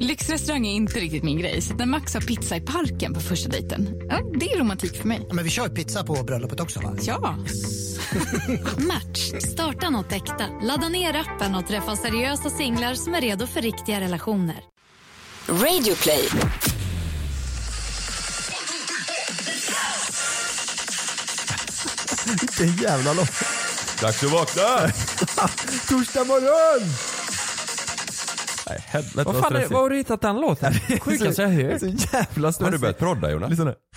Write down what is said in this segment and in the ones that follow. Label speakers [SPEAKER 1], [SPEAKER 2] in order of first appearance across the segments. [SPEAKER 1] Lyxrestaurang är inte riktigt min grej, så när Max har pizza i parken på första dejten, ja, det är romantik för mig.
[SPEAKER 2] Ja, men vi kör ju pizza på bröllopet också va?
[SPEAKER 1] Ja!
[SPEAKER 3] Match. Starta något äkta. Ladda ner appen och träffa seriösa singlar som är redo för riktiga relationer.
[SPEAKER 4] Radio play.
[SPEAKER 5] Vilken jävla låt.
[SPEAKER 6] Dags att vakna!
[SPEAKER 5] Torsdag morgon!
[SPEAKER 6] Nej, helvete
[SPEAKER 7] Vad
[SPEAKER 6] vad
[SPEAKER 7] fan är,
[SPEAKER 6] stressigt.
[SPEAKER 7] var har du hittat den låten? Sjukaste jag hört.
[SPEAKER 5] Så jävla stressigt.
[SPEAKER 6] Har du börjat prodda Jonas?
[SPEAKER 5] Lyssna nu.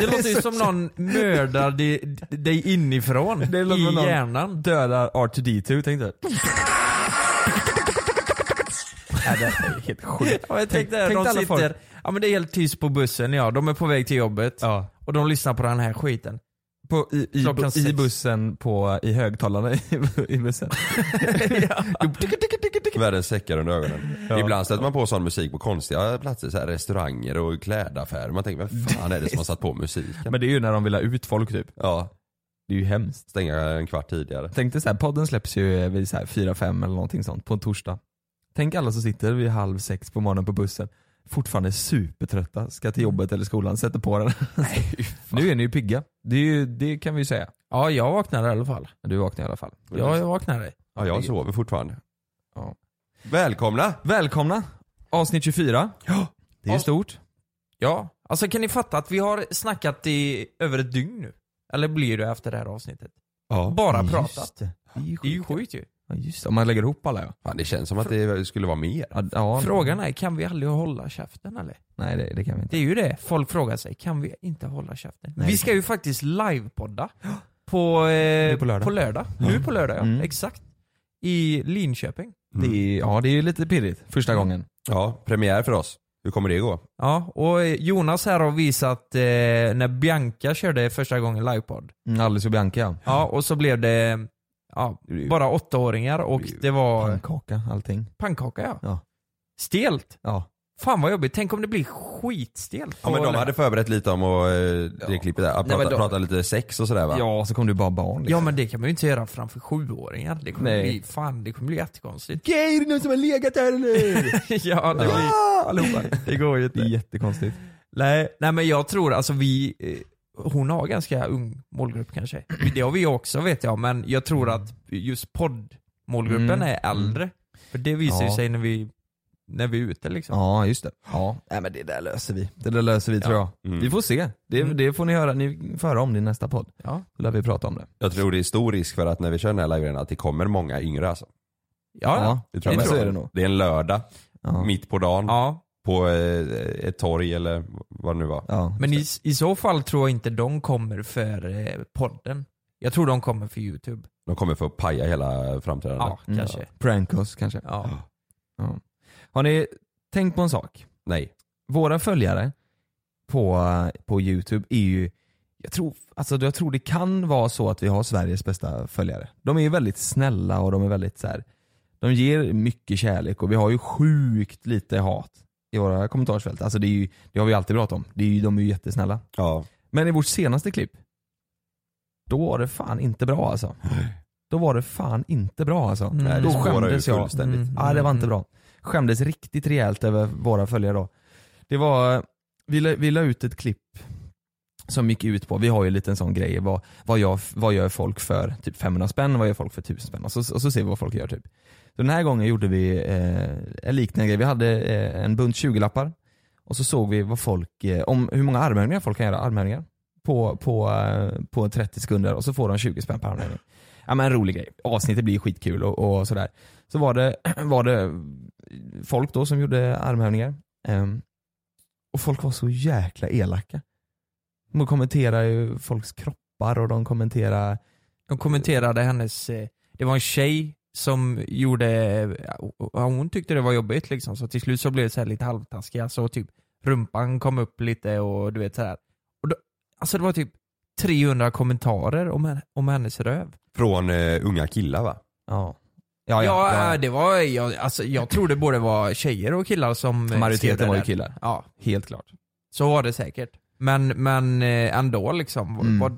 [SPEAKER 7] Det låter ju som någon mördar di- dig inifrån.
[SPEAKER 5] Det låter
[SPEAKER 7] I
[SPEAKER 5] som någon-
[SPEAKER 7] hjärnan.
[SPEAKER 6] Dödar R2D2 tänkte jag.
[SPEAKER 5] Nej, det här är helt sjukt.
[SPEAKER 7] Ja, jag tänkte det,
[SPEAKER 5] tänk
[SPEAKER 7] de
[SPEAKER 5] alla
[SPEAKER 7] sitter,
[SPEAKER 5] folk.
[SPEAKER 7] ja men det är helt tyst på bussen ja, de är på väg till jobbet.
[SPEAKER 6] Ja.
[SPEAKER 7] Och de lyssnar på den här skiten.
[SPEAKER 6] På, i, i,
[SPEAKER 7] Klockan
[SPEAKER 6] bu- I
[SPEAKER 7] sex.
[SPEAKER 6] bussen på, i högtalarna i, i bussen. Världens säckar under ögonen. Ibland sätter man på sån musik på konstiga platser, så här restauranger och klädaffärer. Man tänker, vem fan är det som har satt på musiken?
[SPEAKER 5] Men det är ju när de vill ha ut folk typ.
[SPEAKER 6] Ja,
[SPEAKER 5] Det är ju hemskt.
[SPEAKER 6] stänga en kvart tidigare.
[SPEAKER 5] Tänk dig så här, podden släpps ju vid så här 4-5 eller någonting sånt på en torsdag. Tänk alla som sitter vid halv sex på morgonen på bussen, fortfarande supertrötta, ska
[SPEAKER 7] Mm.
[SPEAKER 5] till jobbet eller skolan, sätter på den. nu är ni ju pigga. Det, är ju, det kan vi ju säga.
[SPEAKER 7] Ja, jag vaknade i alla fall.
[SPEAKER 5] Du vaknar i alla fall.
[SPEAKER 7] Ja, jag vaknade.
[SPEAKER 6] Ja, jag sover fortfarande.
[SPEAKER 5] Ja.
[SPEAKER 6] Välkomna!
[SPEAKER 5] Välkomna! Avsnitt 24. Ja. Det är
[SPEAKER 7] Av-
[SPEAKER 5] stort.
[SPEAKER 7] Ja. Alltså kan ni fatta att vi har snackat i över ett dygn nu? Eller blir det efter det här avsnittet?
[SPEAKER 6] Ja.
[SPEAKER 7] Bara
[SPEAKER 5] Just
[SPEAKER 7] pratat.
[SPEAKER 5] Det är ju
[SPEAKER 7] Det är ju
[SPEAKER 5] sjukt.
[SPEAKER 7] sjukt ju.
[SPEAKER 5] Ja, just det. Om man lägger ihop alla ja.
[SPEAKER 6] Fan, det känns som att det skulle vara mer.
[SPEAKER 5] ja, ja.
[SPEAKER 7] Frågan är, kan vi aldrig hålla käften eller?
[SPEAKER 5] Nej det, det kan vi inte.
[SPEAKER 7] Det är ju det folk frågar sig, kan vi inte hålla käften?
[SPEAKER 5] Nej.
[SPEAKER 7] Vi ska ju faktiskt livepodda på, eh,
[SPEAKER 5] Nu på lördag.
[SPEAKER 7] Nu på lördag ja,
[SPEAKER 5] Mm.
[SPEAKER 7] exakt. I Linköping.
[SPEAKER 6] Mm.
[SPEAKER 5] Det är, ja det är ju lite pirrigt första
[SPEAKER 7] Mm.
[SPEAKER 5] gången.
[SPEAKER 6] Ja, premiär för oss. Hur kommer det gå?
[SPEAKER 7] Ja, och eh, Jonas här har visat eh, när Bianca körde första gången livepodd.
[SPEAKER 5] Mm, Alice och Bianca ja.
[SPEAKER 7] Ja, och så blev det ja, bara åttaåringar och det var
[SPEAKER 5] Pannkaka, allting.
[SPEAKER 7] pannkaka ja.
[SPEAKER 5] Ja.
[SPEAKER 7] Stelt.
[SPEAKER 5] Ja.
[SPEAKER 7] Fan vad jobbigt, tänk om det blir skitstelt.
[SPEAKER 6] Ja, men
[SPEAKER 7] på
[SPEAKER 6] de
[SPEAKER 7] lördag.
[SPEAKER 6] hade förberett lite om och, eh, det klippet där. Prata,
[SPEAKER 5] men de-
[SPEAKER 6] prata lite sex och sådär va?
[SPEAKER 5] Ja, så kom du bara barn
[SPEAKER 7] Ja men det kan man ju inte göra framför sjuåringar. Det kommer
[SPEAKER 5] Nej.
[SPEAKER 7] bli, fan det kommer bli jättekonstigt.
[SPEAKER 5] Okej, är det någon som har legat här eller?
[SPEAKER 7] ja, det blir,
[SPEAKER 5] ja! Allihopa. Det går ju inte. Det är jättekonstigt.
[SPEAKER 7] nej, nej men jag tror alltså vi, eh, hon har ganska ung målgrupp kanske. Det har vi också vet jag, men jag tror att just poddmålgruppen
[SPEAKER 5] Mm.
[SPEAKER 7] är äldre. För det visar ju
[SPEAKER 5] Ja.
[SPEAKER 7] sig när vi, när vi är ute liksom.
[SPEAKER 5] Ja, just det. Ja, Nej, men det där löser vi. Det där löser vi tror jag.
[SPEAKER 6] Mm.
[SPEAKER 5] Vi får se. Det,
[SPEAKER 7] Mm.
[SPEAKER 5] det får ni höra. Ni får höra om det i nästa podd.
[SPEAKER 7] Ja.
[SPEAKER 5] Då lär vi prata om det.
[SPEAKER 6] Jag tror det är stor risk för att när vi kör den här livegrejen att det kommer många yngre alltså.
[SPEAKER 7] Ja, ja.
[SPEAKER 6] Det
[SPEAKER 5] men
[SPEAKER 6] jag.
[SPEAKER 5] så är det nog.
[SPEAKER 6] Det är en lördag,
[SPEAKER 5] Ja.
[SPEAKER 6] mitt på dagen,
[SPEAKER 7] ja.
[SPEAKER 6] på eh, ett torg eller vad det nu var.
[SPEAKER 5] Ja.
[SPEAKER 7] Men i, i så fall tror jag inte de kommer för eh, podden. Jag tror de kommer för youtube.
[SPEAKER 6] De kommer för att paja hela framträdandet.
[SPEAKER 7] Ja,
[SPEAKER 5] Mm.
[SPEAKER 7] kanske.
[SPEAKER 5] Prank oss kanske.
[SPEAKER 7] Ja.
[SPEAKER 5] Har ni tänkt på en sak?
[SPEAKER 6] Nej.
[SPEAKER 5] Våra följare på, på youtube är ju jag tror, alltså jag tror det kan vara så att vi har Sveriges bästa följare. De är ju väldigt snälla och de är väldigt så här. De ger mycket kärlek och vi har ju sjukt lite hat i våra kommentarsfält. Alltså det, är ju, det har vi alltid pratat om. Det är ju, de är ju jättesnälla.
[SPEAKER 6] Ja.
[SPEAKER 5] Men i vårt senaste klipp, då var det fan inte bra alltså. Då var det fan inte bra alltså.
[SPEAKER 7] Nej, det
[SPEAKER 5] då
[SPEAKER 6] spårar ju
[SPEAKER 5] skämdes jag.
[SPEAKER 6] fullständigt.
[SPEAKER 7] Mm,
[SPEAKER 5] Ja, det var inte
[SPEAKER 7] mm.
[SPEAKER 5] bra. Skämdes riktigt rejält över våra följare då. Det var, vi la, vi la ut ett klipp som gick ut på, vi har ju lite en sån grej, vad, vad, gör, vad gör folk för typ 500 spänn, vad gör folk för 1000 spänn? Och så, och så ser vi vad folk gör typ. Så den här gången gjorde vi eh, en liknande grej, vi hade eh, en bunt 20-lappar och så såg vi vad folk, eh, om hur många armhävningar folk kan göra, armhävningar på, på, eh, på 30 sekunder och så får de 20 spänn per armhävning. Ja men en rolig grej, avsnittet blir skitkul och, och sådär. Så var det, var det folk då som gjorde armhävningar. Ehm, och folk var så jäkla elaka. De kommenterar ju folks kroppar och de kommenterar
[SPEAKER 7] De kommenterade hennes, eh, det var en tjej som gjorde, eh, ja, hon tyckte det var jobbigt liksom så till slut så blev det så här lite halvtaskiga så typ rumpan kom upp lite och du vet så här. Och då, alltså det var typ 300 kommentarer om, henne, om hennes röv.
[SPEAKER 6] Från eh, unga killar va?
[SPEAKER 5] ja.
[SPEAKER 7] Ja, eh, det var, jag, alltså, jag tror det både var tjejer och killar som eh, skrev det
[SPEAKER 5] Majoriteten var ju
[SPEAKER 7] där.
[SPEAKER 5] killar.
[SPEAKER 7] Ja,
[SPEAKER 5] Helt klart.
[SPEAKER 7] så var det säkert. Men, men eh, ändå liksom.
[SPEAKER 5] Mm.
[SPEAKER 7] Vad,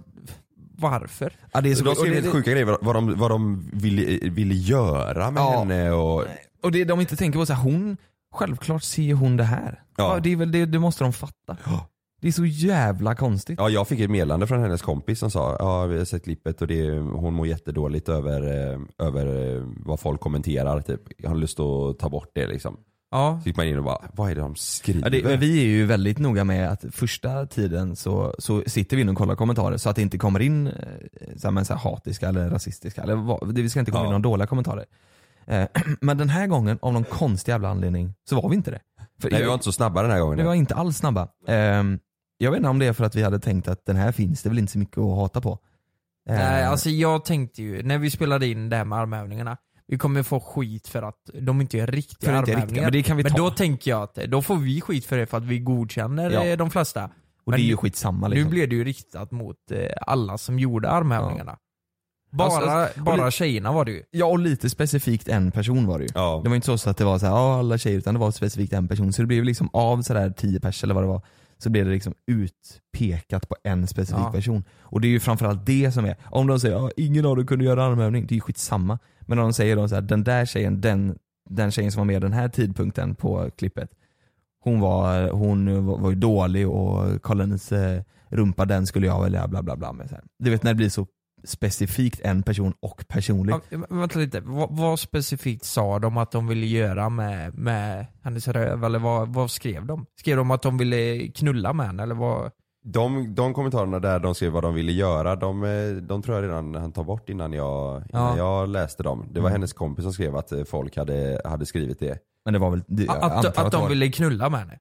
[SPEAKER 7] varför?
[SPEAKER 5] Ja, det är så,
[SPEAKER 6] de
[SPEAKER 5] och,
[SPEAKER 6] skrev
[SPEAKER 5] det,
[SPEAKER 6] helt sjuka grejer vad de, vad de ville, ville göra med
[SPEAKER 5] Ja.
[SPEAKER 6] henne och...
[SPEAKER 5] och det de inte tänker på, så här, hon, självklart ser hon det här. Ja.
[SPEAKER 6] Ja.
[SPEAKER 5] det, är väl, det, det måste de fatta. Det är så jävla konstigt.
[SPEAKER 6] Ja, jag fick ett meddelande från hennes kompis som sa ja, vi har sett klippet och det, hon mår jättedåligt över, eh, över eh, vad folk kommenterar. Typ. Jag har lust att ta bort det liksom.
[SPEAKER 7] Ja.
[SPEAKER 6] Så gick man in och bara, vad är det de skriver?
[SPEAKER 5] Ja, det, men vi är ju väldigt noga med att första tiden så, så sitter vi in och kollar kommentarer så att det inte kommer in eh, så här, men så här, hatiska eller rasistiska, eller vad, det vi ska inte komma in
[SPEAKER 6] Ja.
[SPEAKER 5] några dåliga kommentarer. Eh, men den här gången, av någon konstig jävla anledning, så var vi inte det. För
[SPEAKER 6] Nej,
[SPEAKER 5] jag-
[SPEAKER 6] vi var inte så snabba den här gången.
[SPEAKER 5] vi var inte alls snabba. Ehm, jag vet inte om det är för att vi hade tänkt att den här finns det väl inte så mycket att hata på. Ehm,
[SPEAKER 7] Nej, alltså jag tänkte ju, när vi spelade in det här med armhävningarna, vi kommer få skit för att de inte är riktiga
[SPEAKER 5] för det inte är
[SPEAKER 7] armhävningar.
[SPEAKER 5] riktigt, men det kan vi ta.
[SPEAKER 7] Men då tänker jag att då får vi skit för det för att vi godkänner
[SPEAKER 5] Ja.
[SPEAKER 7] eh, de flesta.
[SPEAKER 5] och
[SPEAKER 7] men
[SPEAKER 5] det är ju
[SPEAKER 7] nu-
[SPEAKER 5] skitsamma liksom.
[SPEAKER 7] Nu blev det ju riktat mot eh, alla som gjorde armhävningarna. Bara,
[SPEAKER 5] Alltså, och
[SPEAKER 7] bara
[SPEAKER 5] li-
[SPEAKER 7] tjejerna var det ju.
[SPEAKER 5] Ja och lite specifikt en person var det ju.
[SPEAKER 6] Ja.
[SPEAKER 5] Det var inte så, så att det var så här, "Ja, alla tjejer utan det var specifikt en person. Så det blev liksom av sådär 10 pers eller vad det var, så blev det liksom utpekat på en specifik
[SPEAKER 7] Ja.
[SPEAKER 5] person. Och det är ju framförallt det som är, om de säger "Ja, ingen av dem kunde göra armhävning, det är ju skitsamma. Men om de säger då så här, den där tjejen, den, den tjejen som var med den här tidpunkten på klippet, hon var, hon var, var ju dålig och kolla hennes eh, rumpa, den skulle jag välja bla bla bla med. Så här. Du vet när det blir så specifikt en person och personligt.
[SPEAKER 7] Ja, men vänta lite, vad, vad specifikt sa de att de ville göra med, med hennes röv? Eller vad, vad skrev de? Skrev de att de ville knulla med henne eller vad?
[SPEAKER 6] De, de kommentarerna där de skrev vad de ville göra, de, eh, de tror jag redan han tar bort innan jag, innan
[SPEAKER 7] Ja. Mm.
[SPEAKER 6] jag läste dem. Det var hennes kompis som skrev att eh, folk hade, hade skrivit det.
[SPEAKER 5] Men det var väl, det, jag
[SPEAKER 7] Att,
[SPEAKER 5] antar
[SPEAKER 7] att,
[SPEAKER 5] det
[SPEAKER 7] de
[SPEAKER 5] var-
[SPEAKER 7] ville knulla med henne?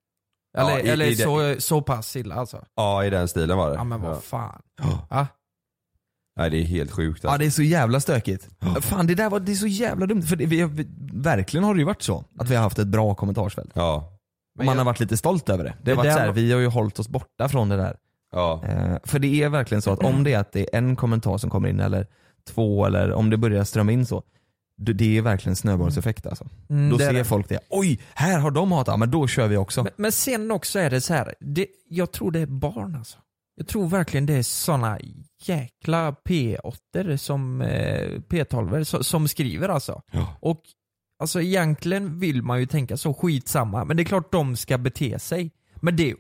[SPEAKER 6] Ja,
[SPEAKER 7] Eller,
[SPEAKER 6] i-
[SPEAKER 7] eller
[SPEAKER 6] i det-
[SPEAKER 7] så, så pass illa alltså?
[SPEAKER 6] Ja, i den stilen var det.
[SPEAKER 7] Ja men
[SPEAKER 6] Ja.
[SPEAKER 7] vad fan.
[SPEAKER 5] Ja.
[SPEAKER 7] Ja.
[SPEAKER 6] Nej, det är helt sjukt.
[SPEAKER 5] Ja
[SPEAKER 6] Alltså.
[SPEAKER 5] det är så jävla stökigt. Fan det där var, det är så jävla dumt. För det, vi, vi, verkligen har det ju varit så. Att vi har haft ett bra kommentarsfält.
[SPEAKER 6] Ja,
[SPEAKER 5] Och man har varit lite stolt över det. Det har
[SPEAKER 7] Det
[SPEAKER 5] varit
[SPEAKER 7] där
[SPEAKER 5] så här,
[SPEAKER 7] var-
[SPEAKER 5] vi har ju hållit oss borta från det där.
[SPEAKER 6] ja.
[SPEAKER 5] Eh, för det är verkligen så att om det är att det är en kommentar som kommer in eller två eller om det börjar strömma in så. Det det är verkligen snöbollseffekt alltså.
[SPEAKER 7] Mm,
[SPEAKER 5] Då
[SPEAKER 7] det är
[SPEAKER 5] ser
[SPEAKER 7] det.
[SPEAKER 5] folk det. Oj, här har de hatat, men då kör vi också.
[SPEAKER 7] Men, men sen också är det så här. Det, jag tror det är barn alltså. Jag tror verkligen det är såna jäkla p 8 som eh, p 12 som, som skriver alltså. Och alltså egentligen vill man ju tänka så, skitsamma. Men det är klart de ska bete sig. Men det är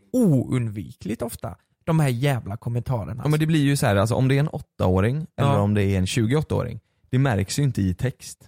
[SPEAKER 7] oundvikligt ofta. De här jävla kommentarerna.
[SPEAKER 5] Ja, men det blir ju så här, alltså, om det är en 8-åring eller
[SPEAKER 7] Ja.
[SPEAKER 5] om det är en 28-åring, det märks ju inte i text.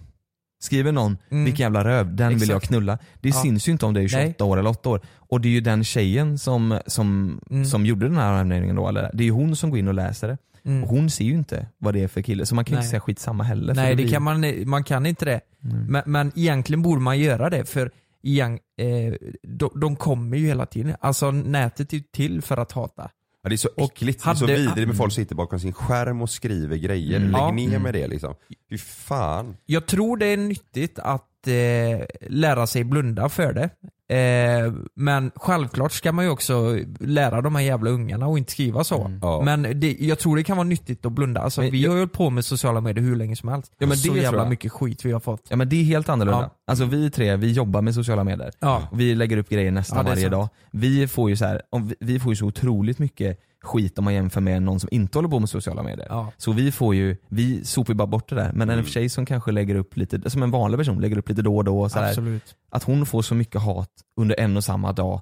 [SPEAKER 5] Skriver någon
[SPEAKER 7] Mm.
[SPEAKER 5] “vilken jävla röv, den vill jag
[SPEAKER 7] Exakt.
[SPEAKER 5] knulla”, det
[SPEAKER 7] Ja.
[SPEAKER 5] syns ju inte om det är 28
[SPEAKER 7] Nej.
[SPEAKER 5] år eller 8 år. Och det är ju den tjejen som, som,
[SPEAKER 7] Mm.
[SPEAKER 5] som gjorde den här armhävningen då, eller det är ju hon som går in och läser det.
[SPEAKER 7] Mm.
[SPEAKER 5] Och hon ser ju inte vad det är för kille, så man kan ju inte
[SPEAKER 7] Nej.
[SPEAKER 5] säga skitsamma heller. för
[SPEAKER 7] Nej, det
[SPEAKER 5] blir-
[SPEAKER 7] kan man, man kan inte det. Men, men egentligen borde man göra det för igen, eh, de, de kommer ju hela tiden. Alltså nätet är ju till för att hata.
[SPEAKER 6] Ja, det är så
[SPEAKER 7] Och
[SPEAKER 6] äckligt. det är
[SPEAKER 7] hade-
[SPEAKER 6] så vidrigt med folk som sitter bakom sin skärm och skriver grejer.
[SPEAKER 5] Mm.
[SPEAKER 6] Lägg
[SPEAKER 7] Ja.
[SPEAKER 6] ner med det liksom. Fy fan.
[SPEAKER 7] Jag tror det är nyttigt att eh, lära sig blunda för det. Eh, men självklart ska man ju också lära de här jävla ungarna och inte skriva så.
[SPEAKER 6] Ja.
[SPEAKER 7] Men det, jag tror det kan vara nyttigt att blunda. Alltså,
[SPEAKER 5] Mm. Men
[SPEAKER 7] vi
[SPEAKER 5] jag-
[SPEAKER 7] har ju hållit på med sociala medier hur länge som helst.
[SPEAKER 5] Ja, men det
[SPEAKER 7] så
[SPEAKER 5] tror
[SPEAKER 7] jävla
[SPEAKER 5] jag.
[SPEAKER 7] mycket skit vi har fått.
[SPEAKER 5] Ja men det är helt annorlunda.
[SPEAKER 7] Ja.
[SPEAKER 5] Alltså vi tre, vi jobbar med sociala medier.
[SPEAKER 7] Ja.
[SPEAKER 5] Och Vi lägger upp grejer nästan
[SPEAKER 7] Ja, det är
[SPEAKER 5] varje
[SPEAKER 7] sant.
[SPEAKER 5] dag. Vi får, ju så här, om vi- vi får ju så otroligt mycket skit om man jämför med någon som inte håller på med sociala medier.
[SPEAKER 7] Ja. Mm.
[SPEAKER 5] Så vi får ju, vi sopar ju bara bort det där. Men en tjej som kanske lägger upp lite, som en vanlig person, lägger upp lite då och då. och Så här,
[SPEAKER 7] Absolut.
[SPEAKER 5] att hon får så mycket hat under en och samma dag,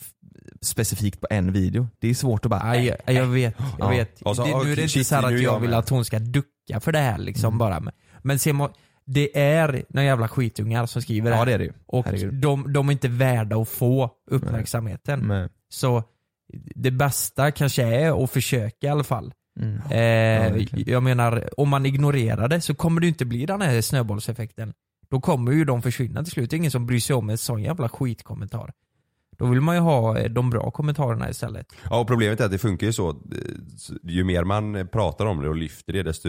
[SPEAKER 5] f- specifikt på en video. Det är svårt att bara, "Äh,
[SPEAKER 7] Ja, jag, jag vet. Jag
[SPEAKER 5] Ja.
[SPEAKER 7] vet.
[SPEAKER 6] Och så,
[SPEAKER 7] det, nu är
[SPEAKER 6] okej,
[SPEAKER 7] det inte
[SPEAKER 6] shit,
[SPEAKER 7] så här
[SPEAKER 6] nu är
[SPEAKER 7] att jag
[SPEAKER 6] jag
[SPEAKER 7] vill
[SPEAKER 6] med.
[SPEAKER 7] att hon ska ducka för det här liksom
[SPEAKER 5] Mm.
[SPEAKER 7] bara. Men, men ser man, det är några jävla skitungar som skriver
[SPEAKER 5] ja
[SPEAKER 7] här.
[SPEAKER 5] det är det ju.
[SPEAKER 7] Och
[SPEAKER 5] Herregud. Mm.
[SPEAKER 7] de, de är inte värda att få uppmärksamheten.
[SPEAKER 5] Men,
[SPEAKER 7] Så det bästa kanske är att försöka i alla fall.
[SPEAKER 5] mm.
[SPEAKER 7] Eh,
[SPEAKER 5] verkligen.
[SPEAKER 7] jag menar, om man ignorerar det så kommer det inte bli den här snöbollseffekten. Då kommer ju de försvinna till slut. Det är ingen som bryr sig om en sån jävla skitkommentar. Då vill man ju ha eh, de bra kommentarerna istället.
[SPEAKER 6] Ja, och problemet är att det funkar ju så. eh, så- Ju mer man eh, pratar om det och lyfter det desto,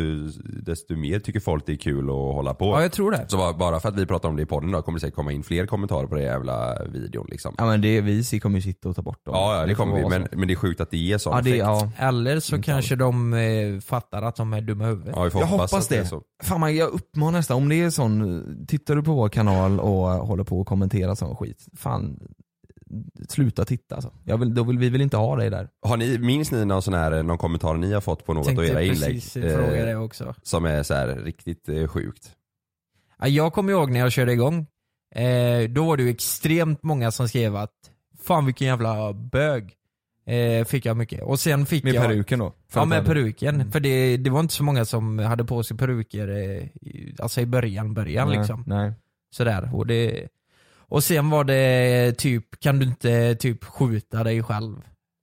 [SPEAKER 6] desto mer tycker folk det är kul att hålla på.
[SPEAKER 7] Ja, jag tror det.
[SPEAKER 6] Så bara- bara för att vi pratar om det i podden då kommer det säkert komma in fler kommentarer på den jävla videon liksom.
[SPEAKER 5] ja men det, vi kommer ju sitta och ta bort dem.
[SPEAKER 6] Ja, ja det kommer vi.
[SPEAKER 5] får vara
[SPEAKER 6] Men,
[SPEAKER 5] så.
[SPEAKER 6] men det är sjukt att det är så.
[SPEAKER 5] ja, det, ja.
[SPEAKER 7] Eller så kanske de eh, fattar att de är dumma i huvudet.
[SPEAKER 6] Ja, vi får
[SPEAKER 5] Jag
[SPEAKER 6] hoppas,
[SPEAKER 5] hoppas
[SPEAKER 6] att det.
[SPEAKER 5] det.
[SPEAKER 6] är så.
[SPEAKER 5] Fan man, jag uppmanar nästan, om det är sån, tittar du på vår kanal och håller på att kommentera sån skit, fan sluta titta alltså. jag vill, då vill, Vi vill inte ha dig där.
[SPEAKER 6] Har ni, minns ni någon, sån här, någon kommentar ni har fått på något av
[SPEAKER 7] Tänkte
[SPEAKER 6] era inlägg?
[SPEAKER 7] precis fråga
[SPEAKER 6] eh,
[SPEAKER 7] det också.
[SPEAKER 6] som är så här riktigt eh, sjukt.
[SPEAKER 7] Ja, jag kommer ihåg när jag körde igång. Eh, då var det ju extremt många som skrev att fan vilken jävla bög. Eh, fick jag mycket. Och sen fick
[SPEAKER 5] Med
[SPEAKER 7] jag...
[SPEAKER 5] peruken då.
[SPEAKER 7] Ja med
[SPEAKER 5] Företrädare.
[SPEAKER 7] peruken.
[SPEAKER 6] Mm.
[SPEAKER 7] För det, det var inte så många som hade på sig peruker eh, i- alltså i början, början
[SPEAKER 5] Nej,
[SPEAKER 7] liksom.
[SPEAKER 5] Nej.
[SPEAKER 7] Sådär. Och, det, och sen var det typ, kan du inte typ skjuta dig själv?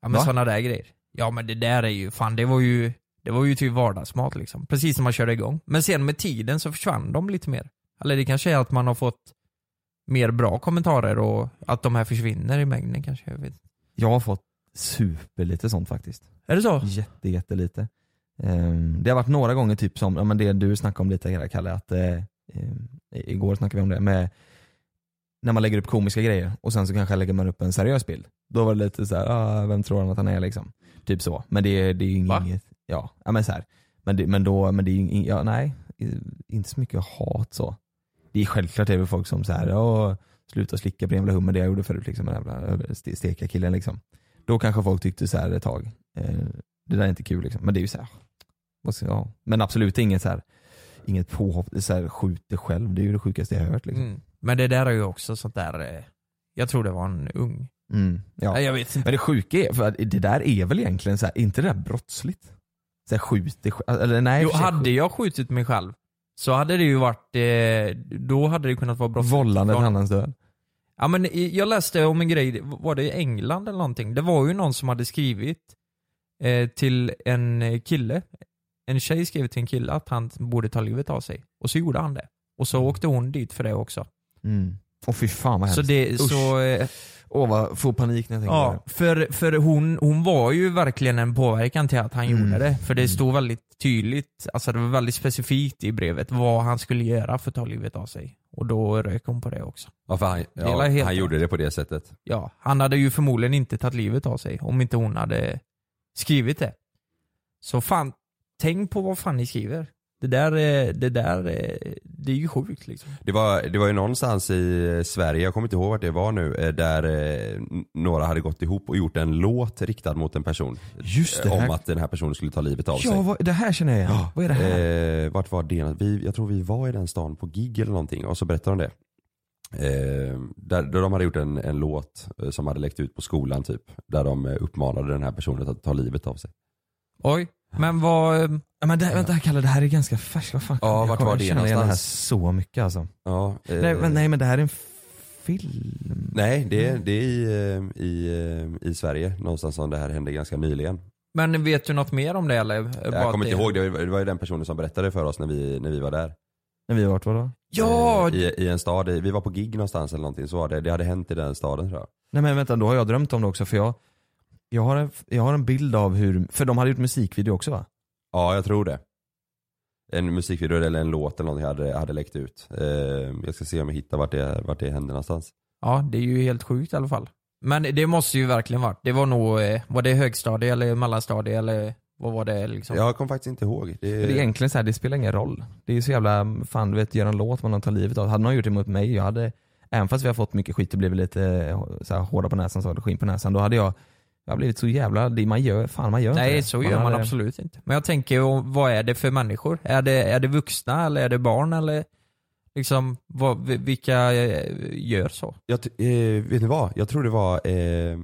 [SPEAKER 7] Ja men
[SPEAKER 5] Va?
[SPEAKER 7] sådana där grejer. Ja men det där är ju, fan det var ju, det var ju typ vardagsmat liksom. Precis när man körde igång. Men sen med tiden så försvann de lite mer. Eller det kanske är att man har fått mer bra kommentarer och att de här försvinner i mängden kanske. Jag vet.
[SPEAKER 5] Jag har fått superlite sånt faktiskt.
[SPEAKER 7] Är det så?
[SPEAKER 5] Jätte, jättelite. Um, det har varit några gånger typ som, ja, men det du snackade om lite här Kalle, att eh, ehm, i- igår snackade vi om det, med när man lägger upp komiska grejer och sen så kanske lägger man upp en seriös bild. Då var det lite så här, ah, vem tror han att han är liksom? Typ så. Men det, det är ju
[SPEAKER 7] Va?
[SPEAKER 5] inget, ja, ja men så här. Men det, men då, men det är ju ing- ja, nej, i- inte så mycket hat så. Det är självklart det är väl folk som så här, "Åh, sluta slicka på din jävla hummer, det jag gjorde förut liksom, den jävla ste- steka killen liksom. Då kanske folk tyckte så här ett tag, eh, det där är inte kul liksom. Men det är ju så här, vad ska jag? Men absolut inget så här, inget påhopp, det är så här, skjut dig själv, det är ju det sjukaste jag har hört liksom.
[SPEAKER 7] Mm. Men det där är ju också sånt där, eh, jag tror det var en ung.
[SPEAKER 5] Mm, ja.
[SPEAKER 7] Nej, jag vet inte.
[SPEAKER 5] Men det sjuka är, för att det där är väl egentligen så här, inte det där brottsligt? Så här, skjut dig själv- eller nej.
[SPEAKER 7] Jo,
[SPEAKER 5] för sig,
[SPEAKER 7] hade jag skjutit mig själv så hade det ju varit, eh, då hade det kunnat vara brott.
[SPEAKER 5] Vållande till
[SPEAKER 7] Ja.
[SPEAKER 5] annans död.
[SPEAKER 7] Ja men i- jag läste om en grej, var det i England eller någonting? Det var ju någon som hade skrivit eh, till en eh, kille, en tjej skrev till en kille att han borde ta livet av sig. Och så gjorde han det. Och så åkte hon dit för det också.
[SPEAKER 5] Mm. Åh fy fan Mm. vad
[SPEAKER 7] Så
[SPEAKER 5] hemskt.
[SPEAKER 7] det,
[SPEAKER 5] Usch.
[SPEAKER 7] så, eh,
[SPEAKER 5] Åh vad, får panik när jag tänker på
[SPEAKER 7] ja,
[SPEAKER 5] det.
[SPEAKER 7] för, för hon, hon var ju verkligen en påverkan till att han
[SPEAKER 5] Mm.
[SPEAKER 7] gjorde det. För det
[SPEAKER 5] Mm.
[SPEAKER 7] stod väldigt tydligt, alltså det var väldigt specifikt i brevet vad han skulle göra för att ta livet av sig. Och då rök hon på det också.
[SPEAKER 6] Ja, för han,
[SPEAKER 7] är väl
[SPEAKER 6] ja,
[SPEAKER 7] helt
[SPEAKER 6] han gjorde
[SPEAKER 7] rätt.
[SPEAKER 6] det på det sättet.
[SPEAKER 7] ja, han hade ju förmodligen inte tagit livet av sig om inte hon hade skrivit det. Så fan, tänk på vad fan ni skriver. Det där, eh, det där, eh, det är ju sjukt liksom.
[SPEAKER 6] Det var, det var ju någonstans i eh, Sverige, jag kommer inte ihåg vart det var nu, eh, där eh, n- några hade gått ihop och gjort en låt riktad mot en person.
[SPEAKER 5] Just det.
[SPEAKER 6] eh, Om
[SPEAKER 5] här.
[SPEAKER 6] att den här personen skulle ta livet av
[SPEAKER 5] Ja,
[SPEAKER 6] sig.
[SPEAKER 5] vad, det här känner jag igen. Vad är det här?
[SPEAKER 6] Eh, vart var det? Vi, jag tror vi var i den stan på gig eller någonting och så berättade de det. Eh, där, där de hade gjort en, en låt eh, som hade läckt ut på skolan typ. Där de eh, uppmanade den här personen att ta livet av sig.
[SPEAKER 7] Oj, men vad, eh,
[SPEAKER 5] Ja, men det, vänta Kalle, det här är ganska färskt. Vad fan?
[SPEAKER 6] Ja,
[SPEAKER 5] jag
[SPEAKER 6] vart
[SPEAKER 5] kommer
[SPEAKER 6] var det
[SPEAKER 5] känna igen det här
[SPEAKER 6] någonstans?
[SPEAKER 5] så mycket alltså.
[SPEAKER 6] Ja, eh,
[SPEAKER 5] Nej, men, nej men det här är en film.
[SPEAKER 6] Nej, det, är- det är i, eh, i, eh, i Sverige någonstans som det här hände ganska nyligen.
[SPEAKER 7] men vet du något mer om det eller? Bara
[SPEAKER 6] Jag kommer
[SPEAKER 7] att
[SPEAKER 6] inte
[SPEAKER 7] det-
[SPEAKER 6] ihåg, det var, det var ju den personen som berättade för oss när vi, när vi var där.
[SPEAKER 5] När vi har varit vadå?
[SPEAKER 7] Ja,
[SPEAKER 6] Eh, I, I en stad, i- vi var på gig någonstans eller någonting så var det, det hade hänt i den staden tror jag.
[SPEAKER 5] Nej men vänta, då har jag drömt om det också för jag, jag, har, en, jag har en bild av hur, för de hade gjort musikvideo också va?
[SPEAKER 6] Ja, jag tror det. En musikvideo eller en låt eller någonting hade, hade läckt ut. Eh, jag ska se om jag hittar vart det, vart det hände någonstans.
[SPEAKER 7] ja, det är ju helt sjukt i alla fall. Men det måste ju verkligen varit, det var nog, eh, var det högstadie eller mellanstadie eller vad var det liksom?
[SPEAKER 6] Jag kommer faktiskt inte ihåg. Eh, Det,
[SPEAKER 5] Det är egentligen så här, det spelar ingen roll. Det är ju så jävla, fan du vet, göra en låt man tar livet av. Hade någon gjort det mot mig, jag hade, även fast vi har fått mycket skit och blivit lite eh, så här, hårda på näsan, så har det skinn på näsan, då hade jag, jag har blivit så jävla, det man gör, fan man gör inte
[SPEAKER 7] Nej,
[SPEAKER 5] det.
[SPEAKER 7] så gör man
[SPEAKER 5] hade-
[SPEAKER 7] absolut inte. Men jag tänker, och vad är det för människor? Är det, är det vuxna eller är det barn eller liksom, vad, vi- vilka eh, gör så?
[SPEAKER 6] jag, t- eh, vet ni vad? Jag tror det var eh,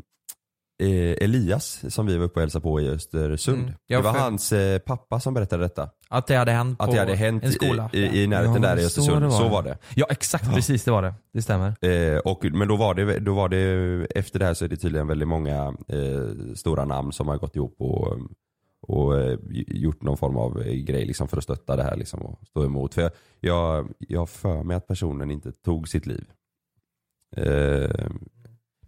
[SPEAKER 6] eh, Elias som vi var uppe och hälsade på i Östersund.
[SPEAKER 7] Mm. Ja,
[SPEAKER 6] det var
[SPEAKER 7] för-
[SPEAKER 6] hans eh, pappa som berättade detta.
[SPEAKER 7] Att det hade hänt
[SPEAKER 6] Att
[SPEAKER 7] på
[SPEAKER 6] det hade hänt
[SPEAKER 7] en skola?
[SPEAKER 6] i, i, i närheten
[SPEAKER 5] Ja,
[SPEAKER 6] där i
[SPEAKER 5] så
[SPEAKER 6] Östersund.
[SPEAKER 5] det var.
[SPEAKER 6] Så var det.
[SPEAKER 5] Ja exakt, precis det var det. Det stämmer.
[SPEAKER 6] Eh, och, men då var, det, då var det, efter det här så är det tydligen väldigt många eh, stora namn som har gått ihop och, och eh, gjort någon form av eh, grej liksom för att stötta det här liksom och stå emot. För jag, jag, jag har för mig att personen inte tog sitt liv. Eh,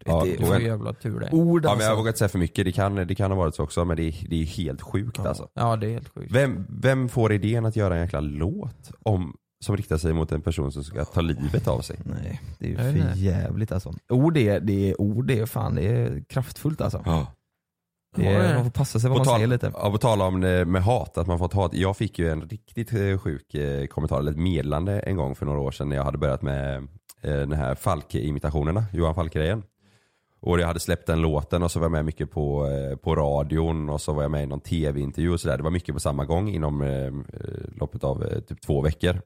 [SPEAKER 6] ja,
[SPEAKER 7] det
[SPEAKER 6] och-
[SPEAKER 7] var jävla tur det.
[SPEAKER 5] Ord
[SPEAKER 6] Ja, men jag vågar inte säga för mycket, det kan, det kan ha varit så också men det är, det är helt sjukt alltså.
[SPEAKER 7] Ja, det är helt sjukt.
[SPEAKER 6] Vem, vem får idén att göra en jäkla låt om, som riktar sig mot en person som ska ta livet av sig?
[SPEAKER 5] Nej, det är ju
[SPEAKER 7] Jag vet inte.
[SPEAKER 5] för jävligt alltså. Ord är, det är, ord är fan, det är kraftfullt alltså. Det
[SPEAKER 7] Ja, det är
[SPEAKER 5] är,
[SPEAKER 7] det.
[SPEAKER 5] man får passa sig vad
[SPEAKER 6] På
[SPEAKER 5] man
[SPEAKER 6] tal,
[SPEAKER 5] säger lite.
[SPEAKER 6] ja, på tal om det med hat, att man fått hat. Jag fick ju en riktigt eh, sjuk eh, kommentar, eller ett meddelande en gång för några år sedan när jag hade börjat med eh, den här Falke-imitationerna, Johan Falke-grejen. Och jag hade släppt den låten och så var jag med mycket på, eh, på radion och så var jag med i någon tv-intervju och sådär. Det var mycket på samma gång inom eh, eh, loppet av eh, typ två veckor.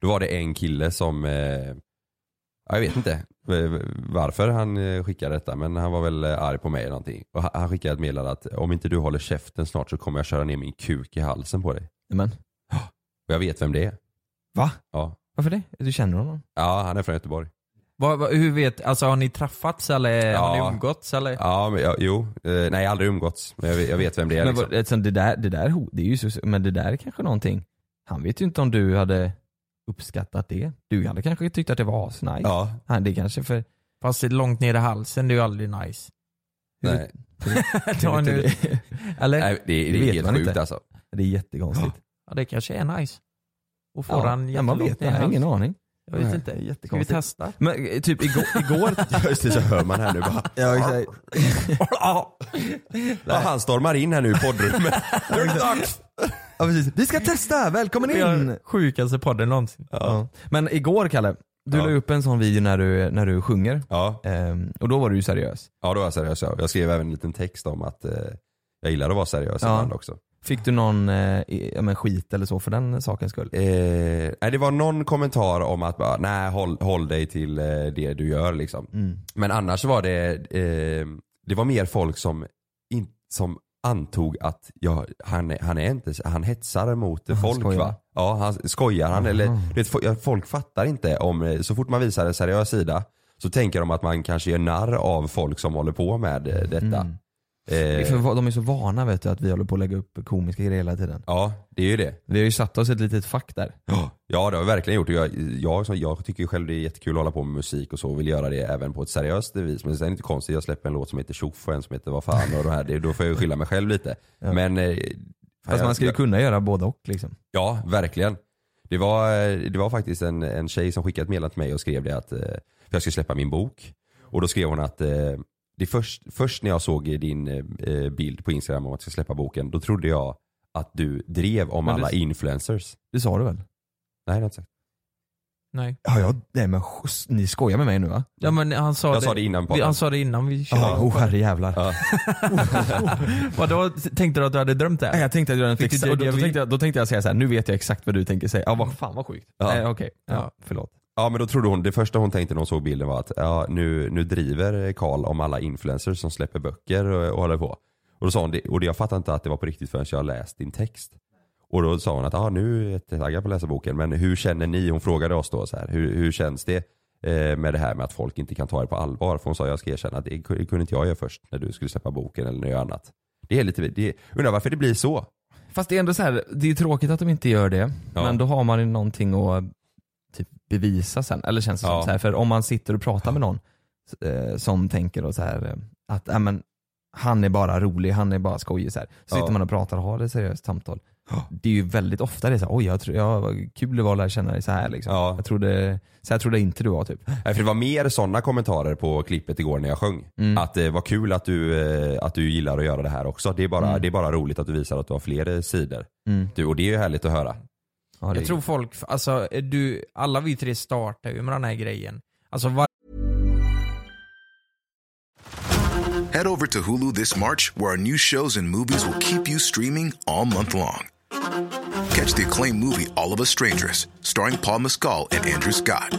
[SPEAKER 6] Då var det en kille som, eh, ja, jag vet inte eh, varför han eh, skickade detta men han var väl eh, arg på mig eller någonting. Och han- han skickade ett meddelande att om inte du håller käften snart så kommer jag köra ner min kuk i halsen på dig.
[SPEAKER 5] Men,
[SPEAKER 6] Och jag vet vem det är.
[SPEAKER 5] va?
[SPEAKER 6] Ja,
[SPEAKER 5] Varför det? Du känner honom?
[SPEAKER 6] ja han är från Göteborg.
[SPEAKER 7] Vad, vad, hur vet, alltså har ni träffats eller har
[SPEAKER 6] Ja.
[SPEAKER 7] ni umgåtts eller?
[SPEAKER 6] Ja, men, ja, jo. Eh, nej, aldrig umgåtts. Men jag, vet- jag vet vem det är.
[SPEAKER 5] Men
[SPEAKER 6] liksom.
[SPEAKER 5] vad- alltså, det, där, det där, ho- det är ju så, men det där är kanske någonting. Han vet ju inte om du hade uppskattat det. Du hade kanske tyckt att det var asnice.
[SPEAKER 6] Ja,
[SPEAKER 5] Han, det kanske för...
[SPEAKER 7] Fast långt ner i halsen, det är ju aldrig nice.
[SPEAKER 6] nej.
[SPEAKER 5] det,
[SPEAKER 7] Ta nu.
[SPEAKER 5] det,
[SPEAKER 7] Eller?
[SPEAKER 6] nej det,
[SPEAKER 5] Det
[SPEAKER 6] det är
[SPEAKER 5] vet
[SPEAKER 6] helt
[SPEAKER 5] man
[SPEAKER 6] sjukt
[SPEAKER 5] inte.
[SPEAKER 6] alltså.
[SPEAKER 5] det är jättekonstigt.
[SPEAKER 7] Ja, det kanske är nice. Och får
[SPEAKER 5] Ja,
[SPEAKER 7] han
[SPEAKER 5] ja, man vet
[SPEAKER 7] jättelångt ner i
[SPEAKER 5] det. Jag har
[SPEAKER 7] halsen?
[SPEAKER 5] ingen aning.
[SPEAKER 7] Jag vet
[SPEAKER 6] Nej,
[SPEAKER 7] inte. Ska vi
[SPEAKER 5] jättekonstigt.
[SPEAKER 7] testa?
[SPEAKER 5] Men eh, typ igår... igår
[SPEAKER 6] Just det, så hör man här nu bara.
[SPEAKER 5] ja, exakt.
[SPEAKER 6] Ja, han stormar in här nu i poddrummet. Nu är det dags!
[SPEAKER 5] ja, precis. Vi ska testa, välkommen
[SPEAKER 7] Vi
[SPEAKER 5] in!
[SPEAKER 7] har sjukaste podden någonsin.
[SPEAKER 5] Ja. Men igår Kalle, du
[SPEAKER 6] Ja.
[SPEAKER 5] la upp en sån video när du, när du sjunger.
[SPEAKER 6] Ja,
[SPEAKER 5] Ehm, och då var du ju seriös.
[SPEAKER 6] ja då var jag seriös. ja. Jag skrev även en liten text om att eh, jag gillar att vara seriös
[SPEAKER 5] Ja.
[SPEAKER 6] ibland också.
[SPEAKER 5] Fick du någon eh, i- ja, men skit eller så för den sakens skull?
[SPEAKER 6] Eh, nej, det var någon kommentar om att bara, nej håll, håll dig till eh, det du gör liksom.
[SPEAKER 5] Mm.
[SPEAKER 6] Men annars var det, eh, det var mer folk som, in, som antog att ja, han, han, är inte, han hetsar mot
[SPEAKER 5] Ja, han
[SPEAKER 6] folk
[SPEAKER 5] skojar.
[SPEAKER 6] va? Ja, han skojar han. Eller,
[SPEAKER 5] Aha.
[SPEAKER 6] du vet, fo- ja, folk fattar inte om, eh, så fort man visar en seriös sida så tänker de att man kanske gör narr av folk som håller på med eh, detta.
[SPEAKER 5] Mm. Det är
[SPEAKER 6] Eh,
[SPEAKER 5] för- De är så vana vet du att vi håller på att lägga upp komiska grejer hela tiden.
[SPEAKER 6] ja, det är ju det.
[SPEAKER 5] Vi har ju satt oss i ett litet fack där.
[SPEAKER 6] Ja det har jag verkligen gjort. Och Jag, jag, som- jag tycker ju själv det är jättekul att hålla på med musik och så och vill göra det även på ett seriöst vis. Men sen är det inte konstigt, jag släpper en låt som heter Tjoff och en som heter Vad fan och de här, det, då får jag ju skylla mig själv lite.
[SPEAKER 5] Ja.
[SPEAKER 6] Men... eh, fan,
[SPEAKER 5] Fast
[SPEAKER 6] jag-
[SPEAKER 5] man ska ju
[SPEAKER 6] jag-
[SPEAKER 5] kunna göra både och liksom.
[SPEAKER 6] Ja, verkligen. Det var, eh, det var faktiskt en, en tjej som skickade ett meddelande till mig och skrev det att eh, för jag ska släppa min bok. Och då skrev hon att eh, det är först, först när jag såg din eh, bild på Instagram om att jag ska släppa boken, då trodde jag att du drev om
[SPEAKER 7] Men det-
[SPEAKER 6] alla influencers.
[SPEAKER 5] Det sa du väl?
[SPEAKER 6] Nej, det har jag inte sagt.
[SPEAKER 7] Nej.
[SPEAKER 5] Ja, jag, nej men sch- ni skojar med mig nu va?
[SPEAKER 7] Ja men han sa
[SPEAKER 6] Jag
[SPEAKER 7] det.
[SPEAKER 6] sa det innan
[SPEAKER 7] vi,
[SPEAKER 6] podden.
[SPEAKER 7] han sa det innan vi körde.
[SPEAKER 5] Ja, oh, herrejävlar.
[SPEAKER 6] Ja.
[SPEAKER 7] Vadå, tänkte du att du hade drömt det?
[SPEAKER 5] Nej, Jag tänkte att göra en
[SPEAKER 7] Fick du
[SPEAKER 5] fix, och då, då,
[SPEAKER 7] déjà vu?
[SPEAKER 5] tänkte jag, då tänkte jag säga så här, nu vet jag exakt vad du tänker säga. Ja, vad fan vad sjukt.
[SPEAKER 6] Ja.
[SPEAKER 5] Nej, okej. Ja,
[SPEAKER 7] Ja.
[SPEAKER 5] förlåt.
[SPEAKER 6] Ja men då trodde hon, det första hon tänkte när hon såg bilden var att ja, nu, nu driver Karl om alla influencers som släpper böcker och, och håller på. Och då sa hon, det, och det, jag fattade inte att det var på riktigt förrän jag läst din text. Och då sa hon att ja, nu är jag taggad på att läsa boken men hur känner ni, hon frågade oss då så här, hur, hur känns det eh, med det här med att folk inte kan ta det på allvar? För hon sa jag ska erkänna att det kunde inte jag göra först när du skulle släppa boken eller något annat. Det är lite, det, undrar varför det blir så?
[SPEAKER 5] Fast det är ändå så här, det är tråkigt att de inte gör det.
[SPEAKER 6] Ja.
[SPEAKER 5] Men då har man ju någonting att typ, bevisa sen. Eller känns det
[SPEAKER 6] Ja.
[SPEAKER 5] som. Så här, för om man sitter och pratar med någon eh, som tänker då så här, eh, att ja, men, han är bara rolig, han är bara skojig. Så, här. så
[SPEAKER 6] Ja.
[SPEAKER 5] sitter man och pratar och har ett seriöst samtal. Det är ju väldigt ofta det är så här, oj jag tror, ja, vad kul det var att lära känna dig så här liksom.
[SPEAKER 6] Ja.
[SPEAKER 5] Jag trodde, så här trodde jag inte du var typ.
[SPEAKER 6] Nej, för det var mer sådana kommentarer på klippet igår när jag sjöng.
[SPEAKER 5] Mm.
[SPEAKER 6] Att det var kul att du, eh, att du gillar att göra det här också. Det är, bara, det är bara roligt att du visar att du har fler eh, sidor.
[SPEAKER 5] Mm.
[SPEAKER 6] Du, och det är ju härligt att höra.
[SPEAKER 5] Ja, det-
[SPEAKER 7] Jag tror folk, alltså du, alla vi tre startar ju med den här grejen. Alltså var,
[SPEAKER 8] Head over to Hulu this March, where our new shows and movies will keep you streaming all month long. Catch the acclaimed movie All of Us Strangers, starring Paul Mescal and Andrew Scott.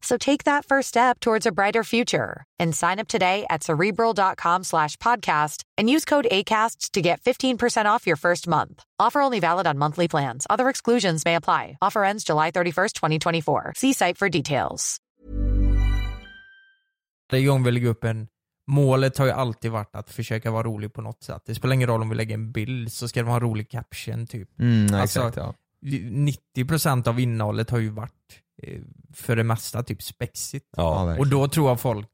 [SPEAKER 9] So take that first step towards a brighter future and sign up today at cerebral.com slash podcast and use code ACAST to get 15% off your first month. Offer only valid on monthly plans. Other exclusions may apply. Offer ends July 31st, 2024. See site for details.
[SPEAKER 7] varje gång vi lägger upp en, målet har ju alltid varit att försöka vara rolig på något sätt. Det spelar ingen roll om vi lägger en bild så ska det vara en rolig caption typ.
[SPEAKER 5] Mm, nej,
[SPEAKER 7] Alltså,
[SPEAKER 5] exakt ja.
[SPEAKER 7] 90% av innehållet har ju varit eh, för det mesta typ spexigt.
[SPEAKER 5] Ja,
[SPEAKER 6] Ja,
[SPEAKER 5] verkligen.
[SPEAKER 7] Och då tror jag folk,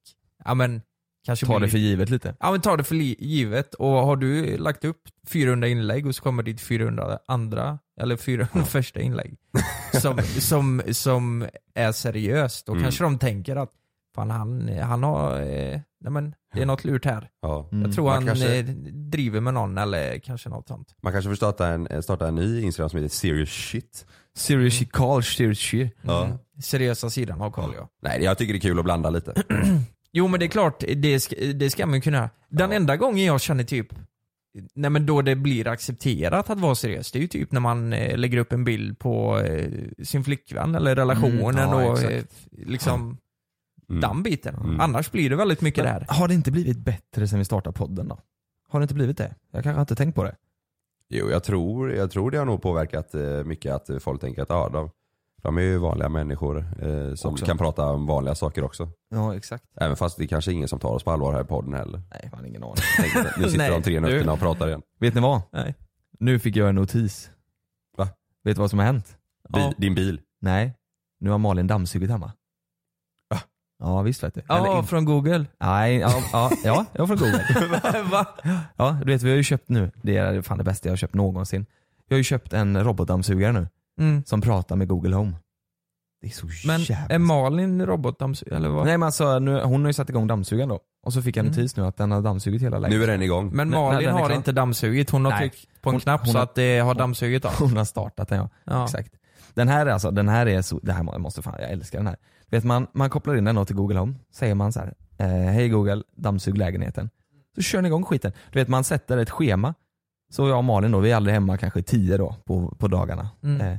[SPEAKER 7] ja men kanske
[SPEAKER 5] Ta
[SPEAKER 7] blir
[SPEAKER 5] det
[SPEAKER 7] lite-
[SPEAKER 5] för givet lite.
[SPEAKER 7] Ja men ta det för li- givet och har du lagt upp 400 inlägg och så kommer ditt 400 andra, eller 400 första inlägg som, som, som är seriöst, då
[SPEAKER 6] Mm.
[SPEAKER 7] kanske de tänker att fan han, han har, eh, nej men det är något lurt här.
[SPEAKER 6] ja.
[SPEAKER 5] Mm.
[SPEAKER 7] Jag tror
[SPEAKER 6] Man
[SPEAKER 7] han
[SPEAKER 6] kanske-
[SPEAKER 7] eh, driver med någon eller kanske något sånt.
[SPEAKER 6] Man kanske får starta en, eh, starta en ny Instagram som heter serious shit.
[SPEAKER 5] Serious shit, call, serious shit.
[SPEAKER 6] Ja.
[SPEAKER 7] Mm. Seriösa sidan av Carl ja.
[SPEAKER 6] Nej jag tycker det är kul att blanda lite.
[SPEAKER 7] Jo men det är klart, det ska, det ska man ju kunna göra. Den
[SPEAKER 6] Ja.
[SPEAKER 7] enda gången jag känner typ, nej men då det blir accepterat att vara seriös, det är ju typ när man eh, lägger upp en bild på eh, sin flickvän eller relationen
[SPEAKER 5] Mm, ja,
[SPEAKER 7] och
[SPEAKER 5] exakt.
[SPEAKER 7] eh, liksom
[SPEAKER 6] Mm.
[SPEAKER 7] den biten.
[SPEAKER 6] Mm.
[SPEAKER 7] Annars blir det väldigt mycket
[SPEAKER 5] Men
[SPEAKER 7] där.
[SPEAKER 5] Har det inte blivit bättre sen vi startade podden då? Har det inte blivit det? Jag kanske inte tänkt på det.
[SPEAKER 6] Jo jag tror, jag tror det har nog påverkat eh, mycket att eh, folk tänker att ja, de, de är ju vanliga människor eh, som
[SPEAKER 5] Också.
[SPEAKER 6] kan prata om vanliga saker också.
[SPEAKER 5] Ja exakt.
[SPEAKER 6] Även fast det kanske är ingen som tar oss på allvar här i podden heller.
[SPEAKER 5] Nej, fan ingen aning.
[SPEAKER 6] Tänk att Nu sitter
[SPEAKER 7] Nej,
[SPEAKER 6] de tre
[SPEAKER 7] du.
[SPEAKER 6] nötterna och pratar igen.
[SPEAKER 5] Vet ni vad?
[SPEAKER 7] Nej.
[SPEAKER 5] Nu fick jag en notis.
[SPEAKER 6] Va?
[SPEAKER 5] Vet du vad som har hänt?
[SPEAKER 6] Bi,
[SPEAKER 7] Ja.
[SPEAKER 6] Din bil.
[SPEAKER 5] Nej, nu har Malin dammsugit hemma.
[SPEAKER 6] Va?
[SPEAKER 5] Ja visst vet du.
[SPEAKER 7] Ja,
[SPEAKER 5] Eller-
[SPEAKER 7] från google.
[SPEAKER 5] Nej, ja, ja, ja, jag får Google.
[SPEAKER 7] Va?
[SPEAKER 5] Ja, du vet vi har ju köpt nu, det är fan det bästa jag har köpt någonsin. Jag har ju köpt en robotdammsugare nu,
[SPEAKER 7] Mm.
[SPEAKER 5] som pratar med Google Home. Det är så
[SPEAKER 7] Men
[SPEAKER 5] jävla...
[SPEAKER 7] är Malin robotdammsugare eller vad?
[SPEAKER 5] Nej men alltså, nu, hon har ju satt igång dammsugaren då. Och så fick jag
[SPEAKER 7] Mm.
[SPEAKER 5] notis nu att den har dammsugit hela
[SPEAKER 6] Nu är
[SPEAKER 5] lägenheten.
[SPEAKER 6] den igång.
[SPEAKER 7] Men
[SPEAKER 5] Nej,
[SPEAKER 7] Malin
[SPEAKER 5] den är
[SPEAKER 7] har
[SPEAKER 5] klar.
[SPEAKER 7] inte dammsugit, hon har
[SPEAKER 5] Nej.
[SPEAKER 7] tryckt på en
[SPEAKER 5] Hon-
[SPEAKER 7] knapp
[SPEAKER 5] hon
[SPEAKER 7] så
[SPEAKER 5] har-
[SPEAKER 7] att det har dammsugit av.
[SPEAKER 5] Hon har startat den ja.
[SPEAKER 7] Ja.
[SPEAKER 5] Exakt. Den här är alltså, den här är så, det här må- måste fan, jag älskar den här. Du Vet man, man kopplar in den då till Google Home, säger man så här, eh, hej Google, dammsug lägenheten. Så kör den igång skiten. Du vet man sätter ett schema, så jag och Malin då, vi är aldrig hemma kanske tio då på, på dagarna.
[SPEAKER 7] Mm.
[SPEAKER 5] Eh,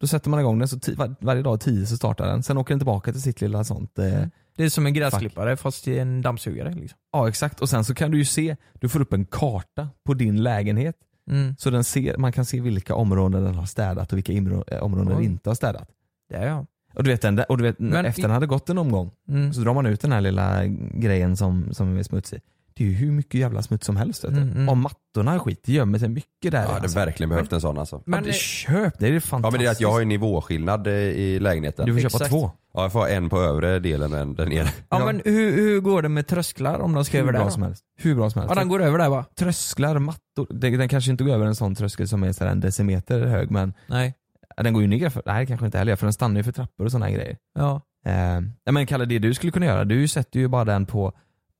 [SPEAKER 5] då sätter man igång den, så ti- var, varje dag tio så startar den, sen åker den tillbaka till sitt lilla sånt. Eh,
[SPEAKER 7] Mm. Det är som en gräsklippare fast i en dammsugare liksom.
[SPEAKER 5] Ja exakt, och sen så kan du ju se, du får upp en karta på din lägenhet.
[SPEAKER 7] Mm.
[SPEAKER 5] Så den ser, man kan se vilka områden den har städat och vilka imro- eh, områden den
[SPEAKER 7] Oj.
[SPEAKER 5] inte har städat.
[SPEAKER 7] Det är jag.
[SPEAKER 5] Och du vet, den där, och du vet
[SPEAKER 7] Men-
[SPEAKER 5] efter den hade gått en omgång
[SPEAKER 7] Mm.
[SPEAKER 5] så drar man ut den här lilla grejen som, som är smutsig. Det är ju hur mycket jävla smuts som helst. vet du.
[SPEAKER 7] Mm, mm.
[SPEAKER 5] Om mattorna och skit, det gömmer sig mycket där.
[SPEAKER 6] Jag hade
[SPEAKER 5] alltså.
[SPEAKER 6] verkligen behövt en sån alltså.
[SPEAKER 5] men,
[SPEAKER 7] Men, eh,
[SPEAKER 5] köp, det är alltså. ju
[SPEAKER 6] Ja
[SPEAKER 5] fantastiskt.
[SPEAKER 6] men det är att jag har ju nivåskillnad eh, i lägenheten.
[SPEAKER 5] Du får köpa
[SPEAKER 7] Exakt.
[SPEAKER 5] två.
[SPEAKER 6] Ja, jag får ha en på övre delen och en där nere.
[SPEAKER 7] ja, men hur, hur går det med trösklar om de ska
[SPEAKER 5] Hur
[SPEAKER 7] över där?
[SPEAKER 5] bra
[SPEAKER 7] då?
[SPEAKER 5] som helst. Hur bra som helst.
[SPEAKER 7] Ja den går över där va?
[SPEAKER 5] Trösklar, mattor. Den, den kanske inte går över en sån tröskel som är så här en decimeter hög men
[SPEAKER 7] Nej.
[SPEAKER 5] ja, den går ju ner för, nej kanske inte heller för den stannar ju för trappor och sådana grejer.
[SPEAKER 7] Ja.
[SPEAKER 5] Eh, nej, men Kalle, det du skulle kunna göra, du sätter ju bara den på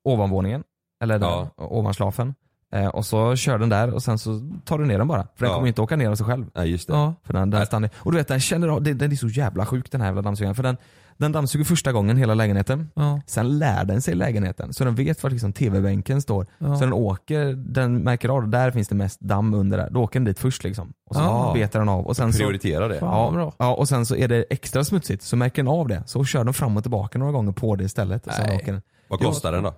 [SPEAKER 5] ovanvåningen, eller där,
[SPEAKER 6] Ja.
[SPEAKER 5] ovan schlafen. Eh, och så kör den där och sen så tar du ner den bara. För den
[SPEAKER 6] Ja.
[SPEAKER 5] kommer ju inte åka ner av sig själv.
[SPEAKER 6] Nej just det.
[SPEAKER 7] ja.
[SPEAKER 5] För den, den stannar, och du vet den känner av, den, den är så jävla sjuk den här jävla dammsugaren. För den, den dammsuger första gången hela lägenheten.
[SPEAKER 7] ja.
[SPEAKER 5] Sen lär den sig lägenheten. Så den vet var liksom tv-bänken står.
[SPEAKER 7] Ja.
[SPEAKER 5] Så den åker, den märker av, där finns det mest damm under där. Då åker den dit först liksom. Och så
[SPEAKER 7] Ja.
[SPEAKER 5] betar den av. Och sen så,
[SPEAKER 6] Prioritera det.
[SPEAKER 7] Fan,
[SPEAKER 5] Ja,
[SPEAKER 7] vad bra.
[SPEAKER 5] ja, och sen så är det extra smutsigt, så märker den av det. Så kör den fram och tillbaka några gånger på det istället. Nej. Sen
[SPEAKER 7] Nej.
[SPEAKER 5] åker den.
[SPEAKER 6] Vad kostar den då?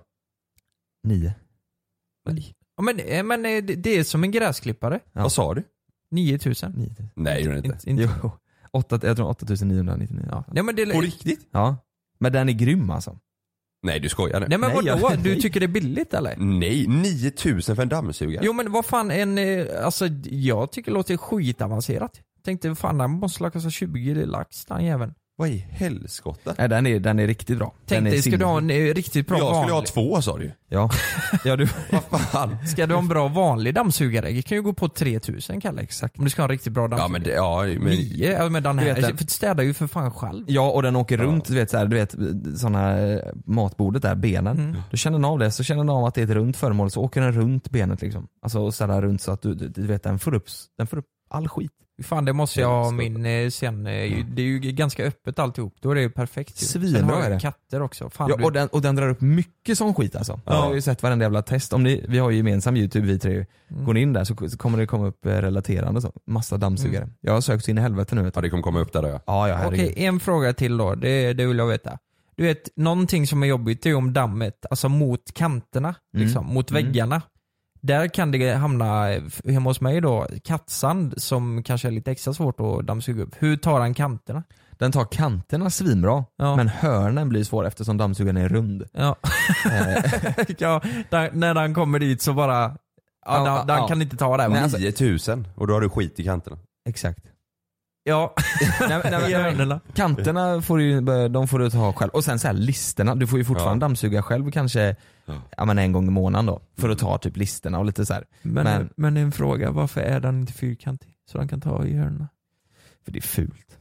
[SPEAKER 5] Nio.
[SPEAKER 6] Nej.
[SPEAKER 7] Ja, men, eh, men eh, det- det är som en gräsklippare.
[SPEAKER 5] Ja.
[SPEAKER 6] Vad sa du?
[SPEAKER 7] 9000.
[SPEAKER 5] Nio.
[SPEAKER 6] Nej det är den inte.
[SPEAKER 7] Inte- inte-
[SPEAKER 5] Jo. Åtta, jag tror 8999.
[SPEAKER 7] Ja.
[SPEAKER 5] Ja.
[SPEAKER 7] Nej men det
[SPEAKER 6] På riktigt?
[SPEAKER 5] ja. Men den är grym alltså.
[SPEAKER 6] Nej du skojar nu.
[SPEAKER 7] Nej men
[SPEAKER 5] Nej,
[SPEAKER 7] vadå?
[SPEAKER 5] jag-
[SPEAKER 7] Du tycker det är billigt eller?
[SPEAKER 6] Nej, 9000 för en dammsugare?
[SPEAKER 7] Jo men vad fan en, eh, alltså jag tycker det låter skitavancerat. Tänkte fan den måste la kosta 20 lax den jäveln.
[SPEAKER 6] Vad i helskotta?
[SPEAKER 5] Nej, den, är, den är riktigt bra.
[SPEAKER 7] Tänk
[SPEAKER 5] den är
[SPEAKER 7] dig, ska du ha
[SPEAKER 5] sinnes-
[SPEAKER 7] en eh, riktigt bra
[SPEAKER 6] Jag skulle
[SPEAKER 7] vanlig?
[SPEAKER 6] ha två sa du ju.
[SPEAKER 5] Ja. ja du...
[SPEAKER 6] Vad fan?
[SPEAKER 7] Ska du ha en bra vanlig dammsugare? Det kan ju gå på 3000 Kalle. Exakt. Om du ska ha en riktigt bra
[SPEAKER 6] Ja
[SPEAKER 7] dammsugare.
[SPEAKER 6] men det, ja men...
[SPEAKER 7] Nio? Ja, men den
[SPEAKER 5] Du
[SPEAKER 7] här.
[SPEAKER 5] vet den-
[SPEAKER 7] för städar ju för fan själv.
[SPEAKER 5] Ja och den åker runt, du vet, så här, du vet såna, eh, matbordet där, benen. Då känner den av det, så känner den av att det är ett runt föremål så åker den runt benet liksom. Alltså och ställer runt så att du, du, du vet den får upp, den får upp all skit.
[SPEAKER 7] Fan det måste jag ha
[SPEAKER 6] Helskotta.
[SPEAKER 7] min eh, sen. eh, Det är ju ganska öppet alltihop. Då är det ju perfekt. ju.
[SPEAKER 5] Svinbra
[SPEAKER 7] Sen har
[SPEAKER 5] är
[SPEAKER 7] jag ju
[SPEAKER 5] det.
[SPEAKER 7] katter också. Fan,
[SPEAKER 5] Ja,
[SPEAKER 7] du,
[SPEAKER 5] och, den, och den drar upp mycket sån skit alltså.
[SPEAKER 6] Ja.
[SPEAKER 5] Jag har ju sett varenda jävla test. Om ni, vi har ju gemensam youtube vi tre ju. Går ni in där så, så kommer det komma upp eh, relaterande så. Massa dammsugare. Jag har sökt så in i helvete nu vet du.
[SPEAKER 6] Ja det kommer komma upp där då ja.
[SPEAKER 5] Ja ja herregud.
[SPEAKER 7] Okej, en fråga till då. Det, det vill jag veta. du vet, någonting som är jobbigt är ju om dammet, alltså mot kanterna,
[SPEAKER 5] Mm.
[SPEAKER 7] liksom, mot
[SPEAKER 5] Mm.
[SPEAKER 7] väggarna. Där kan det hamna, eh, f- hemma hos mig då, kattsand som kanske är lite extra svårt att dammsuga upp. Hur tar han kanterna?
[SPEAKER 5] Den tar kanterna svinbra,
[SPEAKER 7] Ja.
[SPEAKER 5] men hörnen blir svår eftersom dammsugaren är rund.
[SPEAKER 7] Ja. Eh. ja, där, när han kommer dit så bara, ja,
[SPEAKER 5] Ja,
[SPEAKER 7] den,
[SPEAKER 5] ja,
[SPEAKER 7] den
[SPEAKER 5] ja. alltså.
[SPEAKER 7] kan inte ta det här. va?
[SPEAKER 6] 9000 och då har du skit i kanterna.
[SPEAKER 5] Exakt.
[SPEAKER 7] Ja,
[SPEAKER 5] nej, men- nej, men-
[SPEAKER 7] hjärnorna.
[SPEAKER 5] Kanterna får, du ju, eh, de får du ta själv. Och sen så här listerna, du får ju fortfarande dammsuga själv kanske ja. men en gång i månaden då. För att ta typ listerna och lite så här.
[SPEAKER 7] Men, men,
[SPEAKER 5] Men-
[SPEAKER 7] en fråga, varför är den inte fyrkantig? Så den kan ta i hörnorna?
[SPEAKER 5] För det är fult.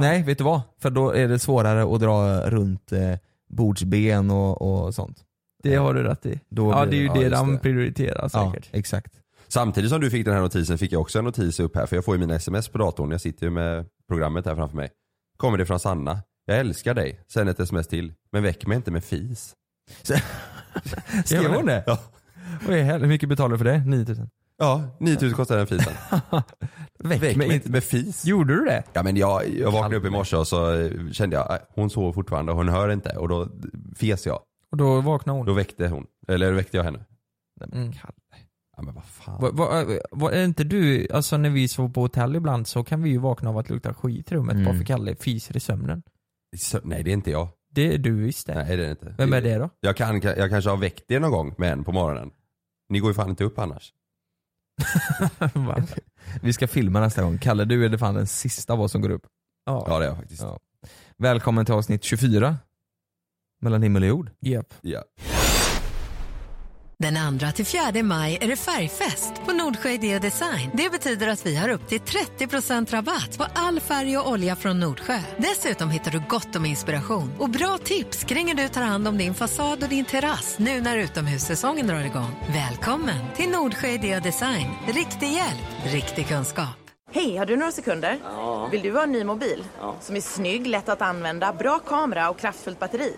[SPEAKER 5] Nej, vet du vad? För då är det svårare att dra runt eh, bordsben och, och sånt.
[SPEAKER 7] Det har du rätt i.
[SPEAKER 5] Då
[SPEAKER 7] ja
[SPEAKER 5] blir-
[SPEAKER 7] det är ju
[SPEAKER 5] ja,
[SPEAKER 7] det
[SPEAKER 5] just
[SPEAKER 7] de
[SPEAKER 5] det.
[SPEAKER 7] prioriterar
[SPEAKER 5] Ja,
[SPEAKER 7] säkert.
[SPEAKER 5] exakt.
[SPEAKER 6] Samtidigt som du fick den här notisen fick jag också en notis upp här för jag får ju mina sms på datorn. Jag sitter ju med programmet här framför mig. Kommer det från Sanna. Jag älskar dig. Sen ett sms till. Men väck mig inte med fis.
[SPEAKER 5] Skrev hon det?
[SPEAKER 6] Ja,
[SPEAKER 5] Oj, hel- Hur mycket betalar du för det? 9000?
[SPEAKER 6] ja 9000 kostar den fisen.
[SPEAKER 5] Väck, mig
[SPEAKER 6] Väck mig
[SPEAKER 5] inte.
[SPEAKER 6] inte med fis.
[SPEAKER 7] Gjorde du det?
[SPEAKER 6] Ja men jag, jag vaknade upp i morse och så eh, kände jag eh, hon sover fortfarande och hon hör inte och då fes jag.
[SPEAKER 7] Och då vaknade hon.
[SPEAKER 6] Då väckte hon, eller då väckte jag henne.
[SPEAKER 7] Mm.
[SPEAKER 6] Ja men vad fan.
[SPEAKER 7] Va, va, va, är inte du, alltså när vi sover på hotell ibland så kan vi ju vakna av att lukta skit i rummet
[SPEAKER 5] Mm.
[SPEAKER 7] bara för Kalle fiser i sömnen.
[SPEAKER 6] Så, nej det är inte jag.
[SPEAKER 7] Det är du visst det.
[SPEAKER 6] Nej det är det inte.
[SPEAKER 7] Vem är det då?
[SPEAKER 6] Jag, kan, jag kanske har väckt er någon gång med en på morgonen. Ni går ju fan inte upp annars.
[SPEAKER 7] Va?
[SPEAKER 5] Vi ska filma nästa gång. Kalle, du är det fan den sista av oss som går upp.
[SPEAKER 7] ja.
[SPEAKER 6] Ja det är jag faktiskt.
[SPEAKER 5] Ja. Välkommen till avsnitt 24. Mellan himmel och jord.
[SPEAKER 7] Japp.
[SPEAKER 6] Ja.
[SPEAKER 3] Den 2 till 4 maj är det färgfest på Nordsjö Idé Design. Det betyder att vi har upp till 30 rabatt på all färg och olja från Nordsjö. Dessutom hittar du gott om inspiration och bra tips kring hur du tar hand om din fasad och din terrass nu när utomhussäsongen drar igång. Välkommen till Nordsjö Idé Design. Riktig hjälp, riktig kunskap.
[SPEAKER 10] Hej, har du några sekunder? Vill du ha en ny mobil? Som är snygg, lätt att använda, bra kamera och kraftfullt batteri?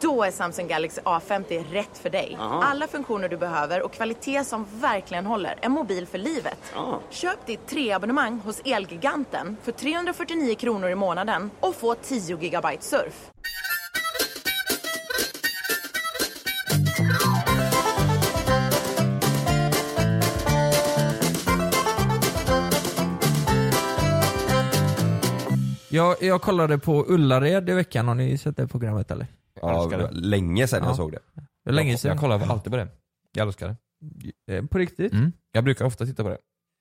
[SPEAKER 10] Då är Samsung Galaxy A50 rätt för dig. Alla funktioner du behöver och kvalitet som verkligen håller. En mobil för livet. Köp ditt treabonnemang hos Elgiganten för 349 kronor i månaden och få 10 gigabyte surf.
[SPEAKER 7] Jag, jag kollade på Ullared i veckan, har ni sett det programmet eller?
[SPEAKER 6] Ja, det var länge sedan
[SPEAKER 7] Ja.
[SPEAKER 6] jag såg det.
[SPEAKER 7] Det var länge sedan.
[SPEAKER 5] på det. Jag älskar det.
[SPEAKER 7] Eh, På riktigt?
[SPEAKER 5] Mm. Jag brukar ofta titta på det.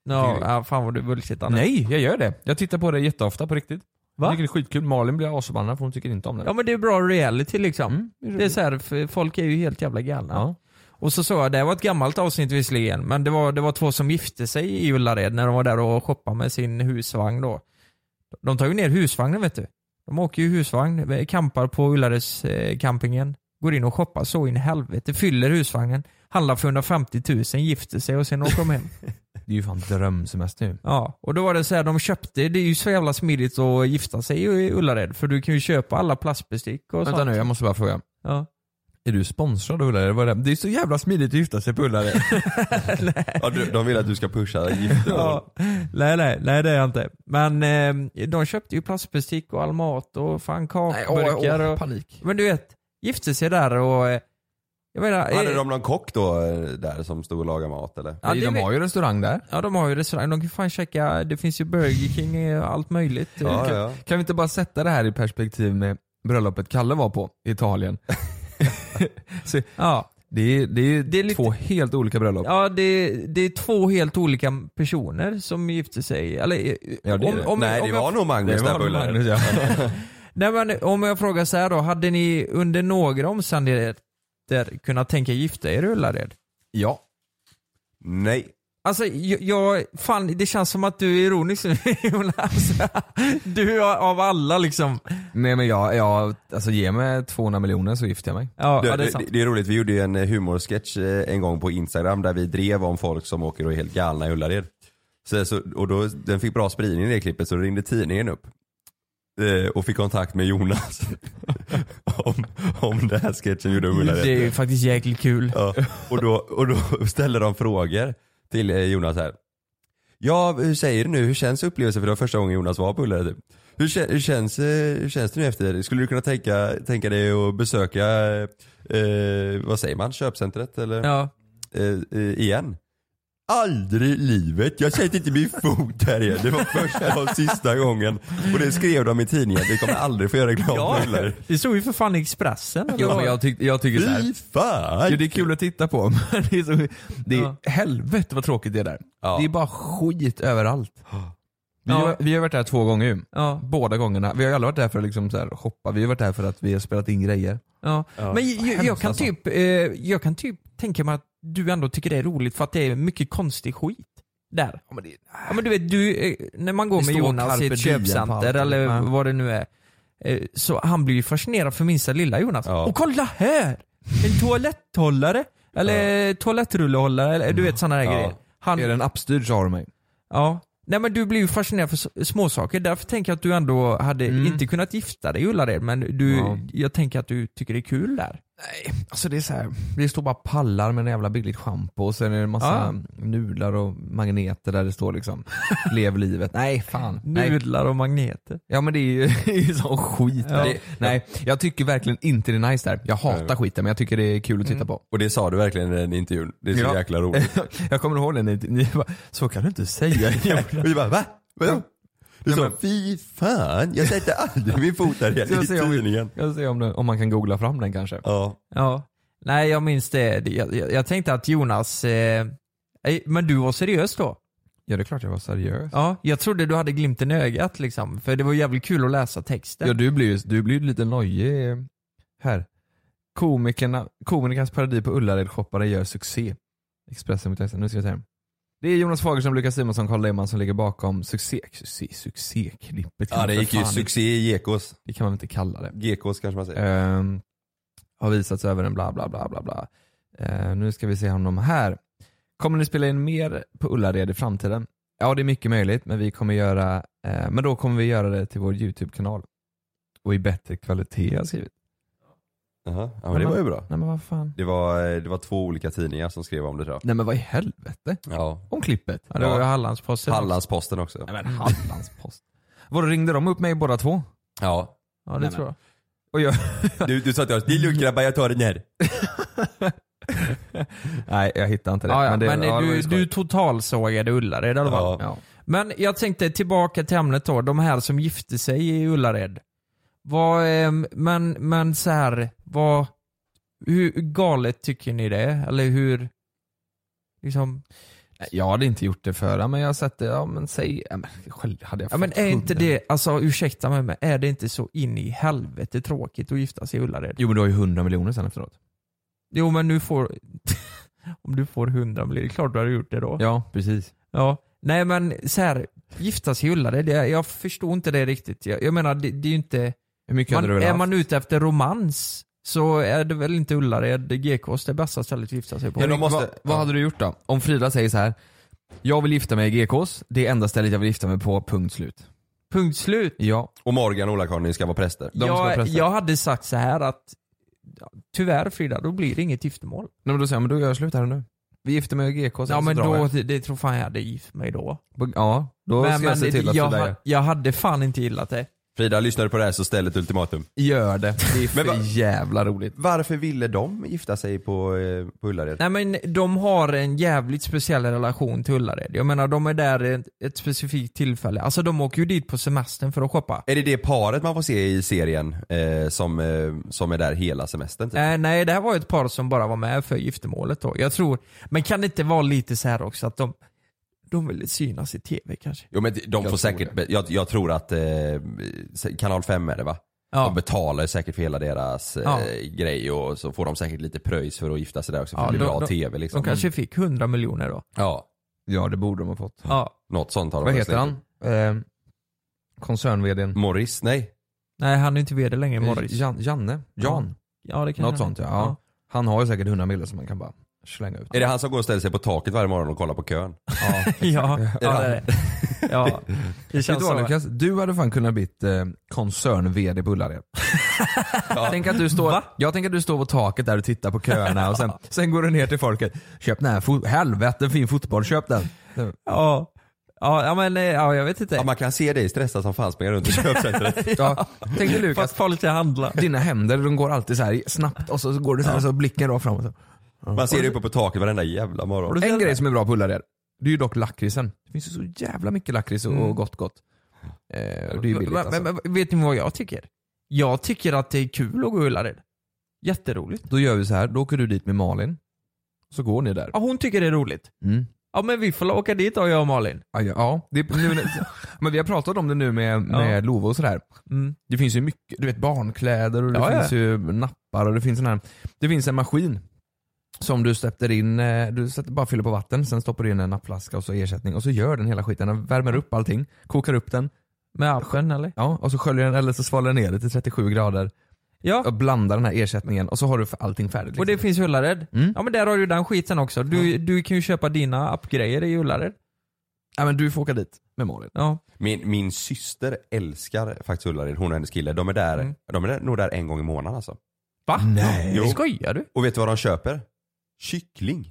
[SPEAKER 7] Ja, ja, fan vad du bullshittar nu.
[SPEAKER 5] Nej, jag gör det. Jag tittar på det jätteofta på riktigt.
[SPEAKER 7] Va?
[SPEAKER 5] Jag tycker det är skitkul. Malin blir asförbannad för hon tycker inte om det.
[SPEAKER 7] Ja men det är bra reality liksom.
[SPEAKER 5] Mm, det är
[SPEAKER 7] det är så här, för folk är ju helt jävla galna. Och så såg jag, det var ett gammalt avsnitt visserligen, men det var, det var två som gifte sig i Ullared när de var där och shoppade med sin husvagn då. De tar ju ner husvagnen vet du. De åker ju husvagn, eh, campar på Ullareds eh, campingen, går in och shoppar så in i helvete, fyller husvagnen, handlar för 150 000, gifter sig och sen åker de hem.
[SPEAKER 5] Det är ju fan drömsemester nu.
[SPEAKER 7] Ja, och då var det så här, de köpte, det är ju så jävla smidigt att gifta sig i Ullared för du kan ju köpa alla plastbestick och
[SPEAKER 5] Vänta
[SPEAKER 7] sånt.
[SPEAKER 5] nu, jag måste bara fråga.
[SPEAKER 7] Ja.
[SPEAKER 5] Är du sponsrad av Ullared? Vad är det? Det är så jävla smidigt att gifta sig på Ullared.
[SPEAKER 6] Ja, du, de vill att du ska pusha gifter.
[SPEAKER 7] Ja. Nej, nej, nej det är jag inte. Men eh, de köpte ju plastbestick och all mat och fan kakburkar och...
[SPEAKER 5] panik.
[SPEAKER 7] Men du vet, gifte sig där och... eh, Jag menar...
[SPEAKER 6] Hade
[SPEAKER 7] eh,
[SPEAKER 6] de någon kock då eh, där som stod och lagade mat eller?
[SPEAKER 7] Ja, det
[SPEAKER 5] de
[SPEAKER 7] vet-
[SPEAKER 5] har ju restaurang där.
[SPEAKER 7] Ja de har ju restaurang, de kan fan checka, det finns ju Burger King och allt möjligt.
[SPEAKER 6] Ja, ja.
[SPEAKER 5] Kan vi inte bara sätta det här i perspektiv med bröllopet Kalle var på i Italien? så,
[SPEAKER 7] ja.
[SPEAKER 5] det är, det är,
[SPEAKER 7] Det är lite-
[SPEAKER 5] två helt olika bröllop.
[SPEAKER 7] Ja, det, det är två helt olika personer som gifte sig. Eller, eh,
[SPEAKER 5] Ja, det är det.
[SPEAKER 6] Nej det
[SPEAKER 7] jag-
[SPEAKER 6] var nog Magnus där på Ullared.
[SPEAKER 5] ja.
[SPEAKER 7] Nej men om jag frågar så här då, hade ni under några omständigheter kunnat tänka gifta er i Ullared?
[SPEAKER 5] ja.
[SPEAKER 6] Nej.
[SPEAKER 7] Alltså jag, jag, fan det känns som att du är ironisk nu Jonas. Du har- av alla liksom.
[SPEAKER 5] Nej men jag, jag, alltså ge mig 200 miljoner så gifter jag mig.
[SPEAKER 7] Ja,
[SPEAKER 6] Du,
[SPEAKER 7] ja det är
[SPEAKER 6] det,
[SPEAKER 7] sant.
[SPEAKER 6] det är roligt, vi gjorde ju en eh, humorsketch eh, en gång på Instagram där vi drev om folk som åker och är helt galna i Ullared. Så, så, och då, den fick bra spridning i det klippet så då ringde tidningen upp. eh, Och fick kontakt med Jonas. om, om den här sketchen gjorde om Ullared.
[SPEAKER 7] Det är ju faktiskt jäkligt kul.
[SPEAKER 6] Ja, och, då, och då ställer de frågor till eh, Jonas här. Ja, hur säger du nu? Hur känns upplevelsen? För det var första gången Jonas var på Ullared. typ. Hur, kän- hur, känns, eh, hur känns det nu efter? Skulle du kunna tänka, tänka dig att besöka, eh, vad säger man, köpcentret eller?
[SPEAKER 7] Ja.
[SPEAKER 6] Eh, eh, igen? Aldrig i livet, jag sätter inte min fot här igen. Det var första och sista gången. Och det skrev de i tidningen, vi kommer aldrig få göra reklam för Ullared.
[SPEAKER 7] Det stod ju för fan i Expressen. eller
[SPEAKER 5] Jo,
[SPEAKER 7] vad?
[SPEAKER 5] men jag, tyck, jag tycker såhär,
[SPEAKER 6] Fy fan!
[SPEAKER 5] Jo, det är kul att titta på men det är, så, det är
[SPEAKER 7] Ja.
[SPEAKER 5] helvete vad tråkigt det är där.
[SPEAKER 6] Ja.
[SPEAKER 5] Det är bara skit överallt. Vi,
[SPEAKER 7] Ja.
[SPEAKER 5] har, vi har varit där två gånger ju.
[SPEAKER 7] Ja.
[SPEAKER 5] Båda gångerna. Vi har ju aldrig varit där för att liksom så här shoppa, vi har varit där för att vi har spelat in grejer.
[SPEAKER 7] Ja. Men jag, jag,
[SPEAKER 5] Hemskt
[SPEAKER 7] kan
[SPEAKER 5] alltså.
[SPEAKER 7] typ, eh, jag kan typ tänka mig att du ändå tycker det är roligt för att det är mycket konstig skit där. Ja men, du vet, du, eh, när man går
[SPEAKER 5] Det
[SPEAKER 7] med
[SPEAKER 5] står
[SPEAKER 7] Jonas i
[SPEAKER 5] Carpe
[SPEAKER 7] ett
[SPEAKER 5] Diem på allt.
[SPEAKER 7] köpcenter eller
[SPEAKER 5] Ja.
[SPEAKER 7] vad det nu är. eh, Så han blir ju fascinerad för minsta lilla Jonas.
[SPEAKER 6] Ja.
[SPEAKER 7] Och kolla här! En toaletthållare. Eller toalettrullehållare. Eller, du vet sådana där
[SPEAKER 6] Ja.
[SPEAKER 7] grejer. Han,
[SPEAKER 5] Är den appstyrd så har du mig.
[SPEAKER 7] Ja. Nej men du blir ju fascinerad för s- småsaker. Därför tänker jag att du ändå hade
[SPEAKER 5] Mm.
[SPEAKER 7] inte kunnat gifta dig i Ullared men du,
[SPEAKER 5] Ja.
[SPEAKER 7] jag tänker att du tycker det är kul där.
[SPEAKER 5] Nej, alltså det är så här. det står bara pallar med en jävla billigt schampo och sen är det en massa nudlar och magneter där det står liksom lev livet. Nej fan. Nej.
[SPEAKER 7] Nudlar och magneter.
[SPEAKER 5] Ja men det är ju, det är ju sån skit.
[SPEAKER 7] Ja.
[SPEAKER 5] Det, nej, jag tycker verkligen inte det är nice där. Jag hatar
[SPEAKER 6] Nej. Mm.
[SPEAKER 5] skiten men jag tycker det är kul att titta på.
[SPEAKER 6] Och det sa du verkligen i den intervjun, det är så
[SPEAKER 5] Ja.
[SPEAKER 6] jäkla roligt.
[SPEAKER 5] Jag kommer ihåg det när ni bara, så kan du inte säga.
[SPEAKER 6] Och vi bara va? Vadå? Du sa fy fan, jag sätter aldrig min fot där
[SPEAKER 5] Så
[SPEAKER 6] igen
[SPEAKER 5] jag
[SPEAKER 6] i
[SPEAKER 5] säger om-
[SPEAKER 6] tidningen.
[SPEAKER 5] Jag ser om, det, om man kan googla fram den kanske.
[SPEAKER 6] Ja.
[SPEAKER 7] Ja. Nej jag minns det. Det- Jag, jag, jag tänkte att Jonas, eh, nej, men du var seriös då?
[SPEAKER 5] Ja det är klart jag var seriös.
[SPEAKER 7] Ja, jag trodde du hade glimten i ögat liksom. För det var jävligt kul att läsa texten.
[SPEAKER 5] Ja du blir ju du blir ju lite nojig eh, här. Komikerna, komikernas paradis på Ullared shoppare gör succé. Expressen.se, nu ska vi se här. Det är Jonas Fagerström, Lukas Simonsson, Carl Lehmann som ligger bakom succé, succé, succéklippet.
[SPEAKER 6] ja, det gick ju
[SPEAKER 5] Fan,
[SPEAKER 6] succé i Gekås.
[SPEAKER 5] Det kan man väl inte kalla det.
[SPEAKER 6] Gekås kanske man säger.
[SPEAKER 5] Ehm, har visats över en bla bla bla bla bla. Ehm, nu ska vi se honom här. Kommer ni spela in mer på Ullared i framtiden? Ja det är mycket möjligt men vi kommer göra, eh, men då kommer vi göra det till vår YouTube-kanal. Och i bättre kvalitet har jag skrivit.
[SPEAKER 6] Jaha. Ja men det var ju bra.
[SPEAKER 5] Nej men vad fan.
[SPEAKER 6] Det var, eh, det var två olika tidningar som skrev om det tror jag.
[SPEAKER 5] Nej men vad i helvete?
[SPEAKER 6] Ja.
[SPEAKER 5] Om klippet?
[SPEAKER 7] Ja, det var ju Hallandsposten.
[SPEAKER 6] Hallandsposten också.
[SPEAKER 5] Nej men Hallandspost. Vadå ringde de upp mig båda två?
[SPEAKER 6] Ja.
[SPEAKER 7] Ja det
[SPEAKER 5] Nej,
[SPEAKER 7] tror jag.
[SPEAKER 5] Och jag,
[SPEAKER 6] Du, du sa till oss, det är lugnt grabbar jag tar den här.
[SPEAKER 5] nej jag hittar inte det.
[SPEAKER 7] Ja, ja, men
[SPEAKER 5] det, ja, det var
[SPEAKER 7] du,
[SPEAKER 5] ju skoj.
[SPEAKER 7] du totalsågade Ullared i alla fall.
[SPEAKER 6] Ja.
[SPEAKER 5] ja.
[SPEAKER 7] Men jag tänkte tillbaka till ämnet då, de här som gifte sig i Ullared. Vad, ehm, men, men så här, vad, hur galet tycker ni det? Eller hur, liksom,
[SPEAKER 5] Jag hade inte gjort det förra men jag har sett det, ja men säg, ja, men, själv hade jag
[SPEAKER 7] ja
[SPEAKER 5] fått
[SPEAKER 7] men är inte
[SPEAKER 5] hundra.
[SPEAKER 7] det, alltså ursäkta mig men är det inte så in i helvete tråkigt att gifta sig i Ullared?
[SPEAKER 5] Jo men du har ju 100 miljoner sen efteråt.
[SPEAKER 7] Jo men nu får, om du får 100 miljoner, det är klart du har gjort det då.
[SPEAKER 5] Ja precis.
[SPEAKER 7] Ja, nej men så här, gifta sig i Ullared, det- jag förstår inte det riktigt. Jag, jag menar, det, det är ju inte...
[SPEAKER 5] Hur mycket hade du
[SPEAKER 7] man,
[SPEAKER 5] velat
[SPEAKER 7] är
[SPEAKER 5] haft?
[SPEAKER 7] man ute efter romans så är det väl inte Ullared, GKs, det bästa stället att gifta sig på.
[SPEAKER 5] Henrik,
[SPEAKER 6] de måste-
[SPEAKER 5] vad, vad hade du gjort då? Om Frida säger så här. jag vill gifta mig i GKs, det är enda stället jag vill gifta mig på, punkt slut.
[SPEAKER 7] Punkt slut.
[SPEAKER 5] Ja.
[SPEAKER 6] Och Morgan och Ola-Conny ska vara präster.
[SPEAKER 5] De ska
[SPEAKER 7] Jag,
[SPEAKER 5] pressa.
[SPEAKER 7] jag hade sagt så här att ja, tyvärr Frida, då blir det inget giftermål.
[SPEAKER 5] Nej, men då säger jag, men då gör jag slut här och nu. Vi gifter mig i GKs,
[SPEAKER 7] Ja
[SPEAKER 5] så
[SPEAKER 7] men
[SPEAKER 5] drar
[SPEAKER 7] då,
[SPEAKER 5] jag.
[SPEAKER 7] det, det tror fan jag hade gift mig då.
[SPEAKER 5] Ja, då
[SPEAKER 7] men
[SPEAKER 5] ska jag se
[SPEAKER 7] men
[SPEAKER 5] till att
[SPEAKER 7] jag,
[SPEAKER 5] Frida
[SPEAKER 7] ha-
[SPEAKER 5] gör-
[SPEAKER 7] jag hade fan inte gillat det.
[SPEAKER 6] Frida, lyssnar du på det här så ställ ett ultimatum.
[SPEAKER 5] gör det. Det är för
[SPEAKER 6] Men va-
[SPEAKER 5] jävla roligt.
[SPEAKER 6] Varför ville de gifta sig på, eh, på Ullared?
[SPEAKER 7] Nej men de har en jävligt speciell relation till Ullared. Jag menar de är där ett, ett specifikt tillfälle. Alltså de åker ju dit på semestern för att shoppa.
[SPEAKER 6] Är det det paret man får se i serien eh, som, eh, som är där hela semestern? Typ?
[SPEAKER 7] Eh, nej, det här var ju ett par som bara var med för giftermålet då. Jag tror, men kan det inte vara lite så här också att de, de ville synas i tv kanske?
[SPEAKER 6] Jo men de får
[SPEAKER 5] tror
[SPEAKER 6] säkert, jag, jag tror att eh, kanal 5 är det va?
[SPEAKER 7] Ja.
[SPEAKER 6] De betalar ju säkert för hela deras eh,
[SPEAKER 7] Ja.
[SPEAKER 6] grej och så får de säkert lite pröjs för att gifta sig där också för
[SPEAKER 7] Ja,
[SPEAKER 6] det blir
[SPEAKER 7] de-
[SPEAKER 6] bra
[SPEAKER 7] de-
[SPEAKER 6] tv liksom.
[SPEAKER 7] De kanske fick 100 miljoner då.
[SPEAKER 6] Ja,
[SPEAKER 5] Ja det borde de ha fått.
[SPEAKER 7] Ja.
[SPEAKER 6] något sånt har de
[SPEAKER 5] Vad
[SPEAKER 6] säkert.
[SPEAKER 5] heter han? Eh, Koncernvdn. Eh,
[SPEAKER 6] Morris? Nej.
[SPEAKER 7] Nej, han är inte vd längre, Morris.
[SPEAKER 5] Jan, Janne? Jan?
[SPEAKER 7] Ja, det kan
[SPEAKER 5] Något
[SPEAKER 7] jag-
[SPEAKER 5] sånt ja. ja. Han har ju säkert 100 miljoner som man kan bara slänga ut.
[SPEAKER 6] Är det han som går och ställer sig på taket varje morgon och kollar på kön?
[SPEAKER 7] Ja,
[SPEAKER 5] Ja.
[SPEAKER 7] ja, det är det. Ja, det
[SPEAKER 5] Vet
[SPEAKER 7] känns
[SPEAKER 5] du vad
[SPEAKER 7] så.
[SPEAKER 5] Lukas? Du hade fan kunnat bli eh, koncern-VD på Ullared. Tänk att du står, jag tänker att du står på taket där och tittar på köerna och sen, sen går du ner till folket. Köp den här, fo- helvete fin fotboll, köp den.
[SPEAKER 7] Ja. Ja, ja men eh, ja, jag vet inte.
[SPEAKER 6] Ja, man kan se dig stressad som fan springa runt i köpcentret.
[SPEAKER 5] Ja. Tänk dig
[SPEAKER 7] Fast
[SPEAKER 5] Lukas,
[SPEAKER 7] folk ska handla.
[SPEAKER 5] dina händer de går alltid så här snabbt och så går du så här så blicken rakt framåt.
[SPEAKER 6] Man ser dig uppe på taket varenda jävla morgon.
[SPEAKER 5] En grej som är bra på Ullared, det är ju dock lakritsen. Det finns ju så jävla mycket lakrits och
[SPEAKER 7] Mm.
[SPEAKER 5] och gott gott. Eh, det är ju billigt
[SPEAKER 7] Men-
[SPEAKER 5] alltså.
[SPEAKER 7] men, men, Vet ni vad jag tycker? Jag tycker att det är kul att gå i Ullared. Jätteroligt.
[SPEAKER 5] Då gör vi så här, då åker du dit med Malin. Så går ni där.
[SPEAKER 7] Ja, hon tycker det är roligt.
[SPEAKER 5] Mm.
[SPEAKER 7] Ja men vi får åka dit då jag och Malin.
[SPEAKER 5] Ja, ja, ja. Det, är- nu, men vi har pratat om det nu med, med
[SPEAKER 7] Ja.
[SPEAKER 5] Love och sådär.
[SPEAKER 7] Mm.
[SPEAKER 5] Det finns ju mycket, du vet barnkläder och det
[SPEAKER 7] Ja, ja.
[SPEAKER 5] finns ju nappar och det finns en, här, det finns en maskin som du sätter in, eh, du sätter, bara fyller på vatten, sen stoppar du in en nappflaska och så ersättning och så gör den hela skiten. Den värmer upp allting, kokar upp den,
[SPEAKER 7] Med appen eller?
[SPEAKER 5] ja, och så sköljer den eller så svalnar den ner det till 37 grader
[SPEAKER 7] Ja.
[SPEAKER 5] och blandar den här ersättningen och så har du allting färdigt.
[SPEAKER 7] Och det
[SPEAKER 5] liksom.
[SPEAKER 7] finns i Ullared.
[SPEAKER 5] Mm.
[SPEAKER 7] Ja men där har du den skiten också. Du, du kan ju köpa dina appgrejer i Ullared.
[SPEAKER 5] ja, men du får åka dit med Malin.
[SPEAKER 7] Ja.
[SPEAKER 6] Min, min syster älskar faktiskt Ullared, hon och hennes kille. De är, där,
[SPEAKER 7] Mm.
[SPEAKER 6] de är där, nog där en gång i månaden alltså.
[SPEAKER 7] Va?
[SPEAKER 5] Nej.
[SPEAKER 6] Jo.
[SPEAKER 7] Skojar du?
[SPEAKER 6] Och vet du vad de köper? Kyckling.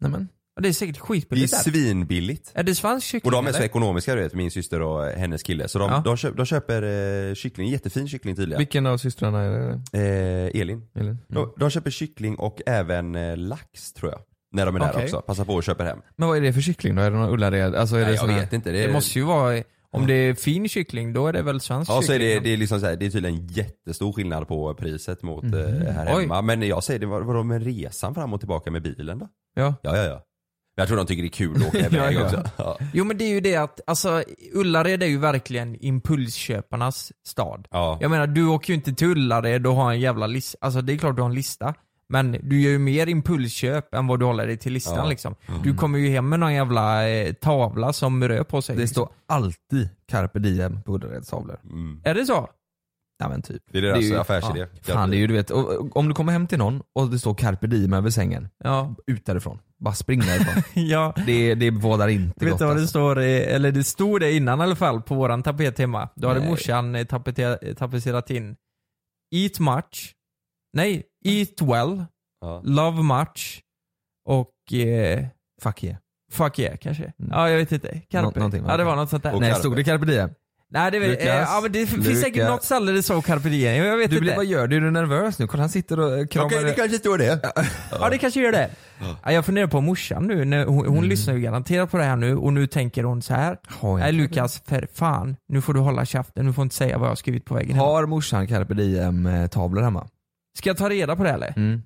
[SPEAKER 5] Nej, men.
[SPEAKER 7] Ja, Det är säkert
[SPEAKER 6] Det är
[SPEAKER 7] skitbilligt där.
[SPEAKER 6] svinbilligt.
[SPEAKER 7] Är det svensk kyckling
[SPEAKER 6] Och de är så
[SPEAKER 7] eller?
[SPEAKER 6] ekonomiska du vet, min syster och hennes kille. Så de,
[SPEAKER 7] Ja.
[SPEAKER 6] de, köper, de köper eh, kyckling, jättefin kyckling tydligen.
[SPEAKER 5] Vilken av systrarna är det?
[SPEAKER 6] Eh, Elin.
[SPEAKER 5] Elin?
[SPEAKER 6] De, de köper kyckling och även eh, lax tror jag. När de är där
[SPEAKER 5] Okej.
[SPEAKER 6] också. Passar på och köper hem.
[SPEAKER 5] Men vad är det för kyckling då? Är det någon Ullared? Alltså är
[SPEAKER 6] Nej,
[SPEAKER 5] det
[SPEAKER 6] jag
[SPEAKER 5] sån här-
[SPEAKER 6] vet inte. Det,
[SPEAKER 7] Det måste ju vara, om det är fin kyckling då är det väl svensk
[SPEAKER 6] Ja, så är
[SPEAKER 7] kyckling?
[SPEAKER 6] det, det, är liksom så här, det är tydligen jättestor skillnad på priset mot eh, här
[SPEAKER 7] Oj.
[SPEAKER 6] hemma. Men jag säger det, vad- vadå med resan fram och tillbaka med bilen då?
[SPEAKER 7] Ja.
[SPEAKER 6] Ja, ja, ja. Jag tror de tycker det är kul att åka
[SPEAKER 7] Ja,
[SPEAKER 6] iväg
[SPEAKER 7] ja.
[SPEAKER 6] också. Ja.
[SPEAKER 7] Jo men det är ju det att, alltså Ullared är ju verkligen impulsköparnas stad.
[SPEAKER 6] Ja.
[SPEAKER 7] Jag menar du åker ju inte till Ullared och har en jävla lista, alltså det är klart du har en lista. Men du gör ju mer impulsköp än vad du håller dig till listan
[SPEAKER 6] Ja.
[SPEAKER 7] liksom.
[SPEAKER 5] Mm.
[SPEAKER 7] Du kommer ju hem med någon jävla eh, tavla som rör på sig.
[SPEAKER 5] Det
[SPEAKER 7] liksom.
[SPEAKER 5] står alltid carpe diem på Ullareds tavlor.
[SPEAKER 6] Mm.
[SPEAKER 7] Är det så?
[SPEAKER 5] Ja men typ.
[SPEAKER 6] Det är deras
[SPEAKER 5] ju-
[SPEAKER 6] affärsidé.
[SPEAKER 5] Ja, fan det är ju du vet, och, och, om du kommer hem till någon och det står carpe diem över sängen,
[SPEAKER 7] Ja.
[SPEAKER 5] ut därifrån. Bara spring därifrån.
[SPEAKER 7] ja.
[SPEAKER 5] det, det bådar inte
[SPEAKER 7] Vet
[SPEAKER 5] gott
[SPEAKER 7] du vad det
[SPEAKER 5] alltså.
[SPEAKER 7] står, eh, eller det stod det innan i alla fall på våran tapet hemma. Då hade
[SPEAKER 5] Nej.
[SPEAKER 7] morsan eh, tapete- eh, tapetserat in Eat much, nej, eat well,
[SPEAKER 6] Ja.
[SPEAKER 7] love much och eh,
[SPEAKER 5] Fuck yeah.
[SPEAKER 7] fuck yeah kanske. Ja jag vet inte,
[SPEAKER 5] Mm. Nå-
[SPEAKER 7] carpe.
[SPEAKER 5] någonting var
[SPEAKER 7] ja det
[SPEAKER 5] det.
[SPEAKER 7] var något sånt där.
[SPEAKER 6] Och
[SPEAKER 7] nej,
[SPEAKER 5] Nej
[SPEAKER 6] carpe.
[SPEAKER 5] stod det carpe diem?
[SPEAKER 7] nej det, är väl-
[SPEAKER 5] Lukas,
[SPEAKER 7] eh, ja, men det finns säkert
[SPEAKER 5] Lukas.
[SPEAKER 7] något ställe det står carpe diem, jag vet
[SPEAKER 5] Du
[SPEAKER 7] inte.
[SPEAKER 5] blir, vad gör du? Är du nervös nu? Kolla han sitter och eh, kramar
[SPEAKER 6] Okej, det kanske står det.
[SPEAKER 7] Ja det kanske gör det. Ja, jag funderar på morsan nu, när hon,
[SPEAKER 5] Mm.
[SPEAKER 7] hon lyssnar ju garanterat på det här nu och nu tänker hon så här.
[SPEAKER 5] Har jag-
[SPEAKER 7] Nej Lukas, för fan. Nu får du hålla käften, du får inte säga vad jag har skrivit på väggen. hemma."
[SPEAKER 5] Har morsan carpe diem eh, tavlor hemma?
[SPEAKER 7] Ska jag ta reda på det eller?
[SPEAKER 5] Mm.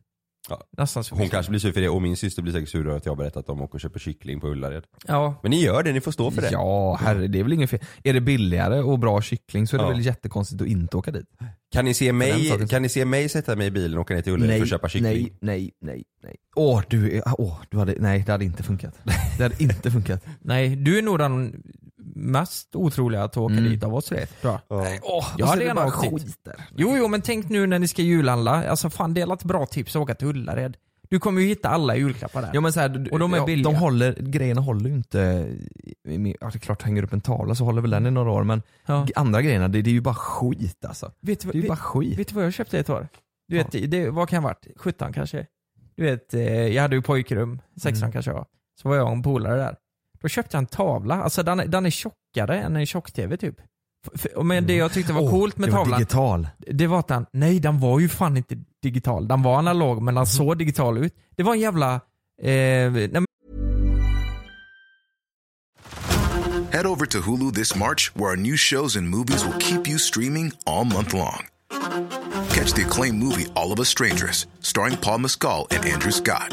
[SPEAKER 7] Nästan så.
[SPEAKER 6] Hon kanske blir sur för det och min syster blir säkert sur över att jag har berättat att de åker och köper kyckling på Ullared.
[SPEAKER 7] Ja.
[SPEAKER 6] Men ni gör det, ni får stå för det.
[SPEAKER 5] Ja, herre, det är väl inget fel. Är det billigare och bra kyckling så är det
[SPEAKER 6] Ja.
[SPEAKER 5] väl jättekonstigt att inte åka dit.
[SPEAKER 6] Kan, ni se
[SPEAKER 5] den
[SPEAKER 6] mig,
[SPEAKER 5] saken-
[SPEAKER 6] kan ni se mig sätta mig i bilen och åka ner till Ullared för att köpa kyckling?
[SPEAKER 5] nej, nej, nej, nej. Åh, du, är- åh, du hade, nej det hade inte funkat. Det hade inte funkat.
[SPEAKER 7] Nej, du är nog den mest otroliga att åka
[SPEAKER 5] Mm.
[SPEAKER 7] dit av oss tre. tror jag.
[SPEAKER 6] Ja.
[SPEAKER 5] Åh,
[SPEAKER 7] Jag
[SPEAKER 5] och så
[SPEAKER 7] hade
[SPEAKER 5] är det
[SPEAKER 7] gärna
[SPEAKER 5] bara
[SPEAKER 7] åkt dit.
[SPEAKER 5] skit där.
[SPEAKER 7] Jo, jo, men tänk nu när ni ska julhandla. Alltså fan, det är alla ett bra tips att åka till Ullared. Du kommer ju hitta alla julklappar där.
[SPEAKER 5] Ja, men så här, du-
[SPEAKER 7] Och de är
[SPEAKER 5] ja,
[SPEAKER 7] billiga.
[SPEAKER 5] De håller, grejerna håller ju inte, i- i- ja, det är klart hänger upp en tavla så håller väl den i några år men
[SPEAKER 7] Ja.
[SPEAKER 5] g- andra grejerna det, det är ju bara skit alltså.
[SPEAKER 7] Vet, du
[SPEAKER 5] Det är ju
[SPEAKER 7] vad-
[SPEAKER 5] bara
[SPEAKER 7] vet,
[SPEAKER 5] skit.
[SPEAKER 7] vet du vad jag köpte ett år? Du vet, det, vad kan jag ha varit? 17 kanske? Du vet, eh, jag hade ju pojkrum, 16
[SPEAKER 5] Mm.
[SPEAKER 7] kanske jag var. Så var jag och en polare där. Då köpte jag en tavla, alltså den, är- den är tjockare än en tjock-tv typ. F- f- Men det jag tyckte var
[SPEAKER 5] Mm. Åh,
[SPEAKER 7] coolt med
[SPEAKER 5] det var
[SPEAKER 7] tavlan,
[SPEAKER 5] digital.
[SPEAKER 7] det var att den, nej den var ju fan inte digital. Den var analog
[SPEAKER 5] Mm.
[SPEAKER 7] men den såg digital ut. Det var en jävla, eh, nej, men
[SPEAKER 8] Head over to Hulu this March, where our new shows and movies will keep you streaming all month long. Catch the acclaimed movie All of Us Strangers, starring Paul Mescal and Andrew Scott.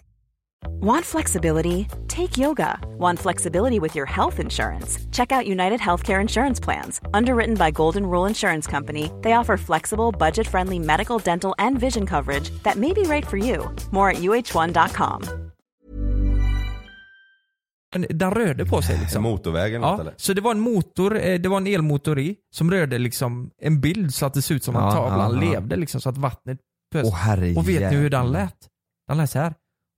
[SPEAKER 11] Want flexibility? Take yoga. Want flexibility with your health insurance? Check out United Healthcare Insurance Plans. Underwritten by Golden Rule Insurance Company, they offer flexible, budget friendly medical, dental, and vision coverage that may be right for you. More at uh1.com.
[SPEAKER 7] den rörde på sig liksom.
[SPEAKER 6] Motorvägen ja.
[SPEAKER 7] Ja,
[SPEAKER 6] eller?
[SPEAKER 7] så det var en motor, eh, det var en elmotor i, som rörde liksom en bild så att det såg ut som att
[SPEAKER 5] Ja,
[SPEAKER 7] tavlan
[SPEAKER 5] ja, ja.
[SPEAKER 7] levde liksom, så att vattnet
[SPEAKER 5] Åh
[SPEAKER 7] pös.
[SPEAKER 5] herre
[SPEAKER 7] Och vet ni hur den
[SPEAKER 5] jävlar.
[SPEAKER 7] lät? Den lät så här.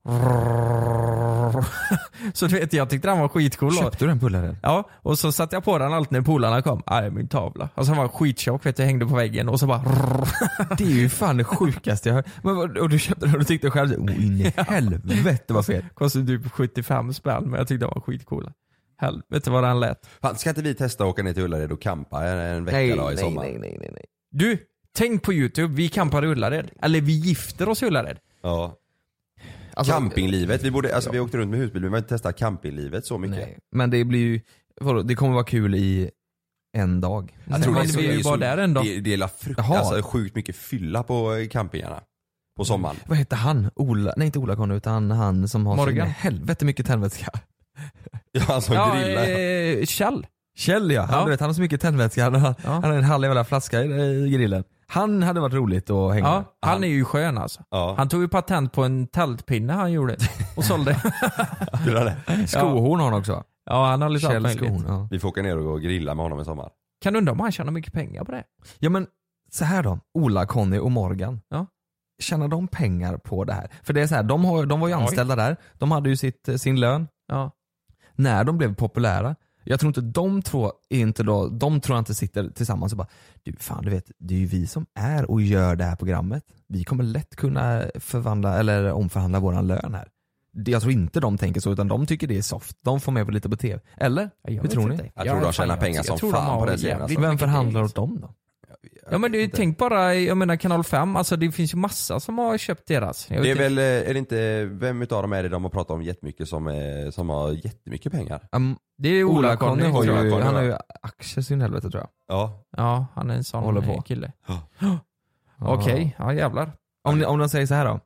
[SPEAKER 7] så du vet, jag tyckte den var skitcool. då.
[SPEAKER 5] Köpte du den pullaren?
[SPEAKER 7] Ja, och så satte jag på den alltid när polarna kom. Ah, det är min tavla. Alltså han var skittjock vet du, hängde på väggen och så bara
[SPEAKER 5] Det är ju fan det sjukaste jag hört. Men, vad- och du köpte den och du tyckte själv så, oh, in i helvete vad fet.
[SPEAKER 7] kostade typ 75 spänn men jag tyckte de var skitcoola. Helvete vad den lät.
[SPEAKER 6] Fan, ska inte vi testa att åka ner till Ullared och campa en, en vecka då, i sommar?
[SPEAKER 7] nej, nej, nej. Du, tänk på youtube, vi campar i Ullared. Eller vi gifter oss i Ullared.
[SPEAKER 6] Ja.
[SPEAKER 5] Alltså-
[SPEAKER 6] Campinglivet, vi, borde, alltså,
[SPEAKER 5] Ja.
[SPEAKER 6] vi åkte runt med husbil, vi behöver inte testa campinglivet så mycket.
[SPEAKER 5] Nej. Men det blir ju, vadå, det kommer vara kul i en dag.
[SPEAKER 7] Jag tror
[SPEAKER 6] det
[SPEAKER 7] men
[SPEAKER 6] så-
[SPEAKER 7] vi är ju
[SPEAKER 6] så-
[SPEAKER 7] bara där en dag.
[SPEAKER 6] Det, det är la frukt,
[SPEAKER 5] Jaha.
[SPEAKER 6] alltså, sjukt mycket fylla på eh, campingarna. På sommaren.
[SPEAKER 5] Vad hette han? Ola, nej inte Ola Conny utan han som har
[SPEAKER 7] Morgan.
[SPEAKER 5] så in i helvete mycket tändvätska.
[SPEAKER 6] Ja, alltså
[SPEAKER 7] Ja,
[SPEAKER 6] grillar.
[SPEAKER 7] eh, Kjell.
[SPEAKER 5] Kjell ja, han,
[SPEAKER 7] Ja.
[SPEAKER 5] Du vet, han har så mycket tändvätska, han har, han har en halv jävla flaska i, i grillen. Han hade varit roligt att hänga med.
[SPEAKER 7] Ja, han är ju skön alltså.
[SPEAKER 6] Ja.
[SPEAKER 7] Han tog ju patent på en tältpinne han gjorde och sålde.
[SPEAKER 6] Gillar det.
[SPEAKER 5] Skohorn har han också.
[SPEAKER 7] Ja, han har lite allt
[SPEAKER 5] Kjell
[SPEAKER 7] möjligt.
[SPEAKER 5] Skohorn. Ja.
[SPEAKER 6] Vi får åka ner och gå och grilla med honom i sommar.
[SPEAKER 7] Kan undra om han tjänar mycket pengar på det?
[SPEAKER 5] ja men så här då, Ola, Conny och Morgan.
[SPEAKER 7] Ja.
[SPEAKER 5] Tjänar de pengar på det här? För det är så här, de, har, de var ju anställda där, de hade ju sitt, eh, sin lön.
[SPEAKER 7] Ja.
[SPEAKER 5] När de blev populära, jag tror inte de två, är inte då, de tror jag inte sitter tillsammans och bara du fan du vet, det är ju vi som är och gör det här programmet. Vi kommer lätt kunna förvandla eller omförhandla våran lön här. Det- Jag tror inte de tänker så utan de tycker det är soft. De får med på lite på tv. Eller?
[SPEAKER 7] Jag
[SPEAKER 5] Hur
[SPEAKER 7] vet
[SPEAKER 5] tror
[SPEAKER 7] inte.
[SPEAKER 5] ni?
[SPEAKER 6] Jag tror de tjänar
[SPEAKER 7] fan,
[SPEAKER 6] pengar
[SPEAKER 7] jag
[SPEAKER 6] som
[SPEAKER 7] tror
[SPEAKER 6] fan
[SPEAKER 7] de har
[SPEAKER 6] på den serien,
[SPEAKER 7] jävligt
[SPEAKER 6] alltså.
[SPEAKER 5] Vem
[SPEAKER 7] mycket
[SPEAKER 5] förhandlar
[SPEAKER 7] pengar.
[SPEAKER 5] åt dem då?
[SPEAKER 7] Ja men du, tänk bara, jag menar kanal 5, alltså det finns ju massa som har köpt deras. Jag vet
[SPEAKER 6] Det är
[SPEAKER 7] inte.
[SPEAKER 6] väl, eh, är det inte, vem utav dem är det de har pratat om jättemycket som, eh, som har jättemycket pengar?
[SPEAKER 5] Um,
[SPEAKER 7] det är Ola-Conny
[SPEAKER 5] Ola-Conny har
[SPEAKER 7] tror jag.
[SPEAKER 5] ju,
[SPEAKER 6] Ola-Conny,
[SPEAKER 5] han har
[SPEAKER 6] va?
[SPEAKER 5] ju aktier sin helvete tror jag.
[SPEAKER 6] Ja.
[SPEAKER 7] Ja, han är en sån
[SPEAKER 5] Håller på.
[SPEAKER 7] kille.
[SPEAKER 6] Ja.
[SPEAKER 7] Oh, Okej, ja jävlar.
[SPEAKER 5] Om, ni- om de säger så här då.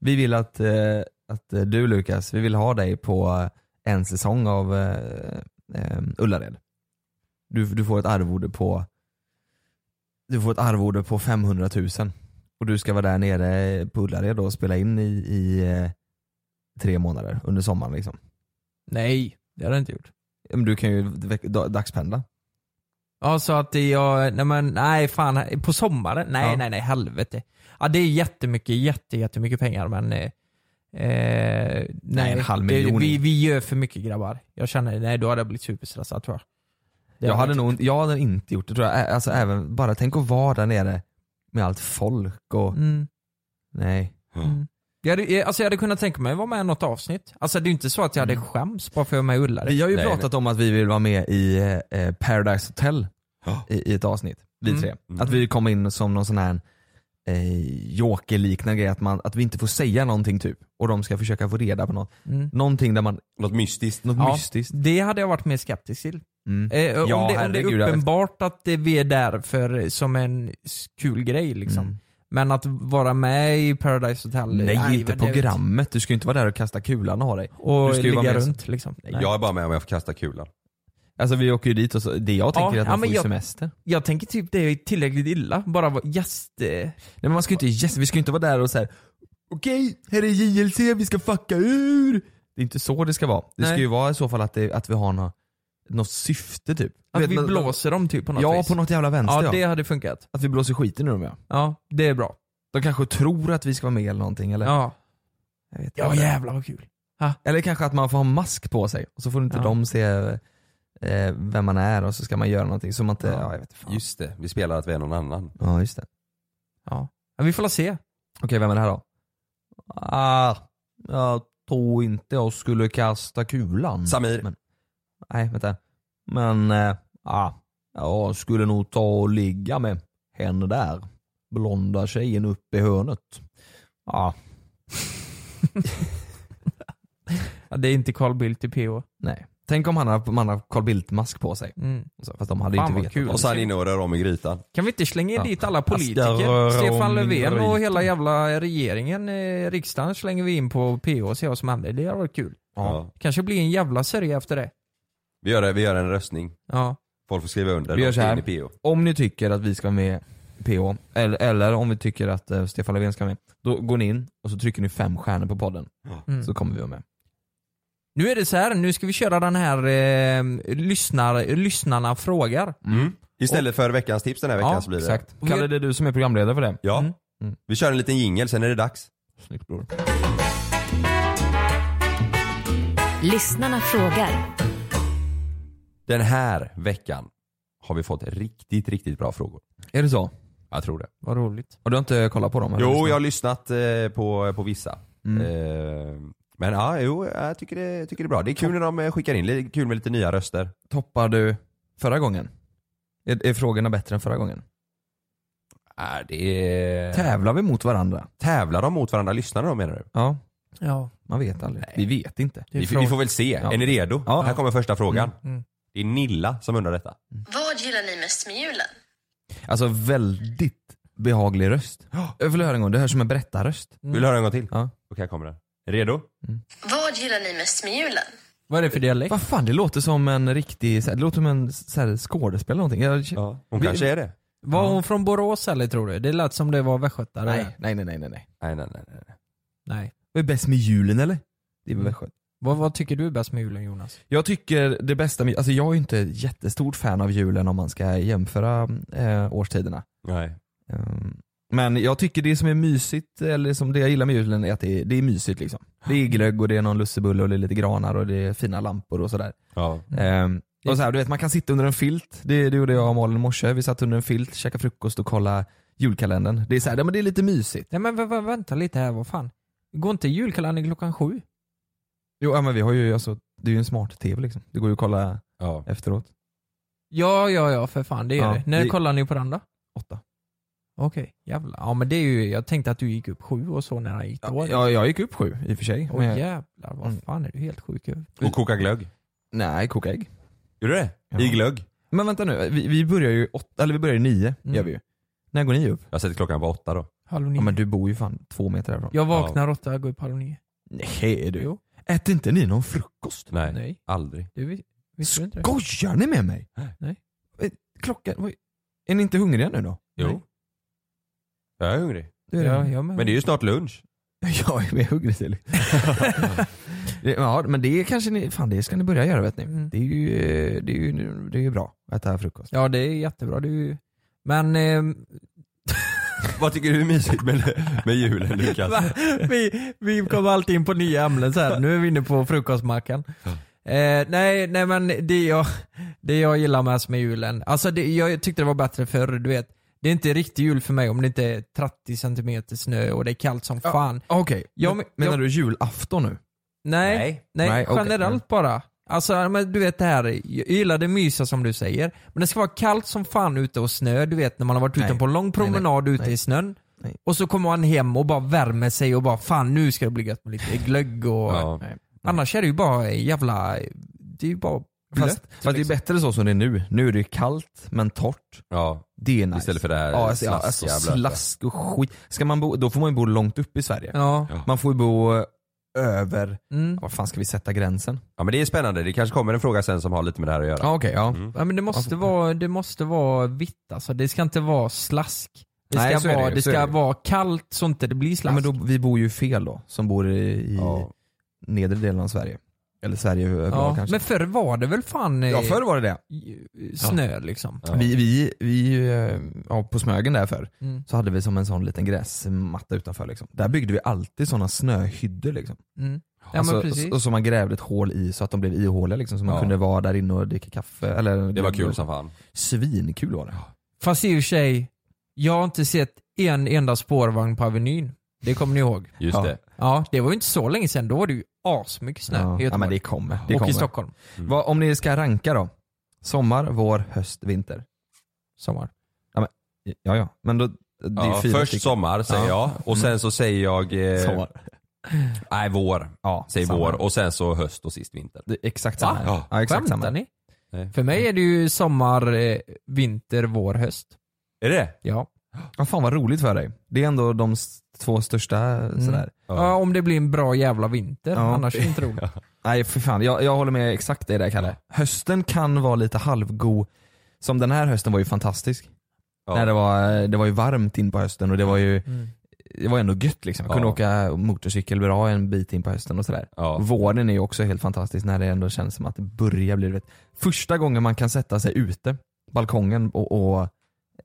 [SPEAKER 5] Vi vill att, eh, att eh, du Lukas, vi vill ha dig på eh, en säsong av eh, eh, Ullared. Du, du får ett arvode på du får ett arvode på 500 000 och du ska vara där nere på Ullared då och spela in i, i eh, tre månader under sommaren. Liksom.
[SPEAKER 7] Nej, det har jag inte gjort.
[SPEAKER 5] Ja, men Du kan ju veck- dag- dagspendla.
[SPEAKER 7] Ja, så att det jag, nej men nej fan, på sommaren? Nej,
[SPEAKER 5] Ja.
[SPEAKER 7] nej, nej, helvete. Ja det är jättemycket, jätte, jättemycket pengar men eh, eh, nej,
[SPEAKER 5] en halv
[SPEAKER 7] det,
[SPEAKER 5] miljon.
[SPEAKER 7] vi, vi gör för mycket grabbar. Jag känner, nej då hade jag blivit superstressad tror jag. Det
[SPEAKER 5] Jag
[SPEAKER 7] hade
[SPEAKER 5] hade,
[SPEAKER 7] jag
[SPEAKER 5] nog, inte- jag hade inte gjort det tror jag. Ä- Alltså, även, bara tänk att vara där nere med allt folk och
[SPEAKER 7] Mm.
[SPEAKER 5] nej.
[SPEAKER 7] Mm. Jag hade, eh, alltså jag hade kunnat tänka mig att vara med i något avsnitt. Alltså det är ju inte så att jag hade skämts bara för att jag är med i Ullared.
[SPEAKER 5] Mm. Vi har ju
[SPEAKER 6] Nej,
[SPEAKER 5] pratat om att vi vill vara med i eh, Paradise Hotel
[SPEAKER 6] Ja.
[SPEAKER 5] i, i ett avsnitt, vi
[SPEAKER 7] Mm.
[SPEAKER 5] tre. Att vi kommer in som någon sån här eh, jokerliknande grej, att, man, att vi inte får säga någonting typ. Och de ska försöka få reda på något.
[SPEAKER 7] Mm.
[SPEAKER 5] Någonting där man,
[SPEAKER 6] Något mystiskt.
[SPEAKER 5] något
[SPEAKER 7] Ja,
[SPEAKER 5] mystiskt.
[SPEAKER 7] det hade jag varit mer skeptisk till.
[SPEAKER 5] Mm.
[SPEAKER 7] Eh,
[SPEAKER 5] Ja,
[SPEAKER 7] om, det, om det
[SPEAKER 5] herregud,
[SPEAKER 7] är
[SPEAKER 5] jag vet.
[SPEAKER 7] uppenbart att det- vi är där för, eh, som en s- kul grej liksom.
[SPEAKER 5] Mm.
[SPEAKER 7] Men att vara med i Paradise Hotel?
[SPEAKER 5] Nej, inte
[SPEAKER 7] men det-
[SPEAKER 5] programmet, du ska ju inte vara där och kasta kulan och ha dig. Du
[SPEAKER 7] Och
[SPEAKER 5] ska ju vara
[SPEAKER 7] ligga
[SPEAKER 5] med-
[SPEAKER 7] runt liksom. Nej.
[SPEAKER 6] Jag är bara med om jag får kasta kulan.
[SPEAKER 5] Alltså vi åker ju dit och så, det jag tänker
[SPEAKER 7] Ja,
[SPEAKER 5] är att
[SPEAKER 7] ja,
[SPEAKER 5] man
[SPEAKER 7] men
[SPEAKER 5] får ju
[SPEAKER 7] jag-
[SPEAKER 5] semester.
[SPEAKER 7] Jag tänker typ det är tillräckligt illa, bara vara gäst. eh,
[SPEAKER 5] Nej men man ska ju inte, yes, vi ska ju inte vara där och såhär Okej, här är JLC, vi ska fucka ur! Det är inte så det ska vara. Det ska
[SPEAKER 7] Nej.
[SPEAKER 5] ju vara i så fall att, det, att vi har något, något syfte typ. Du
[SPEAKER 7] Att
[SPEAKER 5] vet,
[SPEAKER 7] vi
[SPEAKER 5] nå-
[SPEAKER 7] blåser dem typ på något
[SPEAKER 5] Ja,
[SPEAKER 7] vis.
[SPEAKER 5] på något jävla vänster ja.
[SPEAKER 7] ja, det hade funkat.
[SPEAKER 5] Att vi blåser skiten ur dem ja.
[SPEAKER 7] Ja, det är bra.
[SPEAKER 5] De kanske tror att vi ska vara med eller någonting eller?
[SPEAKER 7] Ja,
[SPEAKER 5] Jag vet
[SPEAKER 7] ja
[SPEAKER 5] inte.
[SPEAKER 7] jävlar vad kul.
[SPEAKER 5] Eller kanske att man får ha mask på sig och så får inte
[SPEAKER 7] Ja.
[SPEAKER 5] de se eh, vem man är och så ska man göra någonting som man inte, ja,
[SPEAKER 7] Ja.
[SPEAKER 5] jag vet fan.
[SPEAKER 6] Just det, vi spelar att vi är någon annan.
[SPEAKER 5] Ja just det.
[SPEAKER 7] Ja. Ja, vi får la se.
[SPEAKER 5] Okej, vem är det här då? Ah, jag tror inte jag skulle kasta kulan.
[SPEAKER 6] Samir.
[SPEAKER 5] Men, nej, vänta. Men, eh, ah, jag skulle nog ta och ligga med henne där. Blonda tjejen uppe i hörnet. Ah,
[SPEAKER 7] Ja, det är inte Carl Bildt i PO.
[SPEAKER 5] nej. Tänk om han hade, man hade Carl Bildt-mask på sig.
[SPEAKER 7] Mm.
[SPEAKER 5] Så, Fast de hade
[SPEAKER 7] Fan,
[SPEAKER 5] ju inte
[SPEAKER 7] vad
[SPEAKER 5] vetat.
[SPEAKER 7] kul.
[SPEAKER 5] Och
[SPEAKER 6] Och
[SPEAKER 5] så-
[SPEAKER 6] så är han inne och rör om i grytan.
[SPEAKER 7] Kan vi inte slänga
[SPEAKER 5] Ja.
[SPEAKER 7] dit alla
[SPEAKER 5] Jag ska röra
[SPEAKER 7] politiker?
[SPEAKER 5] om
[SPEAKER 7] Stefan
[SPEAKER 5] min
[SPEAKER 7] Löfven
[SPEAKER 5] gryta.
[SPEAKER 7] och hela jävla regeringen, eh, riksdagen slänger vi in på PO och ser vad som händer. Det hade varit kul.
[SPEAKER 6] Ja.
[SPEAKER 7] Kanske blir en jävla sörja efter det.
[SPEAKER 6] Vi, gör det, vi gör en röstning.
[SPEAKER 7] Ja.
[SPEAKER 6] Folk får skriva under.
[SPEAKER 5] Vi gör
[SPEAKER 6] De
[SPEAKER 5] så
[SPEAKER 6] ska
[SPEAKER 5] här.
[SPEAKER 6] in i PO.
[SPEAKER 5] Om ni tycker att vi ska vara med i PH, eller, eller om vi tycker att eh, Stefan Löfven ska vara med, då går ni in och så trycker ni fem stjärnor på podden.
[SPEAKER 7] Mm.
[SPEAKER 5] Så kommer vi vara med.
[SPEAKER 7] Nu är det så här, nu ska vi köra den här eh, lyssnar, lyssnarna frågar.
[SPEAKER 6] Mm. Istället för veckans tips den här veckan
[SPEAKER 7] Ja,
[SPEAKER 6] så blir det.
[SPEAKER 5] Exakt. Kalle, det är du som är programledare för det.
[SPEAKER 6] Ja.
[SPEAKER 7] Mm.
[SPEAKER 5] Mm.
[SPEAKER 6] Vi kör en liten jingel, sen är det dags.
[SPEAKER 5] Snyggt bror.
[SPEAKER 12] Lyssnarna frågar.
[SPEAKER 6] Den här veckan har vi fått riktigt, riktigt bra frågor.
[SPEAKER 5] Är det så?
[SPEAKER 6] Jag tror det.
[SPEAKER 5] Vad roligt. Och du har inte kollat på dem? eller?
[SPEAKER 6] Jo, jag har lyssnat eh, på, på vissa. Eh, Men ja, jo, jag tycker det, jag tycker det är bra. Det är kul när de eh, skickar in, det är kul med lite nya röster.
[SPEAKER 5] Toppar du förra gången? Är, är frågorna bättre än förra gången?
[SPEAKER 6] Nej, det är...
[SPEAKER 5] Tävlar vi mot varandra?
[SPEAKER 6] Tävlar de mot varandra, lyssnarna då menar du?
[SPEAKER 5] Ja,
[SPEAKER 7] Ja.
[SPEAKER 5] man vet aldrig.
[SPEAKER 6] Nej.
[SPEAKER 5] Vi vet inte.
[SPEAKER 7] Det är
[SPEAKER 6] Vi, får-
[SPEAKER 7] fråga-
[SPEAKER 6] vi får väl se.
[SPEAKER 5] Ja.
[SPEAKER 6] Är ni redo?
[SPEAKER 5] Ja.
[SPEAKER 6] Här kommer första frågan.
[SPEAKER 7] Mm.
[SPEAKER 6] Det är Nilla som undrar detta.
[SPEAKER 13] Vad gillar ni mest med julen?
[SPEAKER 5] Alltså väldigt behaglig röst. Jag vill höra en gång, det hörs som en berättarröst.
[SPEAKER 6] Vill
[SPEAKER 7] Mm.
[SPEAKER 6] du höra en gång till?
[SPEAKER 5] Ja.
[SPEAKER 6] Okej, här kommer den. Redo?
[SPEAKER 13] Vad gillar ni mest med julen?
[SPEAKER 7] Vad är det för dialekt?
[SPEAKER 5] Vad fan, det låter som en riktig, så här- det låter som en så här, skådespelare eller någonting. Jag,
[SPEAKER 6] Ja. Hon
[SPEAKER 5] Vi-
[SPEAKER 6] kanske är det.
[SPEAKER 7] Var hon från Borås eller tror du? Det lät som det var västgötare.
[SPEAKER 5] nej, nej, nej, nej, nej, nej.
[SPEAKER 6] Nej, nej, nej. nej.
[SPEAKER 7] Nej.
[SPEAKER 5] Vad är bäst med julen eller? Det är väl
[SPEAKER 7] Mm.
[SPEAKER 5] skönt.
[SPEAKER 7] Vad, vad tycker du är bäst med julen Jonas?
[SPEAKER 5] Jag tycker det bästa med, alltså jag är ju inte ett jättestort fan av julen om man ska jämföra eh, årstiderna.
[SPEAKER 6] nej.
[SPEAKER 5] Ehm, men jag tycker det som är mysigt, eller som det jag gillar med julen är att det är, det är mysigt liksom. Det är glögg och det är någon lussebulle och det är lite granar och det är fina lampor och sådär.
[SPEAKER 6] Ja.
[SPEAKER 5] Ehm, och så här, du vet, man kan sitta under en filt, det, det gjorde jag och Malin i morse. Vi satt under en filt, käkade frukost och kollade julkalendern. Det är, så här, ja, men det är lite mysigt.
[SPEAKER 7] Nej men vä- vä- vänta lite här, vad fan? Går inte julkalendern klockan sju?
[SPEAKER 5] Jo, ja, men vi har ju, alltså, det är ju en smart-tv liksom. Det går ju att kolla
[SPEAKER 6] ja.
[SPEAKER 5] efteråt.
[SPEAKER 7] Ja, ja, ja för fan det gör
[SPEAKER 5] Ja,
[SPEAKER 7] det. När
[SPEAKER 5] det-
[SPEAKER 7] kollar ni på den då?
[SPEAKER 5] Åtta.
[SPEAKER 7] Okej, jävlar. Ja men det är ju, jag tänkte att du gick upp sju och så när han gick då.
[SPEAKER 5] Ja, jag, jag gick upp sju i och för sig.
[SPEAKER 7] Åh
[SPEAKER 5] men jag-
[SPEAKER 7] jävlar,
[SPEAKER 5] Mm.
[SPEAKER 7] vad fan är du helt sjuk över?
[SPEAKER 6] Och koka glögg.
[SPEAKER 5] Nej, koka ägg.
[SPEAKER 6] Gjorde du det?
[SPEAKER 5] Ja.
[SPEAKER 6] I glögg?
[SPEAKER 5] Men vänta nu, vi, vi börjar ju åtta, eller vi börjar ju nio,
[SPEAKER 7] Mm.
[SPEAKER 5] gör vi ju. När går ni upp?
[SPEAKER 6] Jag sätter klockan på åtta då.
[SPEAKER 7] Halv nio.
[SPEAKER 5] Ja men du bor ju fan två meter härifrån.
[SPEAKER 7] Jag vaknar åtta, jag går upp halv nio.
[SPEAKER 5] Nej du.
[SPEAKER 7] Jo.
[SPEAKER 5] Äter inte ni någon frukost?
[SPEAKER 6] Nej.
[SPEAKER 7] Nej.
[SPEAKER 6] Aldrig.
[SPEAKER 7] Du vis- visste du inte det?
[SPEAKER 5] Skojar ni med mig?
[SPEAKER 7] Nej.
[SPEAKER 5] Eh, Klockan, vad- är ni inte hungriga nu då?
[SPEAKER 6] Jo.
[SPEAKER 7] Nej.
[SPEAKER 6] Jag är hungrig.
[SPEAKER 5] Det är
[SPEAKER 7] Ja,
[SPEAKER 5] det.
[SPEAKER 7] jag
[SPEAKER 6] Men det är ju snart lunch.
[SPEAKER 5] Jag är mer hungrig till. Det- ja men det kanske ni, fan det ska ni börja göra vet ni.
[SPEAKER 7] Mm.
[SPEAKER 5] Det är ju, eh, det är ju, det är ju bra att äta frukost.
[SPEAKER 7] Ja det är jättebra. Det är ju... Men ehm,
[SPEAKER 6] Vad tycker du är mysigt med, med julen Lukas?
[SPEAKER 7] vi, vi kommer alltid in på nya ämnen så här. nu är vi inne på frukostmackan. Eh, nej, nej men det jag, det jag gillar mest med julen, alltså det, jag tyckte det var bättre förr, du vet. Det är inte riktig jul för mig om det inte är 30 cm snö och det är kallt som fan.
[SPEAKER 5] Okej,
[SPEAKER 7] Ja,
[SPEAKER 5] men,
[SPEAKER 7] men-
[SPEAKER 5] menar
[SPEAKER 7] jag-
[SPEAKER 5] du julafton nu?
[SPEAKER 7] Nej,
[SPEAKER 6] Nej.
[SPEAKER 7] nej,
[SPEAKER 5] Nej, okej. Mm.
[SPEAKER 7] generellt bara. Alltså men du vet det här, jag gillar det mysa som du säger. Men det ska vara kallt som fan ute och snö, du vet när man har varit ute
[SPEAKER 5] Nej.
[SPEAKER 7] på en lång
[SPEAKER 5] nej.
[SPEAKER 7] promenad ute
[SPEAKER 5] Nej.
[SPEAKER 7] i snön.
[SPEAKER 5] Nej.
[SPEAKER 7] Och så kommer man hem och bara värmer sig och bara fan nu ska det bli gött med lite glögg och...
[SPEAKER 6] Ja.
[SPEAKER 7] Nej.
[SPEAKER 5] Mm.
[SPEAKER 7] Annars är det ju bara jävla... Det är ju bara blött.
[SPEAKER 5] Fast, fast det
[SPEAKER 7] liksom.
[SPEAKER 5] är bättre så som det är nu. Nu är det ju kallt men torrt.
[SPEAKER 6] Ja.
[SPEAKER 5] Det är nice.
[SPEAKER 6] Istället för det här
[SPEAKER 5] ja, alltså, ja, alltså,
[SPEAKER 6] slaskiga, blöta.
[SPEAKER 5] slask och skit. Ska man bo, då får man ju bo långt upp i Sverige.
[SPEAKER 7] Ja.
[SPEAKER 5] Man får ju bo över,
[SPEAKER 7] Mm.
[SPEAKER 5] var fan ska vi sätta gränsen?
[SPEAKER 6] ja men det är spännande. Det kanske kommer en fråga sen som har lite med det här att göra.
[SPEAKER 5] Ja okej, ja.
[SPEAKER 7] ja men det måste, vara, det måste vara vitt alltså. Det ska inte vara slask. Det ska,
[SPEAKER 5] Nej, så är det
[SPEAKER 7] vara,
[SPEAKER 5] ju,
[SPEAKER 7] det,
[SPEAKER 5] så är
[SPEAKER 7] ska
[SPEAKER 5] det ju.
[SPEAKER 7] vara kallt så inte det blir
[SPEAKER 5] ja
[SPEAKER 7] slask.
[SPEAKER 5] men då, vi bor ju fel då, som bor i, i
[SPEAKER 6] Ja.
[SPEAKER 5] nedre delen av Sverige. Eller Sverige överlag
[SPEAKER 7] Ja,
[SPEAKER 5] kanske.
[SPEAKER 7] men förr var det väl fan eh,
[SPEAKER 5] ja förr var det det.
[SPEAKER 7] snö liksom.
[SPEAKER 6] Ja.
[SPEAKER 5] Vi, vi, vi eh, ja, på Smögen där förr,
[SPEAKER 7] Mm.
[SPEAKER 5] så hade vi som en sån liten gräsmatta utanför liksom. Där byggde vi alltid sådana snöhyddor liksom.
[SPEAKER 7] Mm. Ja,
[SPEAKER 5] Alltså,
[SPEAKER 7] men precis.
[SPEAKER 5] och- Och som man grävde ett hål i så att de blev ihåliga liksom, så man
[SPEAKER 6] Ja.
[SPEAKER 5] kunde vara där inne och dricka kaffe. Eller,
[SPEAKER 6] Det var kul som fan.
[SPEAKER 5] Svinkul var det.
[SPEAKER 7] Fast i och för sig, jag har inte sett en enda spårvagn på Avenyn. Det kommer ni ihåg?
[SPEAKER 6] Just
[SPEAKER 5] Ja.
[SPEAKER 6] det.
[SPEAKER 7] Ja, det var ju inte så länge sedan. Då var det ju asmycket snö
[SPEAKER 5] Ja.
[SPEAKER 7] i
[SPEAKER 5] ja men
[SPEAKER 7] Göteborg.
[SPEAKER 5] det kommer. Det
[SPEAKER 7] och i
[SPEAKER 5] kommer. Mm.
[SPEAKER 7] Stockholm.
[SPEAKER 5] Vad, om ni ska ranka då? Sommar, vår, höst, vinter.
[SPEAKER 7] Sommar.
[SPEAKER 5] Ja ja, men då, det är
[SPEAKER 6] Ja,
[SPEAKER 5] fyra
[SPEAKER 6] först
[SPEAKER 5] stycken.
[SPEAKER 6] sommar säger jag och sen så säger jag... Eh,
[SPEAKER 5] Sommar.
[SPEAKER 6] Nej, vår.
[SPEAKER 5] Ja,
[SPEAKER 6] Säger
[SPEAKER 5] samma.
[SPEAKER 6] vår och sen så höst och sist vinter.
[SPEAKER 5] Det är exakt samma.
[SPEAKER 6] Va?
[SPEAKER 5] Ja, exakt
[SPEAKER 7] Skämtar
[SPEAKER 5] samma.
[SPEAKER 7] ni?
[SPEAKER 6] Nej.
[SPEAKER 7] För mig är det ju sommar, eh, vinter, vår, höst.
[SPEAKER 6] Är det det?
[SPEAKER 7] Ja.
[SPEAKER 5] Ja, fan vad roligt för dig. Det är ändå de s- två största
[SPEAKER 7] Mm.
[SPEAKER 5] sådär.
[SPEAKER 7] Ja. om det blir en bra jävla vinter.
[SPEAKER 5] Ja.
[SPEAKER 7] Annars är det inte roligt.
[SPEAKER 5] Nej för fan, jag, jag håller med exakt dig där Kalle. Hösten kan vara lite halvgo. Som den här hösten var ju fantastisk.
[SPEAKER 6] Ja.
[SPEAKER 5] När det, var, det var ju varmt in på hösten och det var ju
[SPEAKER 7] Mm.
[SPEAKER 5] det var ändå gött liksom. Jag kunde
[SPEAKER 6] Ja.
[SPEAKER 5] åka motorcykel bra en bit in på hösten och sådär.
[SPEAKER 6] Ja.
[SPEAKER 5] Våren är ju också helt fantastisk när det ändå känns som att det börjar bli, du vet, första gången man kan sätta sig ute, balkongen och, och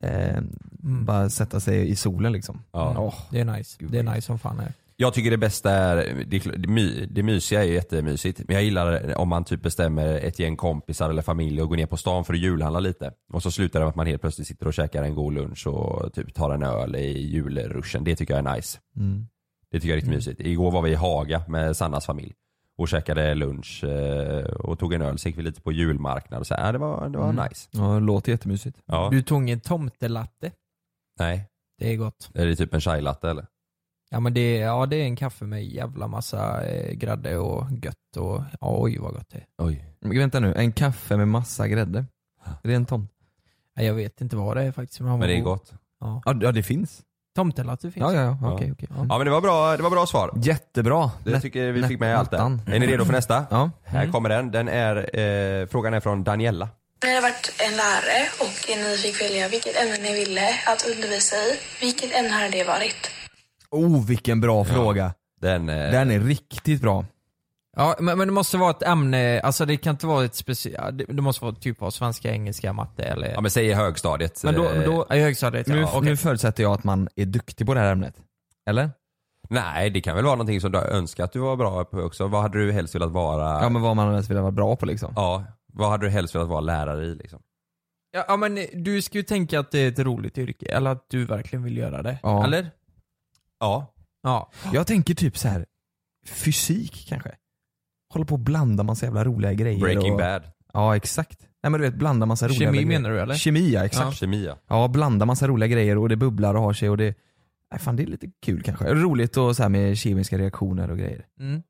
[SPEAKER 5] eh,
[SPEAKER 7] Mm.
[SPEAKER 5] bara sätta sig i solen liksom.
[SPEAKER 6] Ja.
[SPEAKER 5] Åh,
[SPEAKER 7] Det är nice. Det är nice som fan är.
[SPEAKER 6] Jag tycker det bästa är, det, det, my, det mysiga är ju jättemysigt, men jag gillar om man typ bestämmer ett gäng kompisar eller familj och går ner på stan för att julhandla lite. Och så slutar det med att man helt plötsligt sitter och käkar en god lunch och typ tar en öl i julruschen. Det tycker jag är nice.
[SPEAKER 5] Mm.
[SPEAKER 6] Det tycker jag är riktigt mysigt. Igår var vi i Haga med Sannas familj och käkade lunch eh, och tog en öl, så gick vi lite på julmarknad och så här, det var, det var
[SPEAKER 7] Mm.
[SPEAKER 6] nice.
[SPEAKER 5] Ja, det låter jättemysigt.
[SPEAKER 6] Ja.
[SPEAKER 7] Du tog en tomtelatte.
[SPEAKER 6] Nej,
[SPEAKER 7] Det är gott.
[SPEAKER 6] är det typ en chai latte eller?
[SPEAKER 7] Ja men det, är- ja, det är en kaffe med jävla massa eh, grädde och gött och ja, oj vad gott det är.
[SPEAKER 6] Oj.
[SPEAKER 5] Men vänta nu, en kaffe med massa grädde? Är det en tomt?
[SPEAKER 7] Ja, jag vet inte vad det är faktiskt. Men,
[SPEAKER 6] Men det är gott.
[SPEAKER 7] Ja.
[SPEAKER 5] Ja, ja det finns.
[SPEAKER 7] Tomtelatte finns.
[SPEAKER 5] Ja, ja, ja. Okej, okej.
[SPEAKER 7] Ja.
[SPEAKER 6] Ja men det var bra, det var bra svar.
[SPEAKER 5] Jättebra.
[SPEAKER 6] Det
[SPEAKER 5] Lätt-
[SPEAKER 6] tycker vi
[SPEAKER 5] lätt-
[SPEAKER 6] fick med allt det.
[SPEAKER 5] lättan.
[SPEAKER 6] Är ni redo för nästa?
[SPEAKER 5] Ja.
[SPEAKER 7] Mm.
[SPEAKER 6] Här kommer den. den är, eh, frågan är från Daniela.
[SPEAKER 12] Ni har varit en lärare och ni fick välja vilket ämne ni ville att undervisa i. Vilket ämne hade det varit?
[SPEAKER 5] Oh, vilken bra fråga.
[SPEAKER 6] Den, eh,
[SPEAKER 5] Den är riktigt bra.
[SPEAKER 7] Ja, men, men det måste vara ett ämne, alltså det kan inte vara ett speciellt, det, det måste vara typ av svenska, engelska, matte eller...
[SPEAKER 6] Ja men säg i högstadiet.
[SPEAKER 7] men då,
[SPEAKER 6] eh,
[SPEAKER 7] då, ja, i högstadiet
[SPEAKER 5] Nu,
[SPEAKER 7] ja, okej.
[SPEAKER 5] nu förutsätter jag att man är duktig på det här ämnet. Eller?
[SPEAKER 6] Nej det kan väl vara någonting som du har önskat att du var bra på också. Vad hade du helst velat vara?
[SPEAKER 5] Ja men vad man helst vill vara bra på liksom.
[SPEAKER 6] Ja, vad hade du helst velat vara lärare i liksom?
[SPEAKER 7] Ja, ja men eh, du ska ju tänka att det är ett roligt yrke, eller att du verkligen vill göra det.
[SPEAKER 5] Ja.
[SPEAKER 7] Eller?
[SPEAKER 6] Ja.
[SPEAKER 7] Ja.
[SPEAKER 5] Jag tänker typ så här fysik kanske. Håller på och blanda massa jävla roliga grejer.
[SPEAKER 6] Breaking
[SPEAKER 5] och,
[SPEAKER 6] Bad.
[SPEAKER 5] Ja exakt. Nej men du vet blanda massa roliga
[SPEAKER 7] Kemi
[SPEAKER 5] grejer.
[SPEAKER 7] menar du, eller?
[SPEAKER 5] Kemi ja, exakt.
[SPEAKER 6] Kemi ja.
[SPEAKER 5] Ja, blanda massa roliga grejer och det bubblar och har sig och det Nej fan det är lite kul kanske. Roligt och så här med kemiska reaktioner och grejer.
[SPEAKER 7] Mm.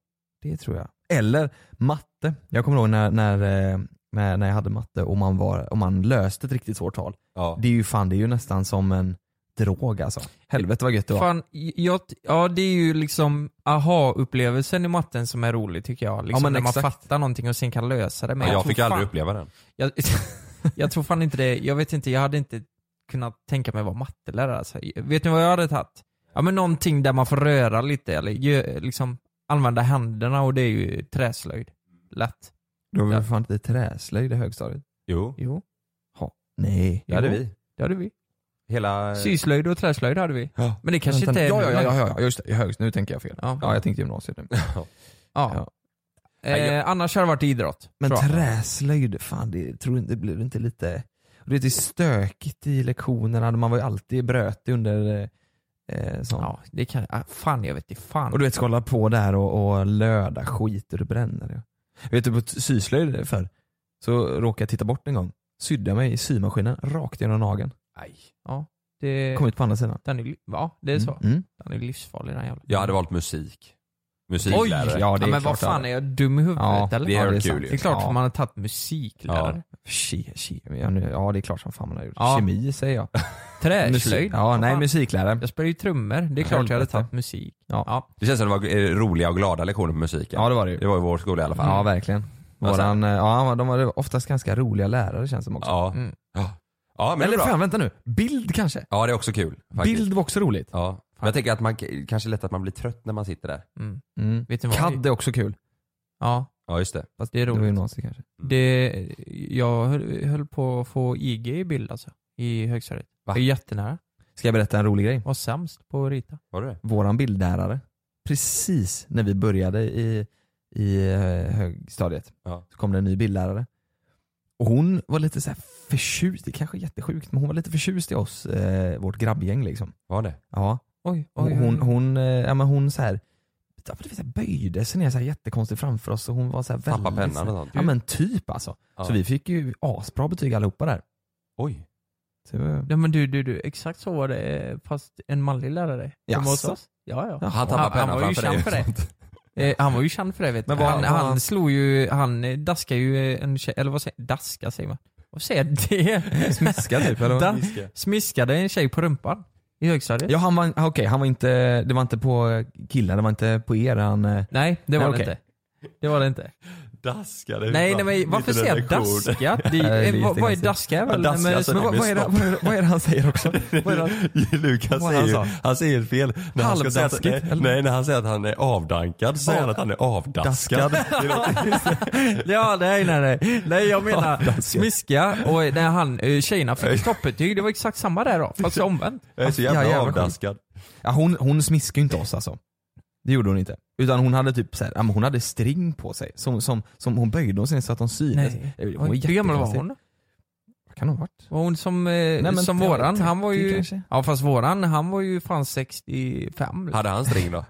[SPEAKER 5] Det tror jag. Eller matte. Jag kommer ihåg när, när, eh, när, när jag hade matte och man, var, och man löste ett riktigt svårt tal.
[SPEAKER 6] ja.
[SPEAKER 5] Det är ju fan, det är ju nästan som en drog alltså. Helvete vad gött det var.
[SPEAKER 7] Fan, jag, ja det är ju liksom aha-upplevelsen i matten som är rolig tycker jag. Liksom,
[SPEAKER 5] Ja, men
[SPEAKER 7] när man
[SPEAKER 5] exakt.
[SPEAKER 7] fattar någonting och sen kan lösa det. Men
[SPEAKER 6] Men jag
[SPEAKER 7] tror
[SPEAKER 6] fick aldrig
[SPEAKER 7] fan-
[SPEAKER 6] uppleva den.
[SPEAKER 7] Jag, jag tror fan inte det, jag vet inte, jag hade inte kunnat tänka mig vara mattelärare alltså. Vet ni vad jag hade tagit? Ja men någonting där man får röra lite eller gö- liksom använda händerna och det är ju träslöjd. Lätt.
[SPEAKER 5] Det var väl
[SPEAKER 7] Ja.
[SPEAKER 5] fan inte träslöjd i högstadiet?
[SPEAKER 6] Jo,
[SPEAKER 7] Jo,
[SPEAKER 5] Nej.
[SPEAKER 6] det hade
[SPEAKER 7] Jo.
[SPEAKER 6] vi.
[SPEAKER 7] det hade vi.
[SPEAKER 6] Hela...
[SPEAKER 7] Syslöjd och träslöjd hade vi.
[SPEAKER 5] Eh. Ja.
[SPEAKER 7] Men det kanske
[SPEAKER 5] Vänta,
[SPEAKER 7] inte
[SPEAKER 5] ja,
[SPEAKER 7] är...
[SPEAKER 5] ja, ja, ja, ja, just det. I högst, nu tänker jag fel.
[SPEAKER 7] Ja.
[SPEAKER 5] Ja, jag tänkte gymnasiet nu.
[SPEAKER 7] Ja. Eh, annars hade det varit idrott.
[SPEAKER 5] Men
[SPEAKER 7] tror jag.
[SPEAKER 5] träslöjd, fan det tror inte, blir det inte lite... Och det är stökigt i lektionerna, man var ju alltid brötig under eh, sånt.
[SPEAKER 7] Ja, det kan... ah, Fan, jag vet inte. Fan.
[SPEAKER 5] Och du vet, ska hålla på där och, och löda skit och det bränner. Ja. Vet du, på t- syslöjd förr, så råkade jag titta bort en gång. Sydde jag mig i symaskinen rakt genom nageln.
[SPEAKER 7] Nej. Ja, det...
[SPEAKER 5] Kom ut på andra sidan.
[SPEAKER 7] Den är, li- ja, det är så.
[SPEAKER 5] Mm. Mm.
[SPEAKER 7] Den är livsfarlig den jävla.
[SPEAKER 6] Jag hade valt musik.
[SPEAKER 7] Oj!
[SPEAKER 6] Musiklärare.
[SPEAKER 5] Ja,
[SPEAKER 7] Ja,
[SPEAKER 5] det är
[SPEAKER 7] men
[SPEAKER 5] klart
[SPEAKER 7] vad fan,
[SPEAKER 5] det.
[SPEAKER 7] är jag dum i huvudet
[SPEAKER 5] Ja,
[SPEAKER 7] eller?
[SPEAKER 6] det är kul
[SPEAKER 7] sant.
[SPEAKER 6] ju.
[SPEAKER 7] Det är klart,
[SPEAKER 5] Ja.
[SPEAKER 7] för man har tagit musiklärare.
[SPEAKER 5] Ke, ke, ja, nu, ja, det är klart som fan man har gjort.
[SPEAKER 7] Ja.
[SPEAKER 5] Kemi säger jag.
[SPEAKER 7] Träslöjd.
[SPEAKER 5] Ja,
[SPEAKER 7] Vad
[SPEAKER 5] nej
[SPEAKER 7] fan.
[SPEAKER 5] musiklärare.
[SPEAKER 7] Jag spelar ju trummor. Det är klart jag hade
[SPEAKER 5] Helvete.
[SPEAKER 7] tagit musik.
[SPEAKER 5] Ja.
[SPEAKER 7] Ja.
[SPEAKER 6] Det känns som det var eh, roliga och glada lektioner på musiken.
[SPEAKER 5] Ja det var det ju.
[SPEAKER 6] Det var i vår skola i alla fall.
[SPEAKER 5] Ja verkligen. Våran, eh, ja, de var oftast ganska roliga lärare känns det som också.
[SPEAKER 6] Ja.
[SPEAKER 7] Mm.
[SPEAKER 6] Ja. ja men det är
[SPEAKER 5] Eller
[SPEAKER 6] bra.
[SPEAKER 5] fan vänta nu, bild kanske?
[SPEAKER 6] Ja det är också kul. Faktiskt.
[SPEAKER 5] Bild var också roligt.
[SPEAKER 6] Ja. Men jag tänker att man k- kanske är lätt att man blir trött när man sitter där.
[SPEAKER 7] Mm.
[SPEAKER 5] Mm.
[SPEAKER 7] Vet ni vad?
[SPEAKER 5] CAD är också kul.
[SPEAKER 7] Ja,
[SPEAKER 6] Ja just det.
[SPEAKER 5] Fast
[SPEAKER 7] det är
[SPEAKER 5] Det var
[SPEAKER 7] roligt.
[SPEAKER 5] gymnasiet kanske.
[SPEAKER 7] Det, jag höll, höll på att få IG i bild alltså. I högstadiet.
[SPEAKER 6] Va?
[SPEAKER 7] Jag är jättenära.
[SPEAKER 5] Ska jag berätta en rolig grej?
[SPEAKER 7] Var sämst på att rita.
[SPEAKER 6] Var det det?
[SPEAKER 5] Våran bildlärare, precis när vi började i, i eh, högstadiet,
[SPEAKER 6] Ja.
[SPEAKER 5] så kom det en ny bildlärare. Och hon var lite så här förtjust, det kanske är jättesjukt, men hon var lite förtjust i oss, eh, vårt grabbgäng liksom.
[SPEAKER 6] Var det?
[SPEAKER 5] Ja.
[SPEAKER 7] Oj,
[SPEAKER 5] Hon,
[SPEAKER 7] oj, oj.
[SPEAKER 5] hon, hon, eh, ja, men hon så här, ja, men du vet, så här böjde sig ner så här jättekonstigt framför oss och hon var så här väldigt...
[SPEAKER 6] Tappa pennan
[SPEAKER 5] så
[SPEAKER 6] och
[SPEAKER 5] här,
[SPEAKER 6] sånt.
[SPEAKER 5] Ja men typ alltså.
[SPEAKER 6] Ja.
[SPEAKER 5] Så vi fick ju asbra betyg allihopa där.
[SPEAKER 6] Oj.
[SPEAKER 5] Så, det var-
[SPEAKER 7] Nej men du, du, du. Exakt så var det. Fast en manlig lärare. som var hos
[SPEAKER 5] Jaså?
[SPEAKER 7] oss. Ja, ja.
[SPEAKER 5] Ja.
[SPEAKER 6] Han
[SPEAKER 7] Han-
[SPEAKER 6] tappade pennan
[SPEAKER 7] han var ju
[SPEAKER 6] framför dig.
[SPEAKER 7] känd för det. Eh, han var ju känd för det vet du.
[SPEAKER 5] Men vad-
[SPEAKER 7] han,
[SPEAKER 5] vad-
[SPEAKER 7] han slog ju, han eh, daskade ju eh, en tjej, eller vad säger Daska säger man. Vad säger jag? det?
[SPEAKER 5] Smiska typ, eller vad?
[SPEAKER 7] Da, smiskade en tjej på rumpan i högstadiet.
[SPEAKER 5] Ja han var, okej, han var inte, det var inte på killar, det var inte på er han... eh,
[SPEAKER 7] Nej, det var
[SPEAKER 5] Nej,
[SPEAKER 7] det
[SPEAKER 5] okej.
[SPEAKER 7] inte. Det var det inte.
[SPEAKER 6] Daskade.
[SPEAKER 7] Nej, nej men varför säger jag daska? Det,
[SPEAKER 5] Nej,
[SPEAKER 7] är- eh,
[SPEAKER 5] lite
[SPEAKER 7] vad, vad är
[SPEAKER 5] ganska.
[SPEAKER 7] daska?
[SPEAKER 6] Ja,
[SPEAKER 7] Väl?
[SPEAKER 6] daska,
[SPEAKER 7] men,
[SPEAKER 6] alltså,
[SPEAKER 5] Men vad, vad, är det, vad, är det, vad är det han säger också? Vad är det, han-
[SPEAKER 6] Lukas
[SPEAKER 5] Vad
[SPEAKER 6] säger
[SPEAKER 5] han
[SPEAKER 6] ju,
[SPEAKER 5] sa?
[SPEAKER 6] han säger fel. När han ska säga att,
[SPEAKER 5] alltså. Halvdaskigt,
[SPEAKER 6] nej,
[SPEAKER 5] eller?
[SPEAKER 6] nej, när han säger att han är avdankad så säger han att han är avdaskad. Det låter-
[SPEAKER 7] ja, nej, nej, nej. Nej, jag
[SPEAKER 5] Ja,
[SPEAKER 7] menar
[SPEAKER 5] daska.
[SPEAKER 7] smiska och när han, eh, tjejerna fick toppbetyg, det var exakt samma där då, fast omvänt.
[SPEAKER 6] Jag är så
[SPEAKER 5] Ja,
[SPEAKER 6] jävla
[SPEAKER 5] jävla
[SPEAKER 6] avdaskad.
[SPEAKER 5] ja, hon, hon smiskar ju inte oss alltså. Det gjorde hon inte. Utan hon hade typ så här, ja, men hon hade string på sig. Som, som, som hon böjde och sen så att de syntes.
[SPEAKER 7] Nej.
[SPEAKER 5] Hon var
[SPEAKER 7] Hur gammal var
[SPEAKER 5] jättekonstig.
[SPEAKER 7] hon?
[SPEAKER 5] Vad kan hon ha varit?
[SPEAKER 7] Var hon som, eh,
[SPEAKER 5] men
[SPEAKER 7] som
[SPEAKER 5] jag
[SPEAKER 7] våran?
[SPEAKER 5] vet
[SPEAKER 7] Han var
[SPEAKER 5] inte,
[SPEAKER 7] ju...
[SPEAKER 5] kanske.
[SPEAKER 7] Ja fast våran, han var ju fan 65. liksom.
[SPEAKER 6] Hade han string då?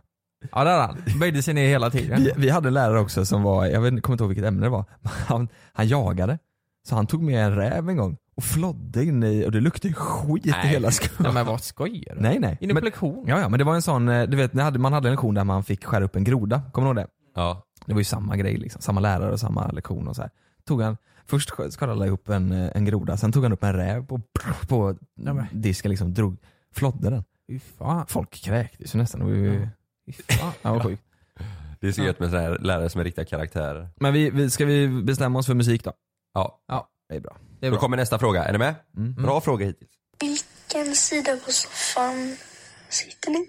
[SPEAKER 7] Ja det hade han. Böjde sig ner hela tiden.
[SPEAKER 5] Vi, vi hade en lärare också som var, jag vet, inte- kommer inte ihåg vilket ämne det var, men han, han jagade. Så han tog med en räv en gång och flodde in i, och det luktade ju skit i hela skolan.
[SPEAKER 7] Nej men vad skojar du?
[SPEAKER 5] Nej nej.
[SPEAKER 7] Inne på
[SPEAKER 5] Men-
[SPEAKER 7] lektion?
[SPEAKER 5] Ja, ja, men det var en sån, eh, du vet, ni hade- man hade en lektion där man fick skära upp en groda, kommer du ihåg det?
[SPEAKER 6] Ja.
[SPEAKER 5] Det var ju samma grej, liksom. samma lärare och samma lektion och så här. Tog han, först sk- skar alla ihop en, eh, en groda, sen tog han upp en räv på, på
[SPEAKER 7] men.
[SPEAKER 5] disken liksom, drog, flodde den.
[SPEAKER 7] Fy fan.
[SPEAKER 5] Folk kräktes ju nästan, det var ju,
[SPEAKER 7] Fy fan.
[SPEAKER 5] ja, vad sjukt.
[SPEAKER 6] Det är så gött med sådana här lärare som är riktiga karaktärer.
[SPEAKER 5] Men vi, vi, ska vi bestämma oss för musik då?
[SPEAKER 6] Ja.
[SPEAKER 5] Det är bra.
[SPEAKER 7] Det är
[SPEAKER 6] Då
[SPEAKER 7] bra.
[SPEAKER 6] kommer nästa fråga, är ni med?
[SPEAKER 5] Mm.
[SPEAKER 6] Bra fråga hittills.
[SPEAKER 13] Vilken sida på soffan sitter ni?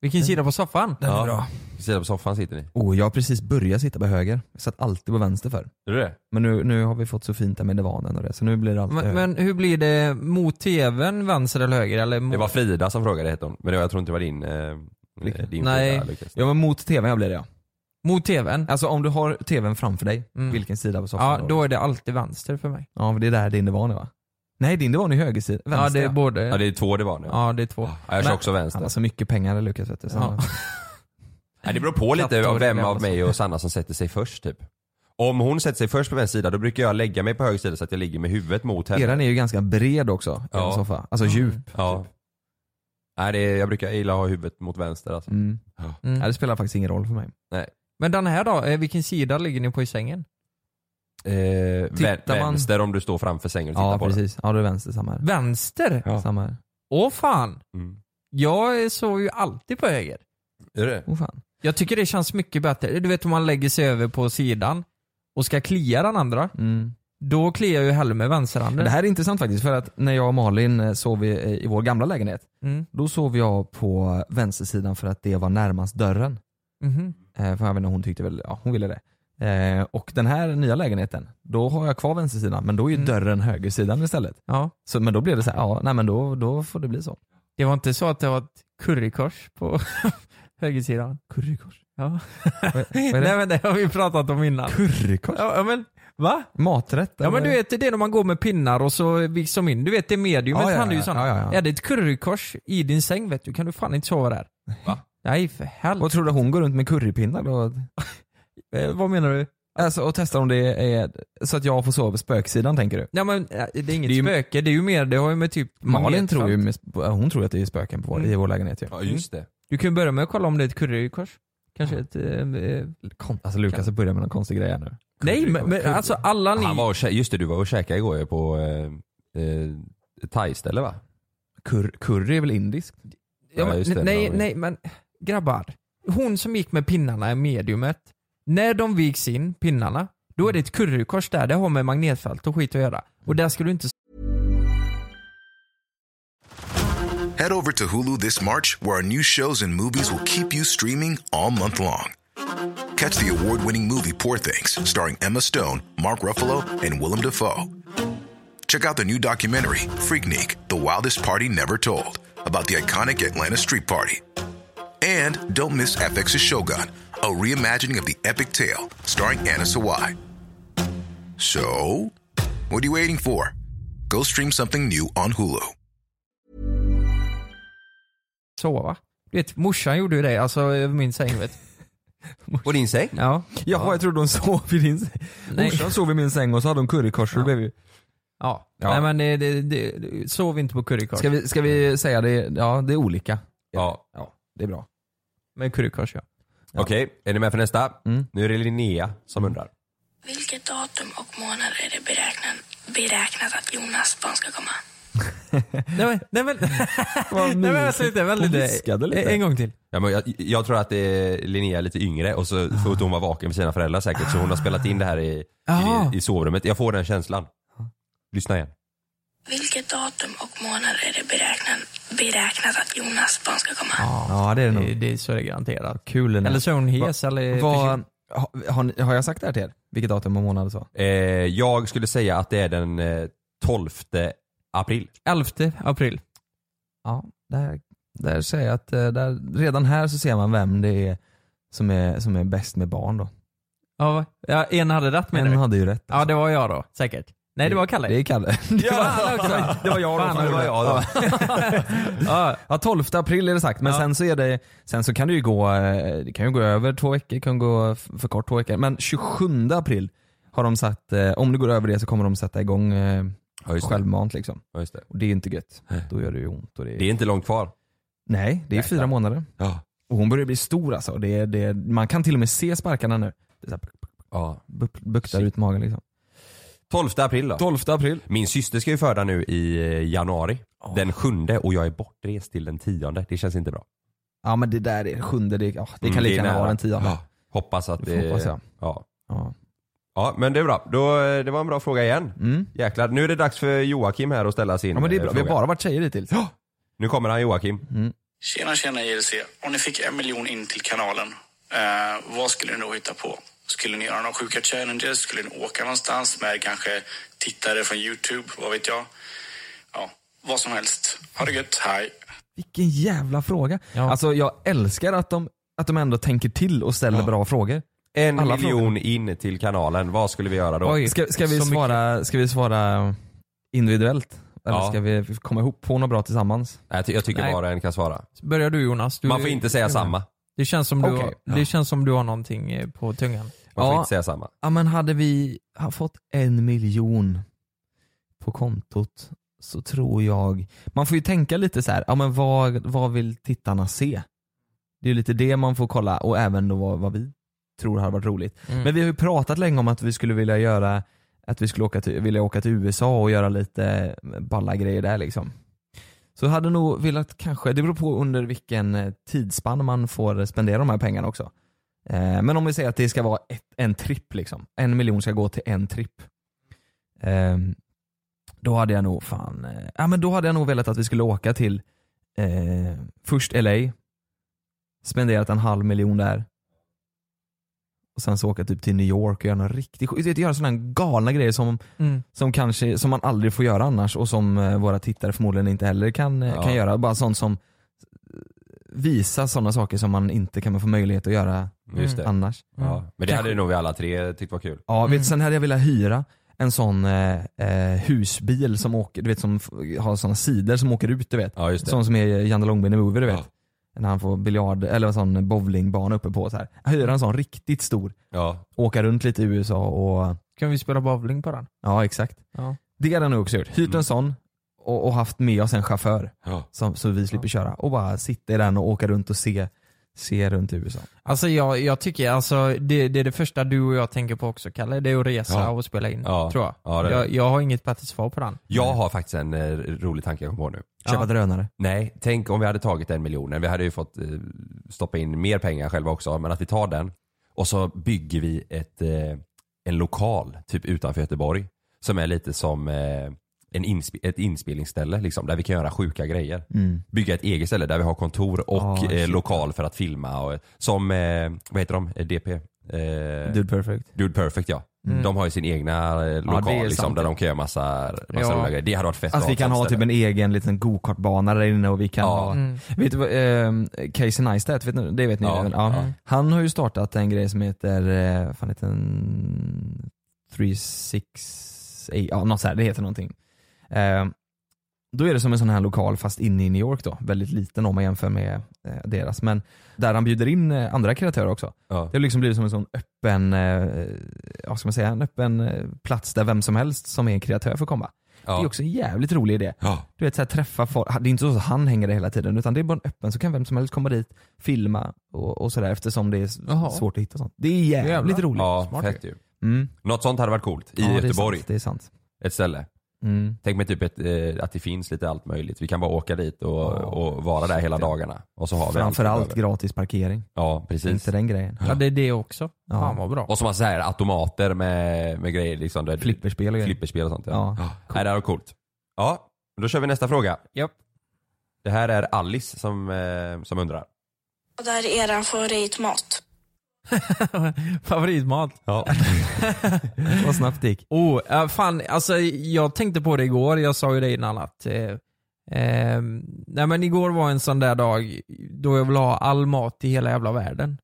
[SPEAKER 7] Vilken sida på soffan?
[SPEAKER 5] Den är bra.
[SPEAKER 6] Sidan på soffan sitter ni.
[SPEAKER 5] Oh, jag har precis börjat sitta på höger. Jag satt alltid på vänster förr.
[SPEAKER 6] Är det det?
[SPEAKER 5] Men nu, nu har vi fått så fint där med divanen och det, så nu blir det alltid
[SPEAKER 7] Men,
[SPEAKER 5] höger.
[SPEAKER 7] men hur blir det mot tvn, vänster eller höger? Eller mot...
[SPEAKER 6] Det var Frida som frågade hette hon. Men det var, jag tror inte det var din, eh, din
[SPEAKER 7] Nej.
[SPEAKER 6] fråga Lukas.
[SPEAKER 5] Ja men mot tvn blir det ja.
[SPEAKER 7] Mot tvn?
[SPEAKER 5] Alltså om du har tvn framför dig,
[SPEAKER 7] Mm.
[SPEAKER 5] vilken sida på soffan
[SPEAKER 7] Ja,
[SPEAKER 5] har du?
[SPEAKER 7] då är det alltid vänster för mig.
[SPEAKER 5] Ja, men det är där din divan är va? Nej, din divan är höger sida. Vänster.
[SPEAKER 7] ja, det är både...
[SPEAKER 6] Ja det är två det var nu. Ja.
[SPEAKER 7] Ja, det är två.
[SPEAKER 6] jag kör
[SPEAKER 7] Men-
[SPEAKER 6] också
[SPEAKER 5] Han
[SPEAKER 6] vänster.
[SPEAKER 5] har så mycket pengar Lukas vet du. Så
[SPEAKER 7] Ja.
[SPEAKER 6] Nej, det beror på lite
[SPEAKER 7] Kattår,
[SPEAKER 6] av vem
[SPEAKER 7] det
[SPEAKER 6] av
[SPEAKER 7] alltså.
[SPEAKER 6] mig och Sanna som sätter sig först typ. Om hon sätter sig först på vänster sida då brukar jag lägga mig på höger sida så att jag ligger med huvudet mot henne.
[SPEAKER 5] Eran är ju ganska bred också,
[SPEAKER 6] Ja.
[SPEAKER 5] ja. soffa. Alltså djup.
[SPEAKER 6] Ja. Nej, det är, jag brukar gilla att ha huvudet mot vänster alltså.
[SPEAKER 5] Mm.
[SPEAKER 7] Mm.
[SPEAKER 5] Ja, det spelar faktiskt ingen roll för mig.
[SPEAKER 7] Men den här då, eh, vilken sida ligger ni på i sängen?
[SPEAKER 6] Eh, vän,
[SPEAKER 5] Tittar man-
[SPEAKER 6] vänster om du står framför sängen och tittar
[SPEAKER 5] Ja,
[SPEAKER 6] på
[SPEAKER 5] precis. Ja, du är vänster, samma här.
[SPEAKER 7] Vänster?
[SPEAKER 6] Ja.
[SPEAKER 5] Samma här.
[SPEAKER 7] Åh fan!
[SPEAKER 6] den. Mm.
[SPEAKER 7] Jag sov ju alltid på höger.
[SPEAKER 6] Är det?
[SPEAKER 5] Oh, fan.
[SPEAKER 7] Jag tycker det känns mycket bättre. Du vet om man lägger sig över på sidan och ska klia den andra.
[SPEAKER 5] Mm.
[SPEAKER 7] Då kliar jag ju hellre med vänsterhanden.
[SPEAKER 5] Men det här är intressant faktiskt, för att när jag och Malin eh, sov i, i vår gamla lägenhet,
[SPEAKER 7] Mm.
[SPEAKER 5] då sov jag på vänstersidan för att det var närmast dörren.
[SPEAKER 7] Mhm.
[SPEAKER 5] Eh, för jag vet inte, hon tyckte väl, ja hon ville det. Eh, och den här nya lägenheten, då har jag kvar vänstersidan men då är ju
[SPEAKER 7] Mm.
[SPEAKER 5] dörren högersidan istället.
[SPEAKER 7] Ja.
[SPEAKER 5] Så, men då blev det så här, ja nej men då, då får det bli så.
[SPEAKER 7] Det var inte så att det var ett currykors på högersidan? Currykors? Ja.
[SPEAKER 5] är det?
[SPEAKER 7] Nej men det har vi pratat om innan.
[SPEAKER 5] Currykors?
[SPEAKER 7] Ja, ja, men, va?
[SPEAKER 5] Maträtt?
[SPEAKER 7] Ja men du vet det är när man går med pinnar och så viks de in. Du vet det mediumet
[SPEAKER 5] Ja, ja,
[SPEAKER 7] han är ju
[SPEAKER 5] ja.
[SPEAKER 7] sån.
[SPEAKER 5] Ja, ja, ja.
[SPEAKER 7] Är det ett currykors i din säng vet du kan du fan inte sova där. Va? Nej för helvete.
[SPEAKER 5] Vad tror du hon går runt med currypinnar då?
[SPEAKER 7] Eh, vad menar du?
[SPEAKER 5] Alltså och testar om det är så att jag får sova på spöksidan tänker du?
[SPEAKER 7] Nej men eh, det är inget
[SPEAKER 5] Det är ju-
[SPEAKER 7] spöke, det är ju mer, det har ju med typ
[SPEAKER 5] Malin
[SPEAKER 7] magnetfält.
[SPEAKER 5] tror ju, med, hon tror att det är spöken på vår,
[SPEAKER 7] Mm.
[SPEAKER 5] i vår lägenhet ju.
[SPEAKER 6] Ja, just det.
[SPEAKER 7] Du kan ju börja med att kolla om det är ett currykors. Kanske ett... eh, Eh,
[SPEAKER 5] Kon- Alltså Lukas börjar med någon konstig grej här nu.
[SPEAKER 7] nej men, men alltså alla ni...
[SPEAKER 6] Han var och, kä- just det, du var och käkade igår ju på eh, eh, thaiställe va?
[SPEAKER 5] Cur- curry är väl indiskt?
[SPEAKER 7] Ja,
[SPEAKER 6] Ja,
[SPEAKER 7] men,
[SPEAKER 6] just det,
[SPEAKER 7] nej,
[SPEAKER 6] den har vi.
[SPEAKER 7] nej, men grabbar. Hon som gick med pinnarna i mediumet. När de viks in, pinnarna, då är det ett currykors där. Det har med magnetfält och skit att göra. Och där ska du inte...
[SPEAKER 8] Head over to Hulu this March, where our new shows and movies will keep you streaming all month long. Catch the award winning movie Poor Things, starring Emma Stone, Mark Ruffalo, and Willem Dafoe. Check out the new documentary, Freaknik The Wildest Party Never Told, about the iconic Atlanta Street Party. And don't miss FX's Shogun, a reimagining of the epic tale, starring Anna Sawai. So, what are you waiting for? Go stream something new on Hulu.
[SPEAKER 7] sova. Du vet, morsan gjorde ju det, alltså över min säng vet
[SPEAKER 6] På din säng?
[SPEAKER 7] Ja.
[SPEAKER 5] Ja, jag trodde hon sov i din säng.
[SPEAKER 7] Nej.
[SPEAKER 5] Morsan sov i min säng och så hade hon currykors. så det blev ju-
[SPEAKER 7] Ja.
[SPEAKER 5] Ja.
[SPEAKER 7] Nej men det, det, det, det- sov inte på currykors.
[SPEAKER 5] Ska vi, ska vi säga det, ja det är olika.
[SPEAKER 6] Ja.
[SPEAKER 5] Ja, det är bra.
[SPEAKER 7] Med currykors ja.
[SPEAKER 6] Okej, är ni med för nästa?
[SPEAKER 5] Mm.
[SPEAKER 6] Nu är det Linnea som undrar.
[SPEAKER 13] Vilket datum och månad är det beräknat, beräknat att Jonas barn ska komma?
[SPEAKER 7] Nej men, nej men, nej, men vänta lite, vänta
[SPEAKER 5] Hon
[SPEAKER 7] lite.
[SPEAKER 5] viskade lite.
[SPEAKER 7] En gång till.
[SPEAKER 6] Ja, men jag, jag tror att det är Linnea är lite yngre och
[SPEAKER 5] Ah.
[SPEAKER 6] så för att hon var vaken med sina föräldrar säkert så hon har spelat in det här i,
[SPEAKER 7] Ah.
[SPEAKER 6] i, i sovrummet. Jag får den känslan.
[SPEAKER 5] Ah.
[SPEAKER 6] Lyssna igen.
[SPEAKER 13] Vilket datum och månad är det beräknat, beräknat att Jonas barn ska komma?
[SPEAKER 5] Ja det är det
[SPEAKER 7] Det,
[SPEAKER 5] nog.
[SPEAKER 7] det är så det är garanterat.
[SPEAKER 5] Kul Linnea.
[SPEAKER 7] Eller så är hon hes eller...
[SPEAKER 5] Vad, har, har, ni- har jag sagt det här till er? Vilket datum och månad och så?
[SPEAKER 6] Eh, jag skulle säga att det är den eh, 12
[SPEAKER 7] förkyld.
[SPEAKER 6] april.
[SPEAKER 7] 11 april.
[SPEAKER 5] Ja, det här där säger jag att eh, där, redan här så ser man vem det är som är, som är bäst med barn då.
[SPEAKER 7] Ja, va? ja en hade rätt menar
[SPEAKER 5] En
[SPEAKER 7] du?
[SPEAKER 5] hade ju rätt. alltså.
[SPEAKER 7] Ja, det var jag då, säkert. Nej, det var Kalle.
[SPEAKER 5] Det är Kalle.
[SPEAKER 7] Det var han också.
[SPEAKER 5] Det var jag då,
[SPEAKER 7] Fan,
[SPEAKER 5] fan, det var jag då. ja, ja, 12 april är det sagt, men sen så är det, sen så kan det ju gå, eh, det kan ju gå över två veckor, det kan gå f- för kort två veckor, men 27 april har de satt, eh, om det går över det så kommer de sätta igång eh, självmant liksom.
[SPEAKER 6] det.
[SPEAKER 5] Och det är inte gött, då gör det ju ont. Och det, är,
[SPEAKER 6] Det är inte långt kvar.
[SPEAKER 5] Nej, det är
[SPEAKER 6] Nej,
[SPEAKER 5] fyra
[SPEAKER 6] klart.
[SPEAKER 5] månader.
[SPEAKER 6] Ja.
[SPEAKER 5] Och hon börjar bli stor alltså, det är, det är, man kan till och med se sparkarna nu. Det är så här,
[SPEAKER 6] Ja.
[SPEAKER 5] bu- buktar ut magen liksom.
[SPEAKER 6] 12 april då.
[SPEAKER 5] 12 april.
[SPEAKER 6] Min syster ska ju föda nu i eh, januari. Den sjunde och jag är bortrest till den tionde. Det känns inte bra.
[SPEAKER 5] Ja men det där är sjunde, det, ja, det kan
[SPEAKER 6] Mm, är
[SPEAKER 5] lika gärna
[SPEAKER 6] nära.
[SPEAKER 5] vara den tionde.
[SPEAKER 6] Ja. Hoppas att
[SPEAKER 5] Det får
[SPEAKER 6] det...
[SPEAKER 5] hoppas jag.
[SPEAKER 6] Ja.
[SPEAKER 5] Ja.
[SPEAKER 6] ja, men det är bra. Då, eh, det var en bra fråga igen.
[SPEAKER 5] Mm.
[SPEAKER 6] Jäklar, nu är det dags för Joakim här att ställa sin
[SPEAKER 5] Ja men det är
[SPEAKER 6] eh,
[SPEAKER 5] bra, vi
[SPEAKER 6] fråga.
[SPEAKER 5] har bara varit tjejer hittills. Ja.
[SPEAKER 6] Nu kommer han Joakim.
[SPEAKER 14] Tjena, tjena JLC. Om ni fick en miljon in till kanalen, eh, vad skulle ni då hitta på? Skulle ni göra några sjuka challenges? Skulle ni åka någonstans med kanske tittare från Youtube? Vad vet jag? Ja, vad som helst. Ha det gött. Hej!
[SPEAKER 5] Vilken jävla fråga. Alltså jag älskar att de, att de ändå tänker till och ställer bra frågor.
[SPEAKER 6] En
[SPEAKER 5] Alla
[SPEAKER 6] miljon in till kanalen. Vad skulle vi göra då?
[SPEAKER 5] Oj, ska, ska, vi
[SPEAKER 6] Så mycket.
[SPEAKER 5] svara, ska vi svara individuellt? Eller
[SPEAKER 6] Ja.
[SPEAKER 5] ska vi komma ihop på något bra tillsammans?
[SPEAKER 6] Nej, jag ty- jag tycker
[SPEAKER 5] Nej.
[SPEAKER 6] bara en kan svara.
[SPEAKER 7] Börjar du Jonas? Du,
[SPEAKER 6] Man får inte säga samma.
[SPEAKER 7] Det känns som du,
[SPEAKER 5] Okej.
[SPEAKER 7] det känns som du har någonting eh, på tungan.
[SPEAKER 6] Man får
[SPEAKER 5] Ja.
[SPEAKER 6] inte säga samma.
[SPEAKER 5] Ja men hade vi ha- fått en miljon på kontot så tror jag, man får ju tänka lite så här, ja men vad, vad vill tittarna se? Det är ju lite det man får kolla och även då vad, vad vi tror har varit roligt.
[SPEAKER 7] Mm.
[SPEAKER 5] Men vi har ju pratat länge om att vi skulle vilja göra, att vi skulle åka till, vilja åka till USA och göra lite eh, balla grejer där liksom. Så jag hade nog velat kanske, det beror på under vilken eh, tidsspann man får spendera de här pengarna också. Eh, Men om vi säger att det ska vara ett, en tripp liksom. En miljon ska gå till en tripp. Ehm, Då hade jag nog fan, eh, ja men då hade jag nog velat att vi skulle åka till eh, först LA, spenderat en halv miljon där. Och sen så åka typ till New York och göra någon riktig skit. Du vet, Göra sådana galna grejer som,
[SPEAKER 7] Mm.
[SPEAKER 5] som, kanske, som man aldrig får göra annars och som eh, våra tittare förmodligen inte heller kan, eh,
[SPEAKER 6] Ja.
[SPEAKER 5] kan göra. Bara sånt som eh, visa sådana saker som man inte kan få möjlighet att göra
[SPEAKER 6] Just det.
[SPEAKER 5] annars.
[SPEAKER 6] Ja. Men det
[SPEAKER 5] Kanske-
[SPEAKER 6] hade nog vi alla tre tyckt var kul.
[SPEAKER 5] Ja, vet, sen hade jag velat hyra en sån eh, eh, husbil som åker, du vet som f- har såna sidor som åker ut du vet.
[SPEAKER 6] Ja, just det.
[SPEAKER 5] Sån som är Janne Långben i Movie du vet.
[SPEAKER 6] Ja.
[SPEAKER 5] När han får biljard, eller en sån bowlingbana uppe på så här. Hyra en sån riktigt stor,
[SPEAKER 6] Ja.
[SPEAKER 5] åka runt lite i USA och,
[SPEAKER 7] Kan vi spela bowling på den?
[SPEAKER 5] ja exakt.
[SPEAKER 7] Ja.
[SPEAKER 5] Det hade jag nog också gjort. Hyrt
[SPEAKER 6] Mm.
[SPEAKER 5] en sån och, och haft med oss en chaufför
[SPEAKER 6] Ja.
[SPEAKER 5] som, så vi slipper köra. Och bara sitta i den och åka runt och se, se runt i USA.
[SPEAKER 7] Alltså jag, jag tycker, alltså det, det är det första du och jag tänker på också Kalle, det är att resa
[SPEAKER 6] Ja.
[SPEAKER 7] och spela in,
[SPEAKER 6] Ja.
[SPEAKER 7] tror jag.
[SPEAKER 6] Ja, det är det.
[SPEAKER 7] jag. Jag har inget praktiskt svar på den.
[SPEAKER 6] Jag har faktiskt en eh, rolig tanke jag kom på nu.
[SPEAKER 5] Köpa drönare.
[SPEAKER 6] Nej, tänk om vi hade tagit den miljonen. Vi hade ju fått eh, stoppa in mer pengar själva också, men att vi tar den och så bygger vi ett, eh, en lokal typ utanför Göteborg som är lite som eh, en insp ett inspelningsställe liksom, där vi kan göra sjuka grejer.
[SPEAKER 5] Mm.
[SPEAKER 6] Bygga ett eget ställe där vi har kontor och
[SPEAKER 5] Ah,
[SPEAKER 6] eh,
[SPEAKER 5] shit.
[SPEAKER 6] lokal för att filma. Och, som, eh, vad heter de? Eh, DP? Eh,
[SPEAKER 5] Dude perfect.
[SPEAKER 6] Dude Perfect ja.
[SPEAKER 5] Mm.
[SPEAKER 6] De har ju sin egna eh, lokal
[SPEAKER 5] det är
[SPEAKER 6] liksom,
[SPEAKER 5] sant.
[SPEAKER 6] där de kan göra massa, massa
[SPEAKER 7] Ja.
[SPEAKER 6] roliga grejer. Det hade varit fett
[SPEAKER 5] Att vi kan ha typ en egen liten gokartbana där inne och vi kan
[SPEAKER 6] Ja.
[SPEAKER 5] ha
[SPEAKER 7] Mm.
[SPEAKER 5] Vet du vad, eh, Casey Neistat, vet ni, det vet ni
[SPEAKER 6] Ja,
[SPEAKER 5] väl?
[SPEAKER 6] ja.
[SPEAKER 5] Han har ju startat en grej som heter, eh, vad fan heter den? 368, ja något så här, det heter någonting. Eh, då är det som en sån här lokal fast inne i New York då, väldigt liten om man jämför med eh, deras. Men där han bjuder in eh, andra kreatörer också.
[SPEAKER 6] Ja.
[SPEAKER 5] Det har liksom blivit som en sån öppen, eh, ja, ska man säga, en öppen eh, plats där vem som helst som är en kreatör får komma. Det är också en jävligt rolig idé.
[SPEAKER 6] Ja.
[SPEAKER 5] Du vet, så här, träffa folk. Det är inte så att han hänger där hela tiden, utan det är bara en öppen, så kan vem som helst komma dit, filma och, och sådär eftersom det är s-
[SPEAKER 7] Jaha.
[SPEAKER 5] svårt att hitta sånt. Det är jävligt
[SPEAKER 7] Jävlar.
[SPEAKER 5] roligt.
[SPEAKER 6] Ja,
[SPEAKER 7] Smart
[SPEAKER 6] fett ju.
[SPEAKER 5] Mm.
[SPEAKER 6] Något sånt hade varit coolt. I
[SPEAKER 5] Ja,
[SPEAKER 6] Göteborg,
[SPEAKER 5] Det är sant. Det är sant.
[SPEAKER 6] ett ställe.
[SPEAKER 5] Mm.
[SPEAKER 6] Tänk mig typ ett, eh, att det finns lite allt möjligt. Vi kan bara åka dit och,
[SPEAKER 5] Ja.
[SPEAKER 6] och vara där hela dagarna. Och så har vi
[SPEAKER 5] Framförallt
[SPEAKER 6] allt. vi behöver.
[SPEAKER 5] gratis parkering.
[SPEAKER 6] Ja, precis.
[SPEAKER 5] Inte den grejen.
[SPEAKER 7] Ja det är det också.
[SPEAKER 5] Ja.
[SPEAKER 7] Fan vad bra.
[SPEAKER 6] Och så massa så här automater med, med grejer. Liksom, där,
[SPEAKER 5] Flipperspel och grejer.
[SPEAKER 6] flipperspel och sånt. Ja.
[SPEAKER 5] Ja.
[SPEAKER 6] Nej, det här var coolt. Ja, då kör vi nästa fråga.
[SPEAKER 7] Japp.
[SPEAKER 6] Det här är Alice som, eh, som undrar.
[SPEAKER 13] Och där är eran favoritmat.
[SPEAKER 7] Favoritmat.
[SPEAKER 6] Ja.
[SPEAKER 5] Vad snabbt det gick.
[SPEAKER 7] Oh, eh, fan, alltså jag tänkte på det igår, jag sa ju det innan att eh, Eh, nej men igår var en sån där dag då jag ville ha all mat i hela jävla världen.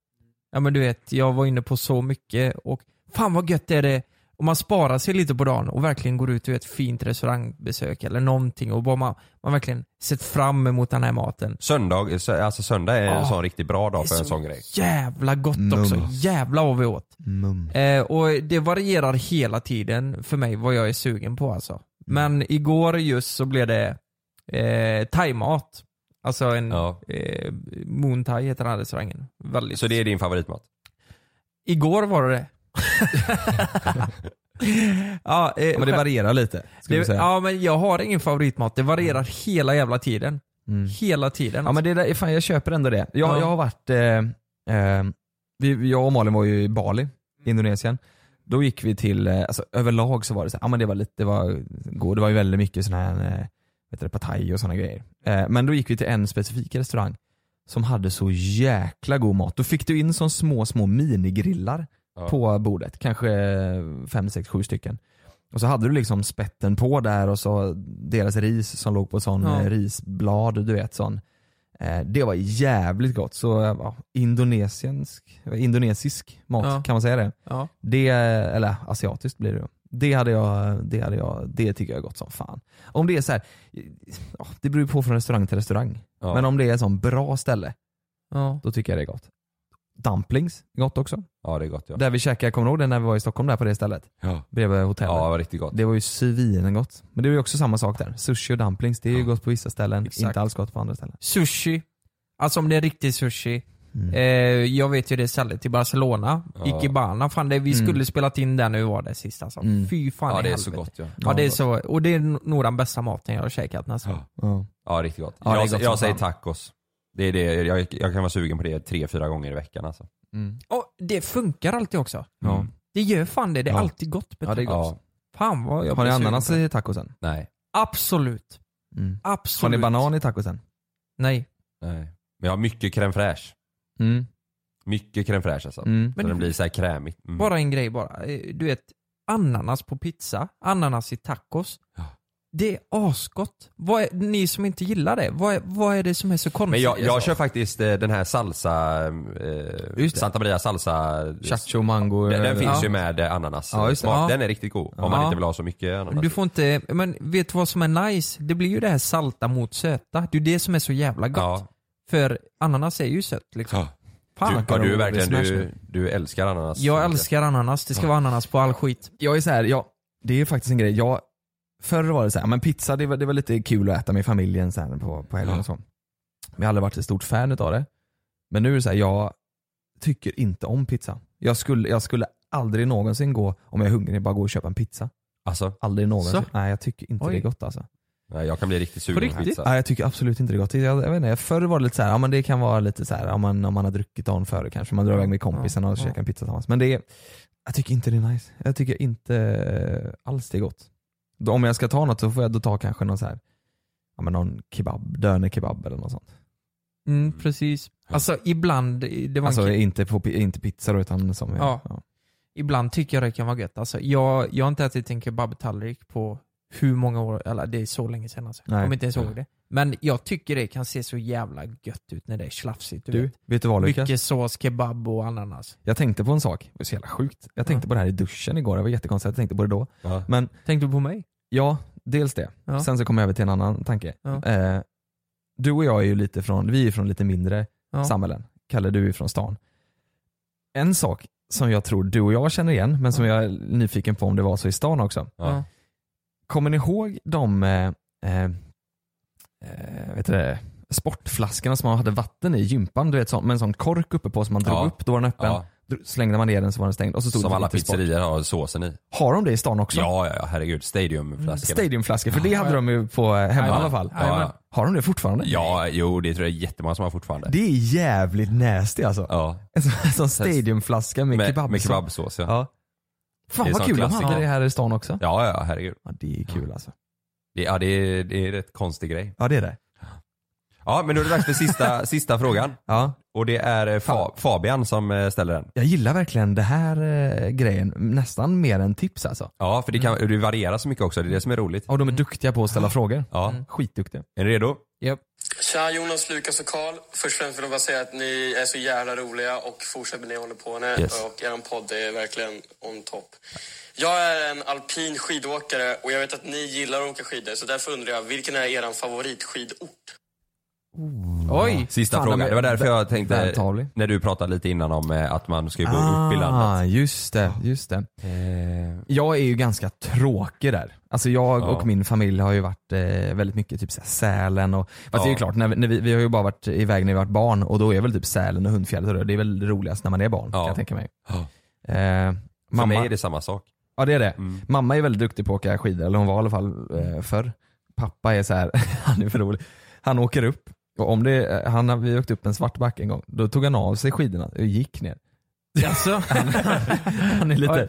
[SPEAKER 7] Ja men du vet, jag var inne på så mycket och fan vad gött är det om man sparar sig lite på dagen och verkligen går ut till ett fint restaurangbesök eller någonting och bara man, man verkligen sett fram emot den här maten.
[SPEAKER 6] Söndag, alltså söndag är en
[SPEAKER 7] Ja.
[SPEAKER 6] sån riktigt bra dag
[SPEAKER 7] Det
[SPEAKER 6] för
[SPEAKER 7] är
[SPEAKER 6] en
[SPEAKER 7] så
[SPEAKER 6] sån grej.
[SPEAKER 7] Jävla gott
[SPEAKER 6] Mum.
[SPEAKER 7] också. Jävla vad vi åt.
[SPEAKER 5] Mum.
[SPEAKER 7] Eh, och det varierar hela tiden för mig vad jag är sugen på
[SPEAKER 5] Mm.
[SPEAKER 7] alltså. Men igår just så blev det eh, thaimat. Alltså en eh, Moon Thai heter den här restaurangen. Väldigt.
[SPEAKER 6] Så det är din favoritmat?
[SPEAKER 7] Igår var det ja, eh,
[SPEAKER 5] Men det varierar lite, ska vi
[SPEAKER 7] det,
[SPEAKER 5] säga. Mm.
[SPEAKER 7] Ja men jag har ingen favoritmat. Det varierar hela jävla tiden. Hela tiden. alltså.
[SPEAKER 5] Ja men det där, fan jag köper ändå det. Jag,
[SPEAKER 7] Ja.
[SPEAKER 5] jag har varit, eh, eh, vi, jag och Malin var ju i
[SPEAKER 7] Mm.
[SPEAKER 5] Bali, Indonesien. Då gick vi till, eh, alltså överlag så var det så, här, ja men det var lite, det var, god, det var ju väldigt mycket sån här, eh, vet du, det, partaj och sådana grejer. Eh, men då gick vi till en specifik restaurang som hade så jäkla god mat. Då fick du in sån små, små minigrillar
[SPEAKER 6] Ja.
[SPEAKER 5] på bordet. Kanske fem, sex, sju stycken. Och så hade du liksom spetten på där och så deras ris som låg på sån
[SPEAKER 7] Ja.
[SPEAKER 5] eh, risblad, du vet sån. Eh, Det var jävligt gott. Så eh, ja, indonesisk, indonesisk mat,
[SPEAKER 7] Ja.
[SPEAKER 5] kan man säga det?
[SPEAKER 7] Ja.
[SPEAKER 5] det? Eller asiatiskt blir det då. Det, hade jag, det, hade jag, det tycker jag är gott som fan. Om det är så här, ja, det beror ju på från restaurang till restaurang.
[SPEAKER 6] Ja.
[SPEAKER 5] Men om det är ett sånt bra ställe,
[SPEAKER 7] Ja.
[SPEAKER 5] då tycker jag det är gott. Dumplings, gott också.
[SPEAKER 6] Ja det är gott ja.
[SPEAKER 5] Där vi käkade, kommer du ihåg det när vi var i Stockholm där på det stället?
[SPEAKER 6] Ja.
[SPEAKER 5] Bredvid hotellet.
[SPEAKER 6] Ja, det var riktigt gott.
[SPEAKER 5] Det var ju svingott. Men det är ju också samma sak där. Sushi och dumplings, det är ju gott på vissa ställen,
[SPEAKER 7] Exakt.
[SPEAKER 5] inte alls gott på andra ställen.
[SPEAKER 7] Sushi. Alltså om det är riktig sushi.
[SPEAKER 5] Mm.
[SPEAKER 7] Eh, jag vet ju det stället i Barcelona,
[SPEAKER 5] Ja.
[SPEAKER 7] Ikebana. Fan det, vi
[SPEAKER 5] Mm.
[SPEAKER 7] skulle spelat in där nu var det sist alltså.
[SPEAKER 5] Mm.
[SPEAKER 7] Fy fan
[SPEAKER 6] Ja,
[SPEAKER 7] i
[SPEAKER 6] det är
[SPEAKER 7] helvete.
[SPEAKER 6] så gott, ja.
[SPEAKER 7] ja det är så, och det är nog den bästa maten jag har käkat nästan.
[SPEAKER 5] Ja.
[SPEAKER 6] Ja riktigt gott.
[SPEAKER 7] Ja, det är
[SPEAKER 6] jag
[SPEAKER 7] gott som
[SPEAKER 6] jag säger
[SPEAKER 7] fan.
[SPEAKER 6] tacos. Det är det, jag, jag kan vara sugen på det tre, fyra gånger i veckan alltså.
[SPEAKER 7] Och det funkar alltid också.
[SPEAKER 6] Ja.
[SPEAKER 7] Det gör fan det, det är
[SPEAKER 6] Ja.
[SPEAKER 7] alltid gott.
[SPEAKER 6] Ja, det är gott.
[SPEAKER 7] Fan vad jag
[SPEAKER 5] Har ni
[SPEAKER 7] blir sugen
[SPEAKER 5] ananas
[SPEAKER 7] på det.
[SPEAKER 5] i tacosen?
[SPEAKER 6] Nej.
[SPEAKER 7] Absolut.
[SPEAKER 5] Mm.
[SPEAKER 7] Absolut.
[SPEAKER 5] Har ni banan i tacosen?
[SPEAKER 7] Nej.
[SPEAKER 6] Nej. Men jag har mycket crème fraîche.
[SPEAKER 5] Mm.
[SPEAKER 6] Mycket crème fraîche alltså.
[SPEAKER 5] Mm.
[SPEAKER 6] Så
[SPEAKER 7] Men-
[SPEAKER 6] den blir så här krämigt. Mm.
[SPEAKER 7] Bara en grej bara. Eh, Du vet, ananas på pizza, ananas i tacos. Det är asgott. Vad är, ni som inte gillar det, vad är, vad är det som är så konstigt?
[SPEAKER 6] Men jag, jag
[SPEAKER 7] alltså?
[SPEAKER 6] kör faktiskt eh, den här salsa, eh, Santa Maria salsa. eh,
[SPEAKER 5] Chacho mango.
[SPEAKER 6] Den, den
[SPEAKER 5] eller-
[SPEAKER 6] finns
[SPEAKER 5] Ja.
[SPEAKER 6] ju med eh, ananas.
[SPEAKER 5] Ja, just det.
[SPEAKER 6] Smak.
[SPEAKER 5] Ja.
[SPEAKER 6] Den är riktigt god. Om man
[SPEAKER 7] Ja.
[SPEAKER 6] inte vill ha så mycket ananas.
[SPEAKER 7] Du får inte, men vet du vad som är nice? Det blir ju det här salta mot söta. Det är ju det som är så jävla gott.
[SPEAKER 6] Ja.
[SPEAKER 7] För ananas är ju sött liksom.
[SPEAKER 6] Du,
[SPEAKER 7] Fan,
[SPEAKER 6] ja, du, är
[SPEAKER 7] vad
[SPEAKER 6] verkligen,
[SPEAKER 7] smash
[SPEAKER 6] du,
[SPEAKER 7] nu.
[SPEAKER 6] du älskar ananas.
[SPEAKER 7] Jag älskar ananas, det ska vara ananas på all skit.
[SPEAKER 5] Jag är så här, jag, det är faktiskt en grej. Jag, förr var det så här, men pizza det var, det var lite kul att äta med familjen så här på, på helgen och så. Men jag har aldrig varit ett stort fan utav det. Men nu är det så här, jag tycker inte om pizza. Jag skulle, jag skulle aldrig någonsin gå, om jag är hungrig, bara gå och köpa en pizza.
[SPEAKER 6] Alltså?
[SPEAKER 5] Aldrig någonsin.
[SPEAKER 6] Så?
[SPEAKER 5] Nej jag tycker inte
[SPEAKER 6] Oj.
[SPEAKER 5] det är gott alltså.
[SPEAKER 6] Nej, jag kan bli riktigt sugen på pizza.
[SPEAKER 5] Nej jag tycker absolut inte det är gott. Jag, jag vet inte, förr var det lite så här, ja men det kan vara lite så här, om man, om man har druckit dagen före kanske, man drar iväg med kompisen och
[SPEAKER 7] Ja, ja.
[SPEAKER 5] käkar en pizza tillsammans. Men det är, jag tycker inte det är nice. Jag tycker inte eh, alls det är gott. Då, om jag ska ta något så får jag då ta kanske någon så här, ja men någon kebab, dönerkebab eller något sånt.
[SPEAKER 7] Mm, precis. Alltså ibland, det var en
[SPEAKER 5] Alltså
[SPEAKER 7] kille-
[SPEAKER 5] inte, på, pi- inte pizza då utan som är-
[SPEAKER 7] Ja. Ibland tycker jag det kan vara gött. Alltså, jag, jag har inte ätit en kebabtallrik på hur många år, eller det är så länge sedan alltså. Jag
[SPEAKER 5] Nej.
[SPEAKER 7] kommer inte ens
[SPEAKER 5] Ja.
[SPEAKER 7] ihåg det. Men jag tycker det kan se så jävla gött ut när det är slafsigt. Du,
[SPEAKER 5] Du,
[SPEAKER 7] vet.
[SPEAKER 5] vet du vad Lukas?
[SPEAKER 7] Mycket sås, kebab och ananas.
[SPEAKER 5] Jag tänkte på en sak, det var så jävla sjukt. Jag tänkte på det här i duschen igår, det var jättekonstigt, jag tänkte på det då.
[SPEAKER 6] Ja.
[SPEAKER 5] Men
[SPEAKER 7] Tänkte du på mig?
[SPEAKER 5] Ja, dels det.
[SPEAKER 7] Ja.
[SPEAKER 5] Sen så kommer jag över till en annan tanke.
[SPEAKER 7] Ja.
[SPEAKER 5] Eh, du och jag är ju lite från, vi är från lite mindre
[SPEAKER 7] Ja.
[SPEAKER 5] samhällen. Kalle, du är från stan. En sak som jag tror du och jag känner igen, men som jag är nyfiken på om det var så i stan också.
[SPEAKER 7] Ja.
[SPEAKER 5] Kommer ni ihåg de eh, eh, eh, vet du det, sportflaskorna som man hade vatten i gympan? Du vet, sån, med en sån kork uppe på som man drog
[SPEAKER 6] Ja.
[SPEAKER 5] upp, då var den öppen.
[SPEAKER 6] Ja.
[SPEAKER 5] Dro- Slängde man ner den så var den stängd. Och så stod
[SPEAKER 6] Som
[SPEAKER 5] det
[SPEAKER 6] alla
[SPEAKER 5] lite sport.
[SPEAKER 6] pizzerier har såsen i.
[SPEAKER 5] Har de det i stan också? Mm,
[SPEAKER 6] Ja, ja, ja herregud. Stadiumflaskorna.
[SPEAKER 5] Stadiumflaskor, för det hade de ju på eh, hemma i alla fall.
[SPEAKER 6] Ja, ja.
[SPEAKER 5] Har de det fortfarande?
[SPEAKER 6] Ja, jo det tror jag är jättemånga som har fortfarande.
[SPEAKER 5] Det är jävligt nasty alltså.
[SPEAKER 6] Ja.
[SPEAKER 5] En sån- en sån stadiumflaska med,
[SPEAKER 6] Med-
[SPEAKER 5] kebabsås.
[SPEAKER 6] med kebabsås, ja.
[SPEAKER 5] Fan
[SPEAKER 6] Det är
[SPEAKER 5] vad
[SPEAKER 6] sån
[SPEAKER 5] kul de
[SPEAKER 6] klassiker.
[SPEAKER 5] hade det här i stan också.
[SPEAKER 6] Ja, ja, herregud.
[SPEAKER 5] Ja, det är kul alltså.
[SPEAKER 6] Det, ja, det är, det är en rätt konstig grej.
[SPEAKER 5] Ja det är det.
[SPEAKER 6] Ja, men då är det dags för sista, sista frågan.
[SPEAKER 5] Ja.
[SPEAKER 6] Och det är eh, Fa- Fabian som eh, ställer den.
[SPEAKER 5] Jag gillar verkligen det här eh, grejen, nästan mer än tips alltså.
[SPEAKER 6] Ja, för det, kan, det varierar så mycket också. Det är det som är roligt.
[SPEAKER 5] Ja, de är duktiga på att ställa frågor.
[SPEAKER 6] Mm.
[SPEAKER 5] Mm.
[SPEAKER 6] Ja.
[SPEAKER 5] Skitduktiga.
[SPEAKER 6] Är ni redo?
[SPEAKER 5] Yep.
[SPEAKER 15] Tja Jonas, Lukas och Karl. Först och främst vill jag bara säga att ni är så jävla roliga och fortsätt med det ni håller på med.
[SPEAKER 6] Yes.
[SPEAKER 15] Och er podd är verkligen on top. Jag är en alpin skidåkare och jag vet att ni gillar att åka skidor så därför undrar jag, vilken är er favoritskidort?
[SPEAKER 7] Oj!
[SPEAKER 6] Sista
[SPEAKER 7] Fan,
[SPEAKER 6] frågan.
[SPEAKER 7] de är
[SPEAKER 6] Det var därför jag tänkte,
[SPEAKER 5] vältalig.
[SPEAKER 6] när du pratade lite innan om eh, att man ska gå upp i landet.
[SPEAKER 5] Ah, just det, just det. Jag är ju ganska tråkig där. Alltså jag
[SPEAKER 6] Ja.
[SPEAKER 5] och min familj har ju varit eh, väldigt mycket typ så här Sälen och, fast det är ju
[SPEAKER 6] Ja.
[SPEAKER 5] klart, när, vi- när vi, vi har ju bara varit iväg när vi varit barn och då är väl typ Sälen och Hundfjället och det, det är väl roligast när man är barn kan jag tänka mig. Eh,
[SPEAKER 6] För mig är det Mm. samma sak.
[SPEAKER 5] Ja det är det. Mamma är väldigt duktig på att åka skidor, eller hon var i alla fall
[SPEAKER 6] Mm.
[SPEAKER 5] eh, förr. Pappa är så här, han är för rolig. Han åker upp, och om det, eh, han, har- vi åkte upp en svartback en gång, då tog han av sig skidorna och gick ner.
[SPEAKER 7] Alltså,
[SPEAKER 5] Han är lite,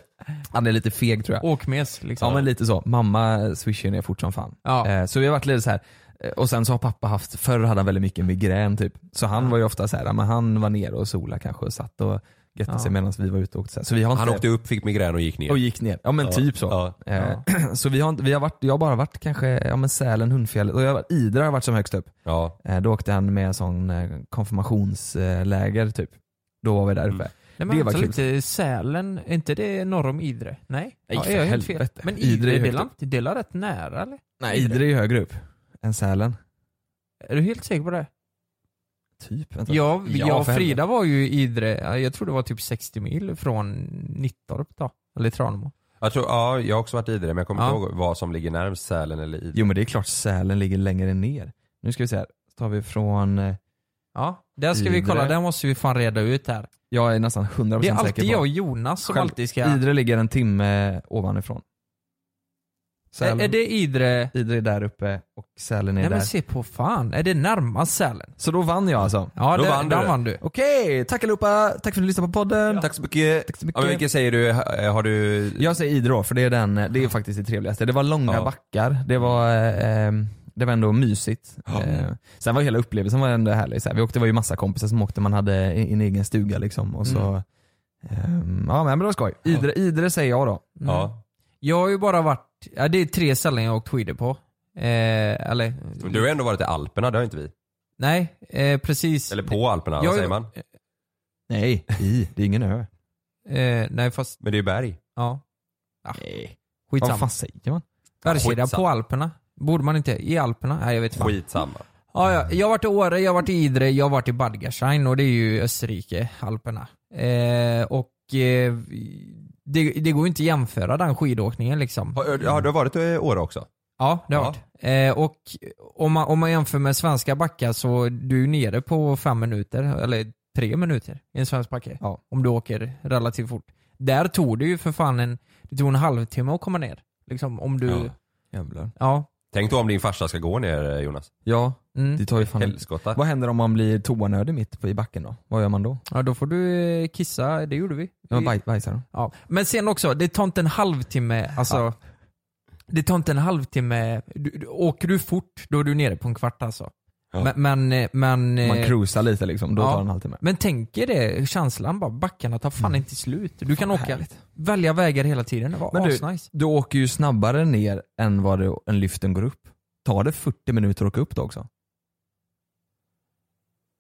[SPEAKER 5] han är lite feg tror jag.
[SPEAKER 7] åkmes liksom.
[SPEAKER 5] Ja men lite så. Mamma swishar ner fort som fan. Eh, Så vi har varit lite så här. eh, Och sen så har pappa haft, förr hade han väldigt mycket migrän typ. Så han var ju ofta så här, ja, men han var nere och sola kanske och satt och götte
[SPEAKER 6] Ja.
[SPEAKER 5] sig medan vi var ute och åkte. Så, här. så vi har inte
[SPEAKER 6] Han åkte upp, fick migrän och gick ner.
[SPEAKER 5] och gick ner. Eh. Ja men
[SPEAKER 6] Ja.
[SPEAKER 5] typ så.
[SPEAKER 6] Ja.
[SPEAKER 5] Eh, Så vi har, inte- vi har varit, jag har bara varit kanske, ja men Sälen, Hundfjället och jag, har varit- Idre har jag varit som högst upp.
[SPEAKER 6] Ja.
[SPEAKER 5] Eh, Då åkte han med sån eh, konfirmationsläger typ. Då var vi där uppe.
[SPEAKER 7] Nej,
[SPEAKER 5] det
[SPEAKER 7] men
[SPEAKER 5] var
[SPEAKER 7] alltså
[SPEAKER 5] kul.
[SPEAKER 7] lite Sälen, är inte det norr om Idre? Nej?
[SPEAKER 5] Nej, för
[SPEAKER 7] är jag helt
[SPEAKER 5] helvete.
[SPEAKER 7] Men
[SPEAKER 5] Idre är
[SPEAKER 7] Idre,
[SPEAKER 5] högt
[SPEAKER 7] delar,
[SPEAKER 5] upp.
[SPEAKER 7] inte- delar rätt nära eller?
[SPEAKER 5] Nej Idre är ju högre upp än Sälen.
[SPEAKER 7] Är du helt säker på det?
[SPEAKER 5] Typ. Vänta.
[SPEAKER 7] Ja, jag och
[SPEAKER 5] för helvete.
[SPEAKER 7] Frida var ju i Idre, ja, jag tror det var typ 60 mil från Nittorp då, eller Tranemo.
[SPEAKER 6] Jag, tror, ja, jag har också varit i det men jag kommer
[SPEAKER 7] Ja.
[SPEAKER 6] inte ihåg vad som ligger närmst Sälen eller Idre.
[SPEAKER 5] Jo men det är klart Sälen ligger längre ner. Nu ska vi se här, så tar vi från... eh,
[SPEAKER 7] Ja, där ska vi
[SPEAKER 5] Idre.
[SPEAKER 7] kolla, där måste vi fan reda ut här.
[SPEAKER 5] Jag är nästan 100%
[SPEAKER 7] Det är
[SPEAKER 5] säker
[SPEAKER 7] alltid
[SPEAKER 5] på.
[SPEAKER 7] jag och Jonas som
[SPEAKER 5] Själv-
[SPEAKER 7] alltid ska...
[SPEAKER 5] Idre ligger en timme ovanifrån.
[SPEAKER 7] Är, är det Idre?
[SPEAKER 5] Idre är där uppe och Sälen är
[SPEAKER 7] Nej
[SPEAKER 5] där.
[SPEAKER 7] men se på fan, är det närmast Sälen?
[SPEAKER 5] Så då vann jag alltså?
[SPEAKER 7] Ja,
[SPEAKER 6] Då
[SPEAKER 7] det,
[SPEAKER 6] vann du
[SPEAKER 7] där
[SPEAKER 6] det.
[SPEAKER 7] vann du.
[SPEAKER 5] Okej, tack allihopa. Tack för att ni lyssnade på podden.
[SPEAKER 6] Tack så mycket.
[SPEAKER 5] Tack så
[SPEAKER 6] Ja, men
[SPEAKER 5] mycket.
[SPEAKER 6] vilken säger du? Eh, Har du...
[SPEAKER 5] Jag säger Idre då, för det är, den, det är faktiskt det trevligaste. Det var långa
[SPEAKER 6] Ja.
[SPEAKER 5] backar, det var, eh, ehm, det var ändå mysigt. Eh, sen var hela upplevelsen var ändå härlig. Så här, vi åkte, det var ju massa kompisar som åkte, man hade en, en egen stuga liksom. Och så, ehm, ja men det var skoj. Idre, Idre säger jag då.
[SPEAKER 6] Ja.
[SPEAKER 7] Jag har ju bara varit, ja, det är tre ställen jag har åkt skidor på. Eh, eller,
[SPEAKER 6] Du har ändå varit i Alperna, det har inte vi.
[SPEAKER 7] nej, eh, precis.
[SPEAKER 6] Eller på Alperna,
[SPEAKER 7] Jag-
[SPEAKER 6] vad säger man?
[SPEAKER 5] Nej, i. Det är ingen ö.
[SPEAKER 7] Eh, nej fast,
[SPEAKER 6] Men det är ju berg.
[SPEAKER 7] ja. Ah.
[SPEAKER 5] Nej. Vad
[SPEAKER 7] Skitsamma.
[SPEAKER 5] fan säger man?
[SPEAKER 7] Bergskedja
[SPEAKER 6] skitsamma.
[SPEAKER 7] på Alperna? Borde man inte? I Alperna? Nej jag vet fan.
[SPEAKER 6] Skitsamma.
[SPEAKER 7] Ja, ja, jag har varit i Åre, jag har varit i Idre, jag har varit i Badgerstein och det är ju Österrike, Alperna. Eh, och eh, det, det går ju inte att jämföra den skidåkningen liksom.
[SPEAKER 6] Har, har du varit i Åre också?
[SPEAKER 7] Ja, det har
[SPEAKER 6] Ja.
[SPEAKER 7] varit. Eh, och om man, om man jämför med svenska backar så är du är nere på fem minuter, eller tre minuter i en svensk backe.
[SPEAKER 5] Ja.
[SPEAKER 7] Om du åker relativt fort. Där tog det ju för fan en, det tog en halvtimme att komma ner. Liksom om du, ja.
[SPEAKER 5] Jävlar.
[SPEAKER 7] ja.
[SPEAKER 6] Tänk då om din farsa ska gå ner eh, Jonas.
[SPEAKER 5] Ja,
[SPEAKER 7] Mm.
[SPEAKER 5] det tar ju fan...
[SPEAKER 6] Helskotta.
[SPEAKER 5] Vad händer om man blir toanödig mitt på- i backen då? Vad gör man då?
[SPEAKER 7] Ja, då får du eh, kissa, det gjorde vi.
[SPEAKER 5] Ja,
[SPEAKER 7] Vi-
[SPEAKER 5] baj, bajsar då?
[SPEAKER 7] Ja. Men sen också, det tar inte en halvtimme, alltså. Det tar inte en halvtimme, du, du, åker du fort då är du nere på en kvart alltså.
[SPEAKER 6] Ja.
[SPEAKER 7] Men, men, eh, men, eh,
[SPEAKER 5] Man cruisar lite liksom, då
[SPEAKER 7] ja.
[SPEAKER 5] tar det en halvtimme.
[SPEAKER 7] Typ. men tänk er det, känslan bara, backarna tar fan
[SPEAKER 5] Mm.
[SPEAKER 7] inte slut. Du kan åka, välja vägar hela tiden, det
[SPEAKER 5] Men
[SPEAKER 7] var
[SPEAKER 5] du-
[SPEAKER 7] asnice.
[SPEAKER 5] Du åker ju snabbare ner än vad det, en lyften går upp. Tar det 40 minuter att åka upp då också?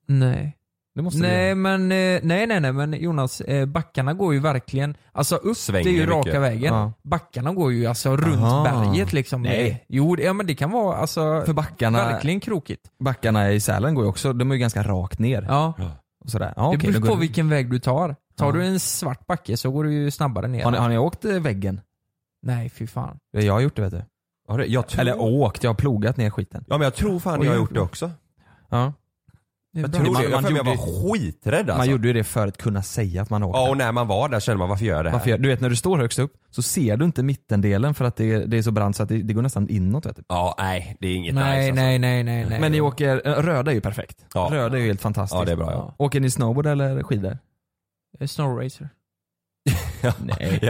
[SPEAKER 7] Nej.
[SPEAKER 5] Det måste det
[SPEAKER 7] Nej
[SPEAKER 5] göra.
[SPEAKER 7] men, eh, nej nej nej men Jonas, eh, backarna går ju verkligen, alltså upp det är ju
[SPEAKER 6] Svänger
[SPEAKER 7] raka
[SPEAKER 6] mycket.
[SPEAKER 7] vägen.
[SPEAKER 5] Ja.
[SPEAKER 7] Backarna går ju alltså runt
[SPEAKER 5] Aha.
[SPEAKER 7] berget liksom.
[SPEAKER 5] Nej.
[SPEAKER 7] Jo, det- ja men det kan vara alltså
[SPEAKER 5] För backarna,
[SPEAKER 7] verkligen krokigt.
[SPEAKER 5] backarna i Sälen går ju också, de är ju ganska rakt ner.
[SPEAKER 7] Ja.
[SPEAKER 5] Och sådär. Ja,
[SPEAKER 7] det
[SPEAKER 5] okej, då
[SPEAKER 7] beror
[SPEAKER 5] går
[SPEAKER 7] på
[SPEAKER 5] det-
[SPEAKER 7] vilken väg du tar. Tar
[SPEAKER 5] Ja.
[SPEAKER 7] du en svart backe så går du ju snabbare ner.
[SPEAKER 5] har, ni, har ni åkt eh, väggen?
[SPEAKER 7] Nej fy fan.
[SPEAKER 5] Ja, Jag har gjort det vet du.
[SPEAKER 6] Har du, jag tror...
[SPEAKER 5] Eller åkt, jag har plogat ner skiten.
[SPEAKER 6] Ja men jag tror fan
[SPEAKER 5] Oj,
[SPEAKER 6] jag har
[SPEAKER 5] jag-
[SPEAKER 6] gjort det också.
[SPEAKER 5] Ja.
[SPEAKER 7] Det är
[SPEAKER 6] Jag
[SPEAKER 7] bra.
[SPEAKER 6] tror det.
[SPEAKER 5] Man-
[SPEAKER 6] Jag,
[SPEAKER 5] man
[SPEAKER 6] för mig jag
[SPEAKER 5] gjorde-
[SPEAKER 6] var skiträdd alltså.
[SPEAKER 5] Man gjorde ju det för att kunna säga att man har åkt.
[SPEAKER 6] Ja
[SPEAKER 5] där.
[SPEAKER 6] och när man var där kände man varför gör jag det här?
[SPEAKER 5] Varför, gör- du vet när du står högst upp så ser du inte mittendelen för att det är, det är så brant så att det, det går nästan inåt vet du.
[SPEAKER 6] Ja nej det är inget
[SPEAKER 7] nej,
[SPEAKER 6] nice alltså.
[SPEAKER 7] nej nej nej nej.
[SPEAKER 5] Men ni åker, eh, röda är ju perfekt.
[SPEAKER 6] Ja.
[SPEAKER 5] Röda är ju helt fantastiskt.
[SPEAKER 6] Ja, det är bra, ja.
[SPEAKER 5] Åker ni snowboard eller skidor?
[SPEAKER 7] Eh, Snowracer.
[SPEAKER 5] Nej.
[SPEAKER 6] alltså. I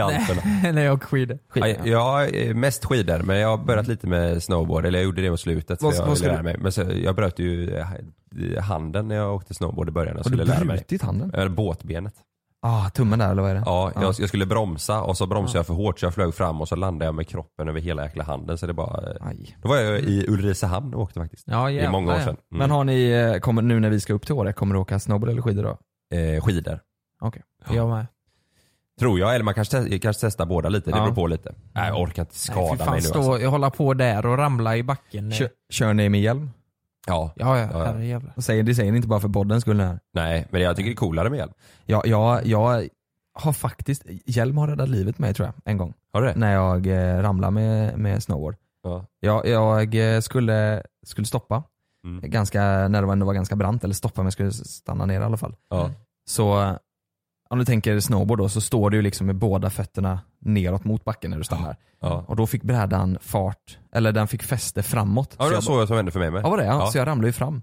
[SPEAKER 6] Alperna.
[SPEAKER 7] nej jag åker skidor.
[SPEAKER 5] Skidor.
[SPEAKER 6] Ja, jag är mest skidor men jag har börjat lite med snowboard, eller jag gjorde det på slutet. Så
[SPEAKER 5] Vad-
[SPEAKER 6] jag
[SPEAKER 5] vad ska
[SPEAKER 6] ville
[SPEAKER 5] du-
[SPEAKER 6] lära mig. Men så, jag bröt ju eh, eh, handen när jag åkte snowboard i början. Jag
[SPEAKER 5] Har du
[SPEAKER 6] skulle lära mig.
[SPEAKER 5] brutit handen?
[SPEAKER 6] Eh, Båtbenet.
[SPEAKER 5] Ah, tummen där eller vad är det?
[SPEAKER 6] Ja, jag,
[SPEAKER 5] Ja.
[SPEAKER 6] jag skulle bromsa och så bromsade jag för hårt så jag flög fram och så landade jag med kroppen över hela jäkla handen. Så det bara, eh,
[SPEAKER 5] Aj.
[SPEAKER 6] Då var jag i Ulricehamn och åkte faktiskt.
[SPEAKER 5] Ja,
[SPEAKER 6] I många år sedan. Mm.
[SPEAKER 5] Men har ni, eh, kommer, nu när vi ska upp till Åre, kommer du åka snowboard eller skidor då?
[SPEAKER 6] Eh, skidor.
[SPEAKER 5] Okej, jag med.
[SPEAKER 6] Tror jag, eller man kanske, te- kanske testar båda lite. Det
[SPEAKER 5] Ja.
[SPEAKER 6] beror på lite. Nej, jag orkar inte skada
[SPEAKER 7] Nej, fy fan,
[SPEAKER 6] mig nu
[SPEAKER 7] stå,
[SPEAKER 6] alltså.
[SPEAKER 7] Jag håller på där och ramla i backen.
[SPEAKER 5] Kör, kör ni med hjälm?
[SPEAKER 6] Ja.
[SPEAKER 7] Ja, ja, herrejävlar.
[SPEAKER 5] Och Säger, det säger ni inte bara för poddens skull här.
[SPEAKER 6] Nej, men jag tycker det är coolare med hjälm.
[SPEAKER 5] Ja, jag, jag har faktiskt, hjälm har räddat livet mig tror jag, en gång.
[SPEAKER 6] Har du det?
[SPEAKER 5] När jag eh, ramlade med, med snowboard.
[SPEAKER 6] Ja.
[SPEAKER 5] Jag, jag eh, skulle, skulle stoppa,
[SPEAKER 6] Mm.
[SPEAKER 5] ganska, när det var- ändå var ganska brant, eller stoppa men jag skulle stanna ner i alla fall.
[SPEAKER 6] Ja.
[SPEAKER 5] Så eh, om du tänker snowboard då så står du ju liksom med båda fötterna neråt mot backen när du stannar.
[SPEAKER 6] Ja.
[SPEAKER 5] Och då fick brädan fart, eller den fick fäste framåt.
[SPEAKER 6] Ja, det var
[SPEAKER 5] jag
[SPEAKER 6] så jag som hände för mig med.
[SPEAKER 5] Ja, var det? Ja.
[SPEAKER 6] Ja.
[SPEAKER 5] Så jag ramlade ju fram.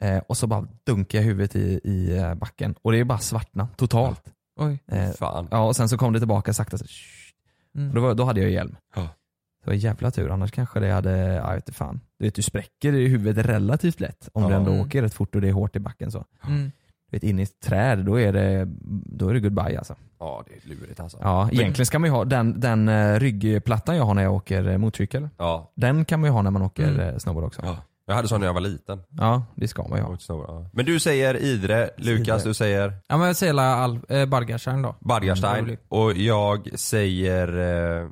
[SPEAKER 5] Eh, och så bara dunkade jag huvudet i, i eh, backen. Och det är ju bara svartna totalt.
[SPEAKER 7] Oj.
[SPEAKER 5] Eh,
[SPEAKER 6] Fan.
[SPEAKER 5] ja, och sen så kom det tillbaka sakta. Så, shh.
[SPEAKER 7] Mm.
[SPEAKER 5] Och då, var, då hade jag ju hjälm.
[SPEAKER 6] Ja.
[SPEAKER 5] Det var jävla tur, annars kanske det hade, ja, jag vet inte fan. Du vet, du spräcker i huvudet relativt lätt om
[SPEAKER 6] Ja.
[SPEAKER 5] du ändå
[SPEAKER 6] Mm.
[SPEAKER 5] åker rätt fort och det är hårt i backen. Så.
[SPEAKER 7] Mm.
[SPEAKER 5] Du vet, in i ett träd, då är det, då är det goodbye alltså.
[SPEAKER 6] Ja, det är lurigt alltså.
[SPEAKER 5] Ja, egentligen ska man ju ha den, den eh, ryggplattan jag har när jag åker eh, motorcykel.
[SPEAKER 6] Ja.
[SPEAKER 5] Den kan man ju ha när man åker
[SPEAKER 6] Mm.
[SPEAKER 5] eh, snowboard också.
[SPEAKER 6] Ja. Jag hade sån när jag var liten.
[SPEAKER 5] Ja, det ska man ju
[SPEAKER 6] Jag var
[SPEAKER 5] ha.
[SPEAKER 6] inte så bra. Men du säger Idre, Lukas
[SPEAKER 5] Idre.
[SPEAKER 6] du säger
[SPEAKER 7] Ja men jag säger la Al- eh, Bargarstjärn då.
[SPEAKER 6] Badgarstein
[SPEAKER 7] Mm,
[SPEAKER 6] och jag säger eh,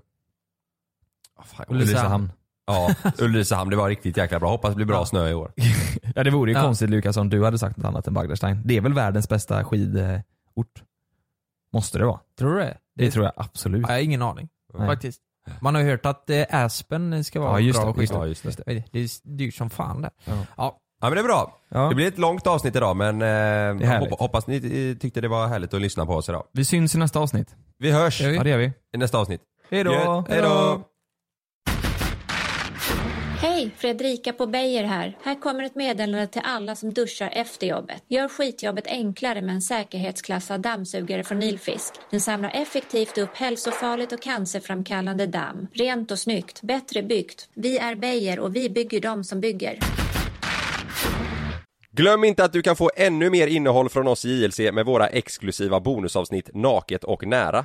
[SPEAKER 6] vad fan,
[SPEAKER 5] Ulricehamn.
[SPEAKER 6] Ja, Ulricehamn. Det var riktigt jäkla bra. Hoppas det blir bra
[SPEAKER 7] Ja.
[SPEAKER 6] snö i år.
[SPEAKER 5] Ja det vore ju
[SPEAKER 7] Ja.
[SPEAKER 5] konstigt Lukas om du hade sagt något annat än Bagdadstein. Det är väl världens bästa skidort? Måste det vara?
[SPEAKER 7] Tror du det?
[SPEAKER 5] Det tror jag absolut.
[SPEAKER 7] Jag har ingen aning
[SPEAKER 5] Nej.
[SPEAKER 7] faktiskt. Man har ju hört att eh, Aspen ska vara
[SPEAKER 5] Ja, just
[SPEAKER 7] bra
[SPEAKER 5] det, just
[SPEAKER 7] skidor.
[SPEAKER 6] Ja, just det.
[SPEAKER 7] det. är dyrt som fan det.
[SPEAKER 5] Ja.
[SPEAKER 7] Ja.
[SPEAKER 6] Ja men det är bra.
[SPEAKER 5] Ja.
[SPEAKER 6] Det blir ett långt avsnitt idag men eh,
[SPEAKER 5] härligt.
[SPEAKER 6] hop- hoppas ni eh, tyckte det var härligt att lyssna på oss idag.
[SPEAKER 5] Vi syns i nästa avsnitt.
[SPEAKER 6] Vi hörs
[SPEAKER 5] Ja det gör vi.
[SPEAKER 6] i nästa avsnitt.
[SPEAKER 5] Hejdå!
[SPEAKER 6] Gött. Hejdå.
[SPEAKER 16] Hej, Fredrika på Beijer här. Här kommer ett meddelande till alla som duschar efter jobbet. Gör skitjobbet enklare med en säkerhetsklassad dammsugare från Nilfisk. Den samlar effektivt upp hälsofarligt och cancerframkallande damm. Rent och snyggt, bättre byggt. Vi är Beijer och vi bygger dem som bygger.
[SPEAKER 6] Glöm inte att du kan få ännu mer innehåll från oss i JLC med våra exklusiva bonusavsnitt Naket och nära.